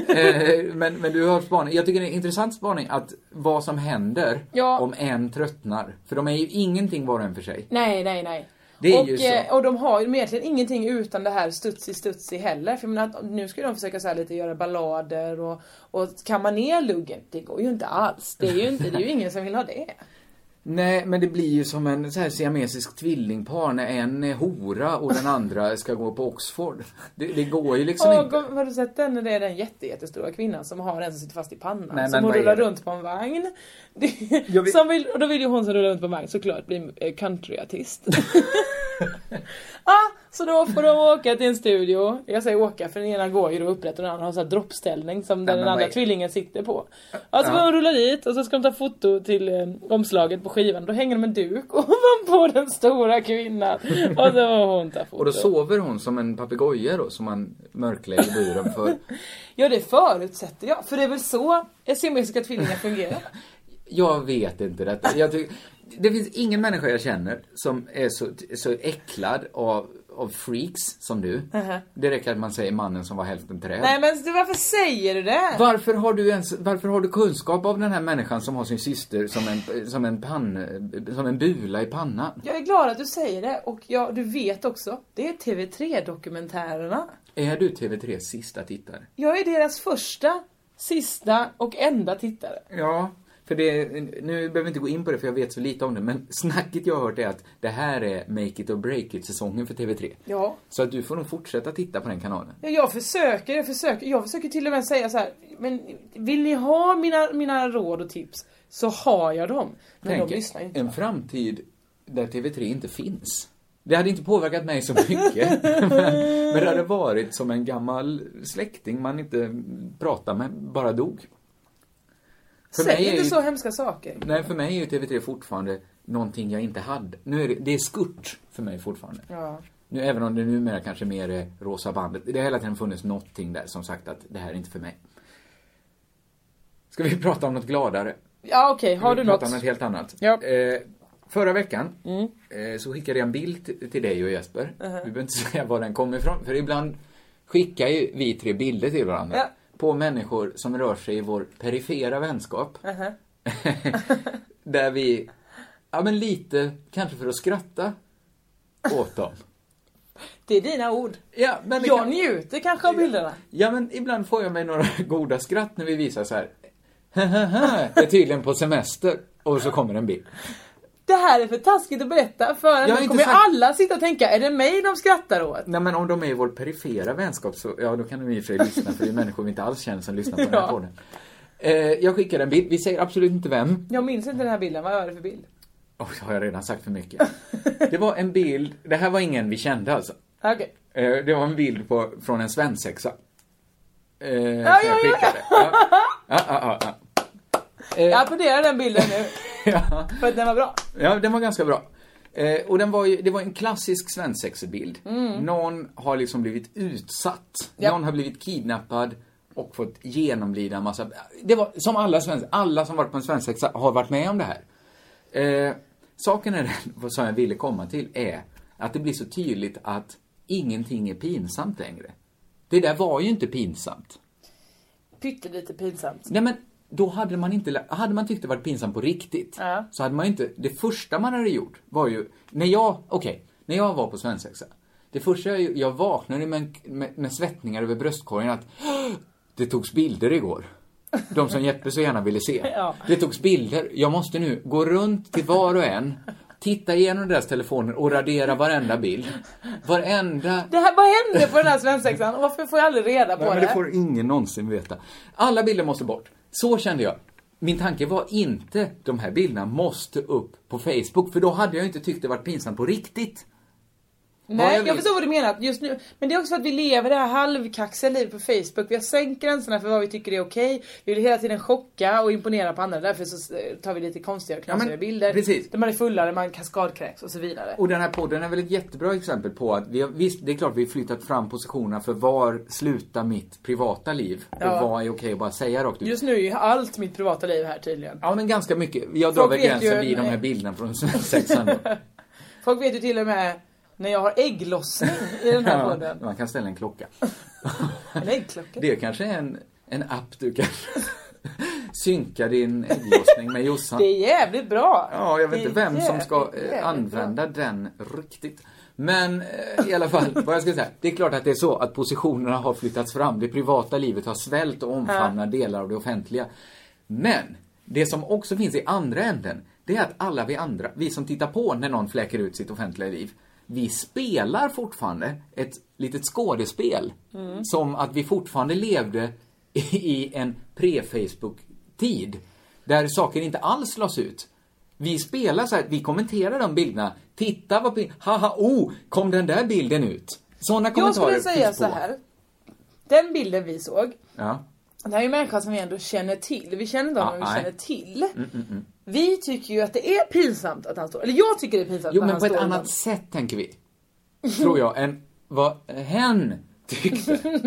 B: eh, men, men du har spaning. Jag tycker det är en intressant spaning att vad som händer
E: Ja.
B: om en tröttnar. För de är ju ingenting var och en för sig.
E: Nej, nej, nej.
B: Det är
E: och,
B: ju så.
E: eh, och de har ju egentligen ingenting utan det här studsi studsi heller. För jag menar, att nu ska de försöka så här lite göra ballader och, och kamma ner luggen. Det går ju inte alls. Det är ju, inte, det är ju ingen som vill ha det.
B: Nej, men det blir ju som en så här siamesisk tvillingpar när en är hora och den andra ska gå på Oxford. Det, det går ju liksom
E: och,
B: inte.
E: Har du sett den? Det är den jätte, jättestora kvinnan som har en som sitter fast i pannan.
B: Nej,
E: som
B: men
E: hon
B: vad är
E: rullar
B: det?
E: runt på en vagn. Det,
B: Jag vet-
E: som vill, och då vill ju hon som rullar runt på en vagn såklart bli eh, countryartist. ah, så då får de åka till en studio. Jag säger åka för den ena går ju då upprätt och den andra har en sån här droppställning som
B: Nej,
E: den
B: men vad
E: andra
B: är-
E: tvillingen sitter på. Ja, så får
B: Ja.
E: de rulla dit och så ska de ta foto till eh, omslaget på skivan. Då hänger de en duk ovanpå den stora kvinnan. Och så får hon ta foto.
B: Och då sover hon som en papegoja då, som man mörklägger buren för.
E: Ja det förutsätter jag, för det är väl så siamesiska tvillingar fungerar.
B: Jag vet inte detta. Jag tycker, det finns ingen människa jag känner som är så, så äcklad av, av freaks som du.
E: Mhm.
B: Det räcker att man säger mannen som var hälften träd.
E: Nej men du, varför säger du det?
B: Varför har, du ens, varför har du kunskap av den här människan som har sin syster som en, som en, pann, som en bula i pannan?
E: Jag är glad att du säger det och jag, du vet också, det är TV3-dokumentärerna.
B: Är du TV3 sista tittare?
E: Jag är deras första, sista och enda tittare.
B: Ja, för det, nu behöver vi inte gå in på det för jag vet så lite om det, men snacket jag har hört är att det här är make it or break it-säsongen för TV3.
E: Ja.
B: Så att du får nog fortsätta titta på den kanalen.
E: Ja, Jag försöker, jag försöker, jag försöker till och med säga så här. men vill ni ha mina, mina råd och tips så har jag dem. Men
B: Tänk
E: de lyssnar ju inte.
B: en framtid där TV3 inte finns. Det hade inte påverkat mig så mycket. men, men det hade varit som en gammal släkting man inte pratar med, bara dog. För mig
E: Säg
B: är
E: inte
B: ju-
E: så hemska saker.
B: Nej, för mig är ju TV3 fortfarande någonting jag inte hade. Nu är det, det är skurt för mig fortfarande.
E: Ja.
B: Nu, även om det numera kanske mer är rosa bandet. Det har hela tiden funnits någonting där som sagt att det här är inte för mig. Ska vi prata om något gladare?
E: Ja okej, har du
B: Vi pratar
E: något?
B: om något helt annat.
E: Ja. Mm.
B: Eh, förra veckan eh, så skickade jag en bild t- till dig och Jesper. Vi behöver inte säga var den kommer ifrån. För ibland skickar ju vi tre bilder till varandra.
E: Ja.
B: På människor som rör sig i vår perifera vänskap.
E: Mhm.
B: Där vi, ja men lite, kanske för att skratta åt dem.
E: Det är dina ord.
B: Ja, men det
E: Jag
B: kan-
E: njuter kanske av bilderna.
B: Ja, men ibland får jag mig några goda skratt när vi visar så här. är tydligen på semester. Och så kommer en bild.
E: Det här är för taskigt att berätta för
B: Jag
E: nu
B: har inte
E: kommer
B: sagt-
E: alla sitta och tänka, är det mig de skrattar åt?
B: Nej men om de är i vår perifera vänskap så, ja då kan de i och för sig lyssna för det är människor vi inte alls känner som lyssnar på den här
E: Ja.
B: podden. Eh, jag skickar en bild, vi säger absolut inte vem.
E: Jag minns inte den här bilden, vad är det för bild?
B: Oj, har jag redan sagt för mycket. Det var en bild, det här var ingen vi kände alltså.
E: Okej.
B: Eh, det var en bild på, från en svensexa. Eh, som
E: ja,
B: jag
E: ja.
B: skickade. Ja, ja, ja, ja. Eh.
E: Jag applåderar den bilden nu,
B: ja.
E: för att den var bra.
B: Ja, den var ganska bra. Eh, och den var ju, det var en klassisk svensexebild.
E: Mm.
B: Någon har liksom blivit utsatt.
E: Ja.
B: Någon har blivit kidnappad och fått genomlida en massa... Det var som alla svenskar, alla som varit på en svensexa har varit med om det här. Eh, saken är den, vad som jag ville komma till, är att det blir så tydligt att ingenting är pinsamt längre. Det där var ju inte pinsamt.
E: Pyttelite pinsamt.
B: Nej men, då hade man inte, lä- hade man tyckt det varit pinsamt på riktigt,
E: Ja.
B: så hade man ju inte, det första man hade gjort var ju, när jag, okej, när jag var på svensexa, det första jag, gjorde- jag vaknade med, en- med, med svettningar över bröstkorgen att det togs bilder igår. De som Jeppe så gärna ville se.
E: Ja.
B: Det togs bilder. Jag måste nu gå runt till var och en, titta igenom deras telefoner och radera varenda bild. Varenda
E: Det här, vad hände på den här svensexan? Och Varför får jag aldrig reda på
B: Nej, men
E: det?
B: det får ingen någonsin veta. Alla bilder måste bort. Så kände jag. Min tanke var inte, de här bilderna måste upp på Facebook, för då hade jag inte tyckt det varit pinsamt på riktigt. Vad
E: Nej,
B: jag
E: jag
B: vill-
E: förstår vad du menar just nu. Men det är också för att vi lever det här halvkaxiga livet på Facebook. Vi har sänkt gränserna för vad vi tycker är okej. Vi vill hela tiden chocka och imponera på andra. Därför så eh, tar vi lite konstiga och knasiga bilder.
B: precis.
E: Där man är fullare, man kaskadkräks och så vidare.
B: Och den här podden är väl ett jättebra exempel på att vi har, visst, det är klart vi har flyttat fram positionerna för var slutar mitt privata liv?
E: Ja.
B: Och vad är okej att bara säga rakt ut?
E: Just nu är ju allt mitt privata liv här tydligen.
B: Ja, men ganska mycket. Jag drar
E: Folk
B: väl
E: vet
B: gränsen
E: ju-
B: vid de här bilderna från sexan då.
E: Folk vet ju till och med när jag har ägglossning i den här podden.
B: man kan ställa en klocka.
E: En äggklocka.
B: Det är kanske är en, en app du kan synka din ägglossning med Jossan.
E: Det är jävligt bra.
B: Ja, jag
E: Det
B: vet
E: är
B: inte vem som ska
E: jävligt,
B: eh,
E: jävligt
B: använda den riktigt. Men eh, i alla fall, vad jag ska säga. Det är klart att det är så att positionerna har flyttats fram. Det privata livet har svällt och omfamnar delar av det offentliga. Men, det som också finns i andra änden, det är att alla vi andra, vi som tittar på när någon fläker ut sitt offentliga liv, vi spelar fortfarande ett litet skådespel.
E: Mm.
B: Som att vi fortfarande levde i en pre-Facebook-tid. Där saker inte alls lades ut. Vi spelar så här, vi kommenterar de bilderna. Titta vad bild- haha, oh, kom den där bilden ut? Sådana
E: bra. Jag
B: kommentarer
E: skulle säga
B: finns
E: så
B: på.
E: här. Den bilden vi såg.
B: Ja.
E: Det här är ju människor som vi ändå känner till. Vi känner inte
B: Ah,
E: honom, vi
B: nej. mm,
E: känner till. Vi tycker ju att det är pinsamt att han står. Eller jag tycker det är pinsamt
B: Jo,
E: att
B: men
E: han
B: på ett
E: står
B: annat
E: utan-
B: sätt tänker vi. Tror jag, än vad hen tyckte.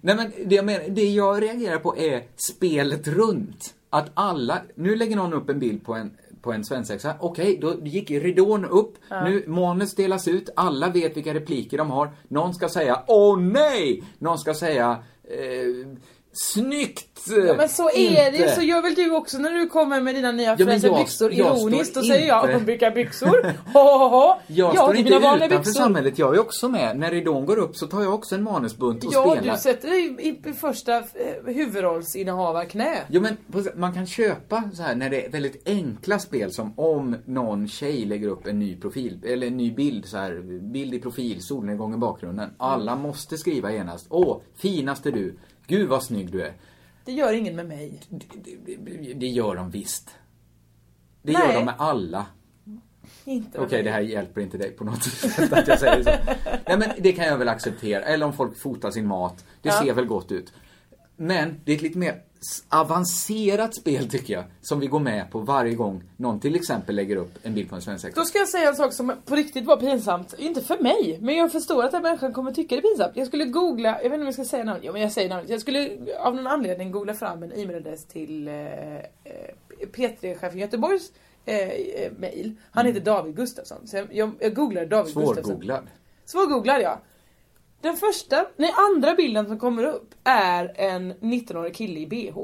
B: Nej men det jag, menar, det jag reagerar på är spelet runt. Att alla, nu lägger någon upp en bild på en, på en svensexa. Okej, då gick ridån upp. Nu, manus delas ut. Alla vet vilka repliker de har. Någon ska säga Åh nej! Någon ska säga eh, Snyggt!
E: Ja, men så är det ju.
B: Inte.
E: Så gör väl du också när du kommer med dina nya
B: men
E: fräscha
B: jag-
E: byxor
B: jag
E: ironiskt.
B: står
E: Då säger jag,
B: inte-
E: hon brukar byxor. Ho, ho, ho.
B: Jag står
E: till
B: inte utanför samhället, jag är också med. När ridån går upp så tar jag också en manusbunt och
E: Ja,
B: spelar.
E: du sätter dig i, i första eh, huvudrollsinnehavarknä.
B: Jo men på- man kan köpa så här när det är väldigt enkla spel som om någon tjej lägger upp en ny profil, eller en ny bild så här, bild i profil, solnedgång i
E: Mm.
B: bakgrunden. Alla måste skriva genast, åh, finaste du, gud vad snygg du är.
E: Det gör ingen med mig.
B: Det- det- Det gör de visst. Det
E: Nej.
B: gör de med alla.
E: Inte
B: Okej,
E: med mig.
B: det här hjälper inte dig på något sätt att jag säger så. Nej men det kan jag väl acceptera. Eller om folk fotar sin mat. Det
E: Ja.
B: ser väl gott ut. Men det är ett lite mer s- avancerat spel tycker jag. Som vi går med på varje gång någon till exempel lägger upp en bild på en svensexa.
E: Då ska jag säga en sak som på riktigt var pinsamt. Inte för mig, men jag förstår att den här människan kommer tycka det är pinsamt. Jag skulle googla, jag vet inte om jag ska säga namnet, jo men jag säger namnet. Jag skulle av någon anledning googla fram en e-mailadress till eh, eh, P3-chefen i Göteborgs eh, eh, mail. Han heter David Gustafsson. Så jag, jag, jag googlade David Gustafsson.
B: Svårgooglad.
E: Svårgooglad ja. Den första, nej andra bilden som kommer upp är en 19-årig kille i bh.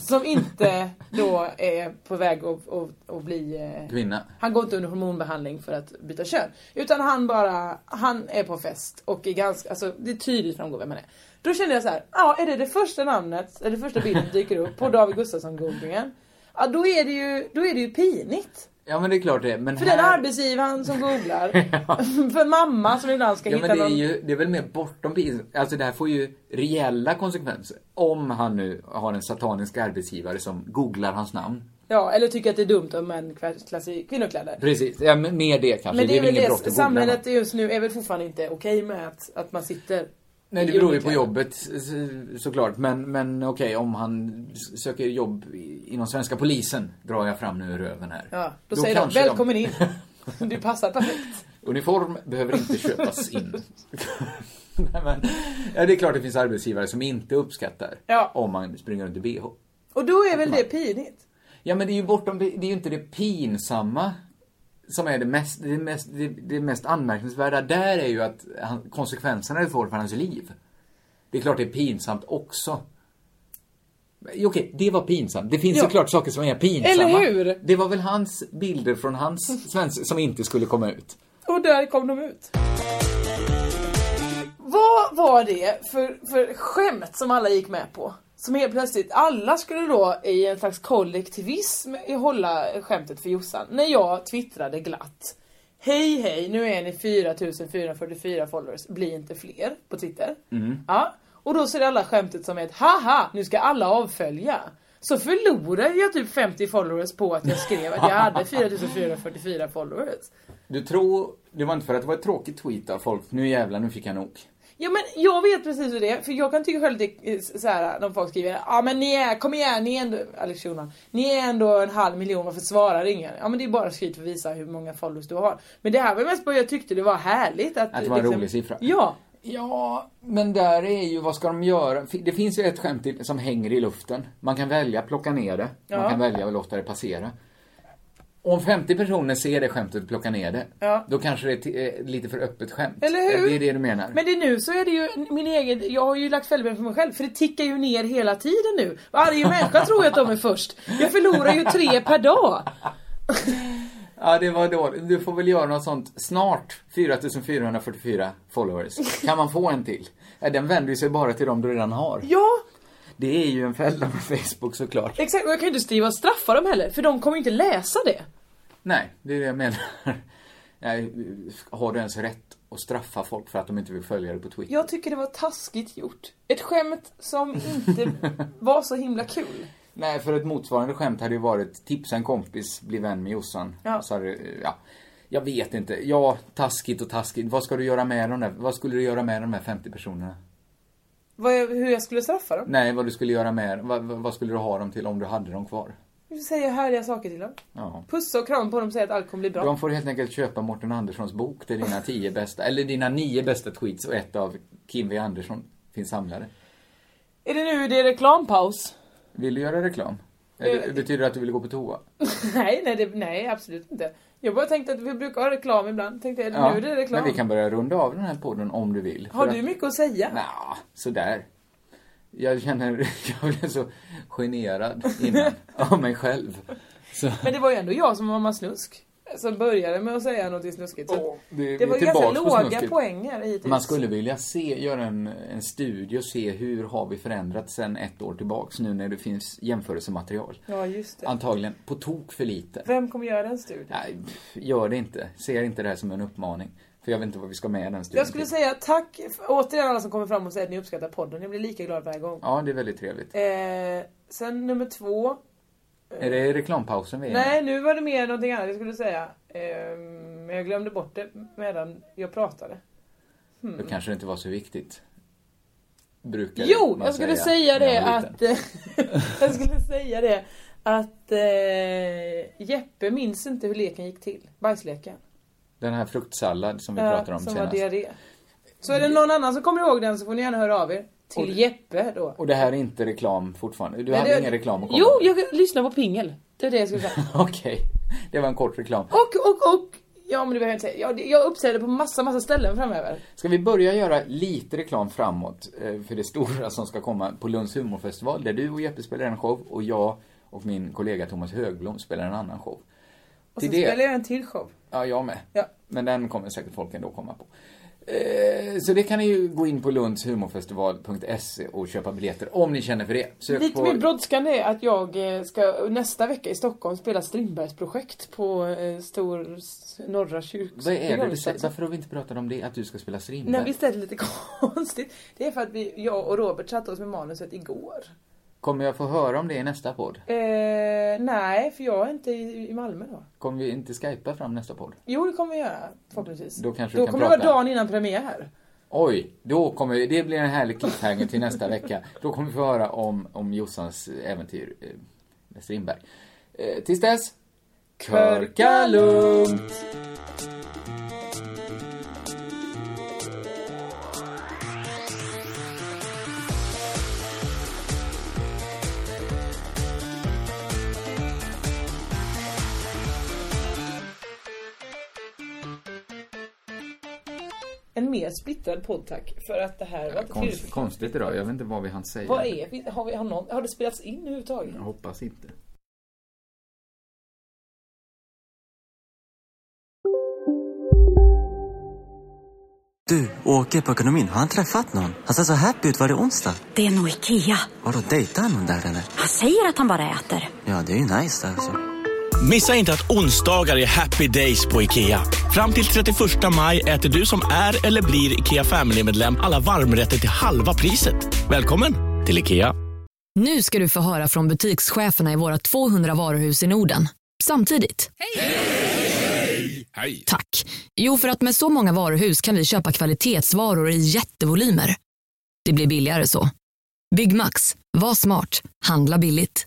E: Som inte då är på väg att, att, att bli... eh,
B: Kvinna.
E: Han går inte under hormonbehandling för att byta kön. Utan han bara, han är på fest och är ganska, alltså det är tydligt framgår vem han är. Då kände jag så här, ja är det det första namnet, eller det första bilden dyker upp på David Gustafsson googlingen. Ja då är det ju, då är det ju pinigt.
B: Ja men det är klart det är, men
E: För den
B: här...
E: arbetsgivaren som googlar. För mamma som ibland ska
B: Ja
E: hitta
B: men det är
E: någon.
B: ju, det är väl mer bortom pinsamt. Alltså det här får ju reella konsekvenser. Om han nu har en satanisk arbetsgivare som googlar hans namn.
E: Ja, eller tycker att det är dumt om män klär sig i kvinnokläder.
B: Precis, ja, men mer alltså, det kanske.
E: Men det är väl
B: inget brott att
E: det,
B: googla någon.
E: samhället just nu är väl fortfarande inte okej med att, att man sitter
B: Nej,
E: i
B: det beror ju på
E: underkläder.
B: jobbet så- såklart. Men, men okej, om han s- söker jobb i- inom svenska polisen drar jag fram nu ur röven här.
E: Ja, då, säger de
B: kanske
E: välkommen in. Du passar perfekt.
B: Uniform behöver inte köpas in. Nej, men, ja, det är klart det finns arbetsgivare som inte uppskattar
E: Ja.
B: om man springer runt i bh.
E: Och då är väl det pinigt?
B: Ja, men det är ju bortom, det, det är ju inte det pinsamma som är det mest, det mest, det, det mest anmärkningsvärda där är ju att han, konsekvenserna det får för hans liv. Det är klart det är pinsamt också. Men, Okej, det var pinsamt. Det finns
E: Ja.
B: såklart saker som är pinsamma.
E: Eller hur?
B: Det var väl hans bilder från hans svensk som inte skulle komma ut.
E: Och där kom de ut. Vad var det för, för skämt som alla gick med på? Som helt plötsligt, alla skulle då i en slags kollektivism hålla skämtet för Jossan. När jag twittrade glatt. Hej hej, nu är ni 4444 followers, bli inte fler på Twitter. Ja. Och då ser alla skämtet som ett haha, nu ska alla avfölja. Så förlorade jag typ 50 followers på att jag skrev att jag hade 4444 followers.
B: Du tror, det var inte för att det var ett tråkigt tweet av folk, nu jävlar, nu fick jag nog.
E: Ja men jag vet precis hur det är, för jag kan tycka själv det är såhär när folk skriver Ja men ni är, kom igen, ni är ändå, Alex Schulman, ni är ändå en halv miljon, varför svarar ingen? Ja men det är bara skryt för att visa hur många followers du har. Men det här var mest bara jag tyckte det var härligt att... liksom-
B: Att det var en rolig siffra.
E: Ja.
B: Ja, men där är ju, vad ska de göra? Fi- Det finns ju ett skämt till som hänger i luften. Man kan välja att plocka ner det. Man
E: Ja.
B: kan välja att låta det passera. Om 50 personer ser det skämtet och plockar ner det,
E: Ja.
B: då kanske det är ti- är lite för öppet skämt.
E: Eller hur?
B: Det är det du menar.
E: Men det nu så är det ju min egen, jag har ju lagt fällben för mig själv för det tickar ju ner hela tiden nu. Varje människa tror ju att de är först. Jag förlorar ju tre per dag.
B: Ja, det var dåligt. Du får väl göra något sånt snart. 4444 followers. Kan man få en till? Ja, Den vänder ju sig bara till dem du redan har.
E: Ja,
B: Det är ju en fälla med Facebook såklart.
E: exakt. Och jag kan ju inte skriva och straffa dem heller för de kommer ju inte läsa det.
B: Nej, det är det jag menar. Nej, har du ens rätt att straffa folk för att de inte vill följa dig på Twitter?
E: Jag tycker det var taskigt gjort. Ett skämt som inte var så himla kul.
B: Nej, för ett motsvarande skämt hade ju varit tipsa en kompis, bli vän med Jossan.
E: Ja.
B: Så hade, det- ja. Jag vet inte. Ja, taskigt och taskigt. Vad ska du göra med de där, vad skulle du göra med de här 50 personerna?
E: Vad jag, hur jag skulle straffa dem.
B: Nej, vad du skulle göra med vad, vad vad skulle du ha dem till om du hade dem kvar?
E: Jag säger härliga saker till dem.
B: Ja.
E: Pussa och kram på dem och säga att allt kommer bli bra.
B: De får helt enkelt köpa Mårten Anderssons bok, det är dina tio bästa, eller dina nio bästa tweets och ett av Kim V Andersson finns samlade.
E: Är det nu det är reklampaus?
B: Vill du göra reklam? Eller, betyder det att du vill gå på toa?
E: nej, nej, det, nej absolut inte. Jag bara tänkte att vi brukar ha reklam ibland. Tänkte är det nu det är reklam?
B: Men vi kan börja runda av den här podden om du vill.
E: Har
B: För
E: du
B: att-
E: mycket att säga?
B: Nja, sådär. Jag känner, jag blev så generad innan av mig själv. Så,
E: Men det var ju ändå jag som var mamma Snusk. Som började med att säga något snuskigt. Så
B: det,
E: det
B: vi
E: var
B: är
E: ju ganska
B: tillbaks på
E: låga
B: snusket.
E: poänger hittills.
B: Man skulle vilja se, göra en, en studie och se hur har vi förändrats sen ett år tillbaks nu när det finns jämförelsematerial.
E: Ja, just det.
B: Antagligen på tok för lite.
E: Vem kommer göra den studien?
B: Nej, pff, gör det inte. Ser inte det här som en uppmaning. För jag vet inte vad vi ska med den studien
E: Jag skulle
B: till.
E: säga tack för- återigen alla som kommer fram och säger att ni uppskattar podden. Jag blir lika glad varje gång.
B: Ja, det är väldigt trevligt.
E: Eh, sen nummer två.
B: Är det reklampausen vi är i?
E: Nej, nu var det mer någonting annat jag skulle säga. Eh, men jag glömde bort det medan jag pratade.
B: Då kanske det inte var så viktigt. Brukar
E: Jo,
B: man
E: jag skulle
B: säga
E: säga
B: när
E: det
B: man var liten.
E: att... eh, jag skulle säga det att eh, Jeppe minns inte hur leken gick till. Bajsleken.
B: Den här fruktsallad som vi
E: Ja,
B: pratade om
E: som
B: senast.
E: var diarré. Så är det någon annan som kommer ihåg den så får ni gärna höra av er. Till Jeppe då.
B: Och det här är inte reklam fortfarande. Du
E: Men
B: hade
E: det-
B: ingen reklam att komma
E: Jo,
B: med.
E: jag lyssnar på pingel. Det är det jag skulle säga.
B: Okej, det var en kort reklam.
E: Och, och, och Ja men det behöver jag inte säga. Jag, jag uppträder på massa, massa ställen framöver.
B: Ska vi börja göra lite reklam framåt eh, för det stora som ska komma på Lunds humorfestival där du och Jeppe spelar en show och jag och min kollega Thomas Högblom spelar en annan show.
E: Och sen spelar jag en till show.
B: Ja, jag med.
E: Ja.
B: Men den kommer säkert folk ändå komma på. Eh, Så det kan ni ju gå in på lundshumorfestival.se och köpa biljetter om ni känner för det. Sök
E: Lite
B: på...
E: mer brådskande är att jag eh, ska nästa vecka i Stockholm spela Strindbergs projekt på eh, Stor s- Norra kyrkogården.
B: Vad är det du säger? Varför har vi inte pratat om det? Att du ska spela Strindberg?
E: alltså. Nej visst är det lite konstigt? Det är för att vi, jag och Robert satte oss med manuset igår.
B: Kommer jag få höra om det i nästa podd?
E: Eh, nej, för jag är inte i, i Malmö då.
B: Kommer vi inte skypa fram nästa podd?
E: Jo, det kommer vi göra förhoppningsvis.
B: Då kanske vi
E: Då
B: kan
E: kommer det vara
B: prata.
E: dagen innan premiär.
B: Oj, då kommer vi, det blir en härlig cliffhanger till nästa vecka. Då kommer vi få höra om, om Jossans äventyr eh, med Strindberg. Eh, tills dess, körka lugnt!
E: En mer splittrad podd tack, för att det här var
B: Konst,
E: kul.
B: konstigt idag, jag vet inte vad vi hann säga.
E: Vad är vi? Har, vi, har, någon, har det spelats in överhuvudtaget?
B: Jag hoppas inte.
N: Du, åker på ekonomin. Har han träffat någon? Han ser så happy ut. Var det onsdag?
O: Det är nog Ikea.
N: Vadå, dejtar han någon där eller?
O: Han säger att han bara äter.
N: Ja, det är ju nice alltså.
P: Missa inte att onsdagar är happy days på IKEA. Fram till 31 maj äter du som är eller blir IKEA Family-medlem alla varmrätter till halva priset. Välkommen till IKEA.
I: Nu ska du få höra från butikscheferna i våra 200 varuhus i Norden. Samtidigt.
Q: Hej!
I: Tack. Jo, för att med så många varuhus kan vi köpa kvalitetsvaror i jättevolymer. Det blir billigare så. Byggmax. Var smart. Handla billigt.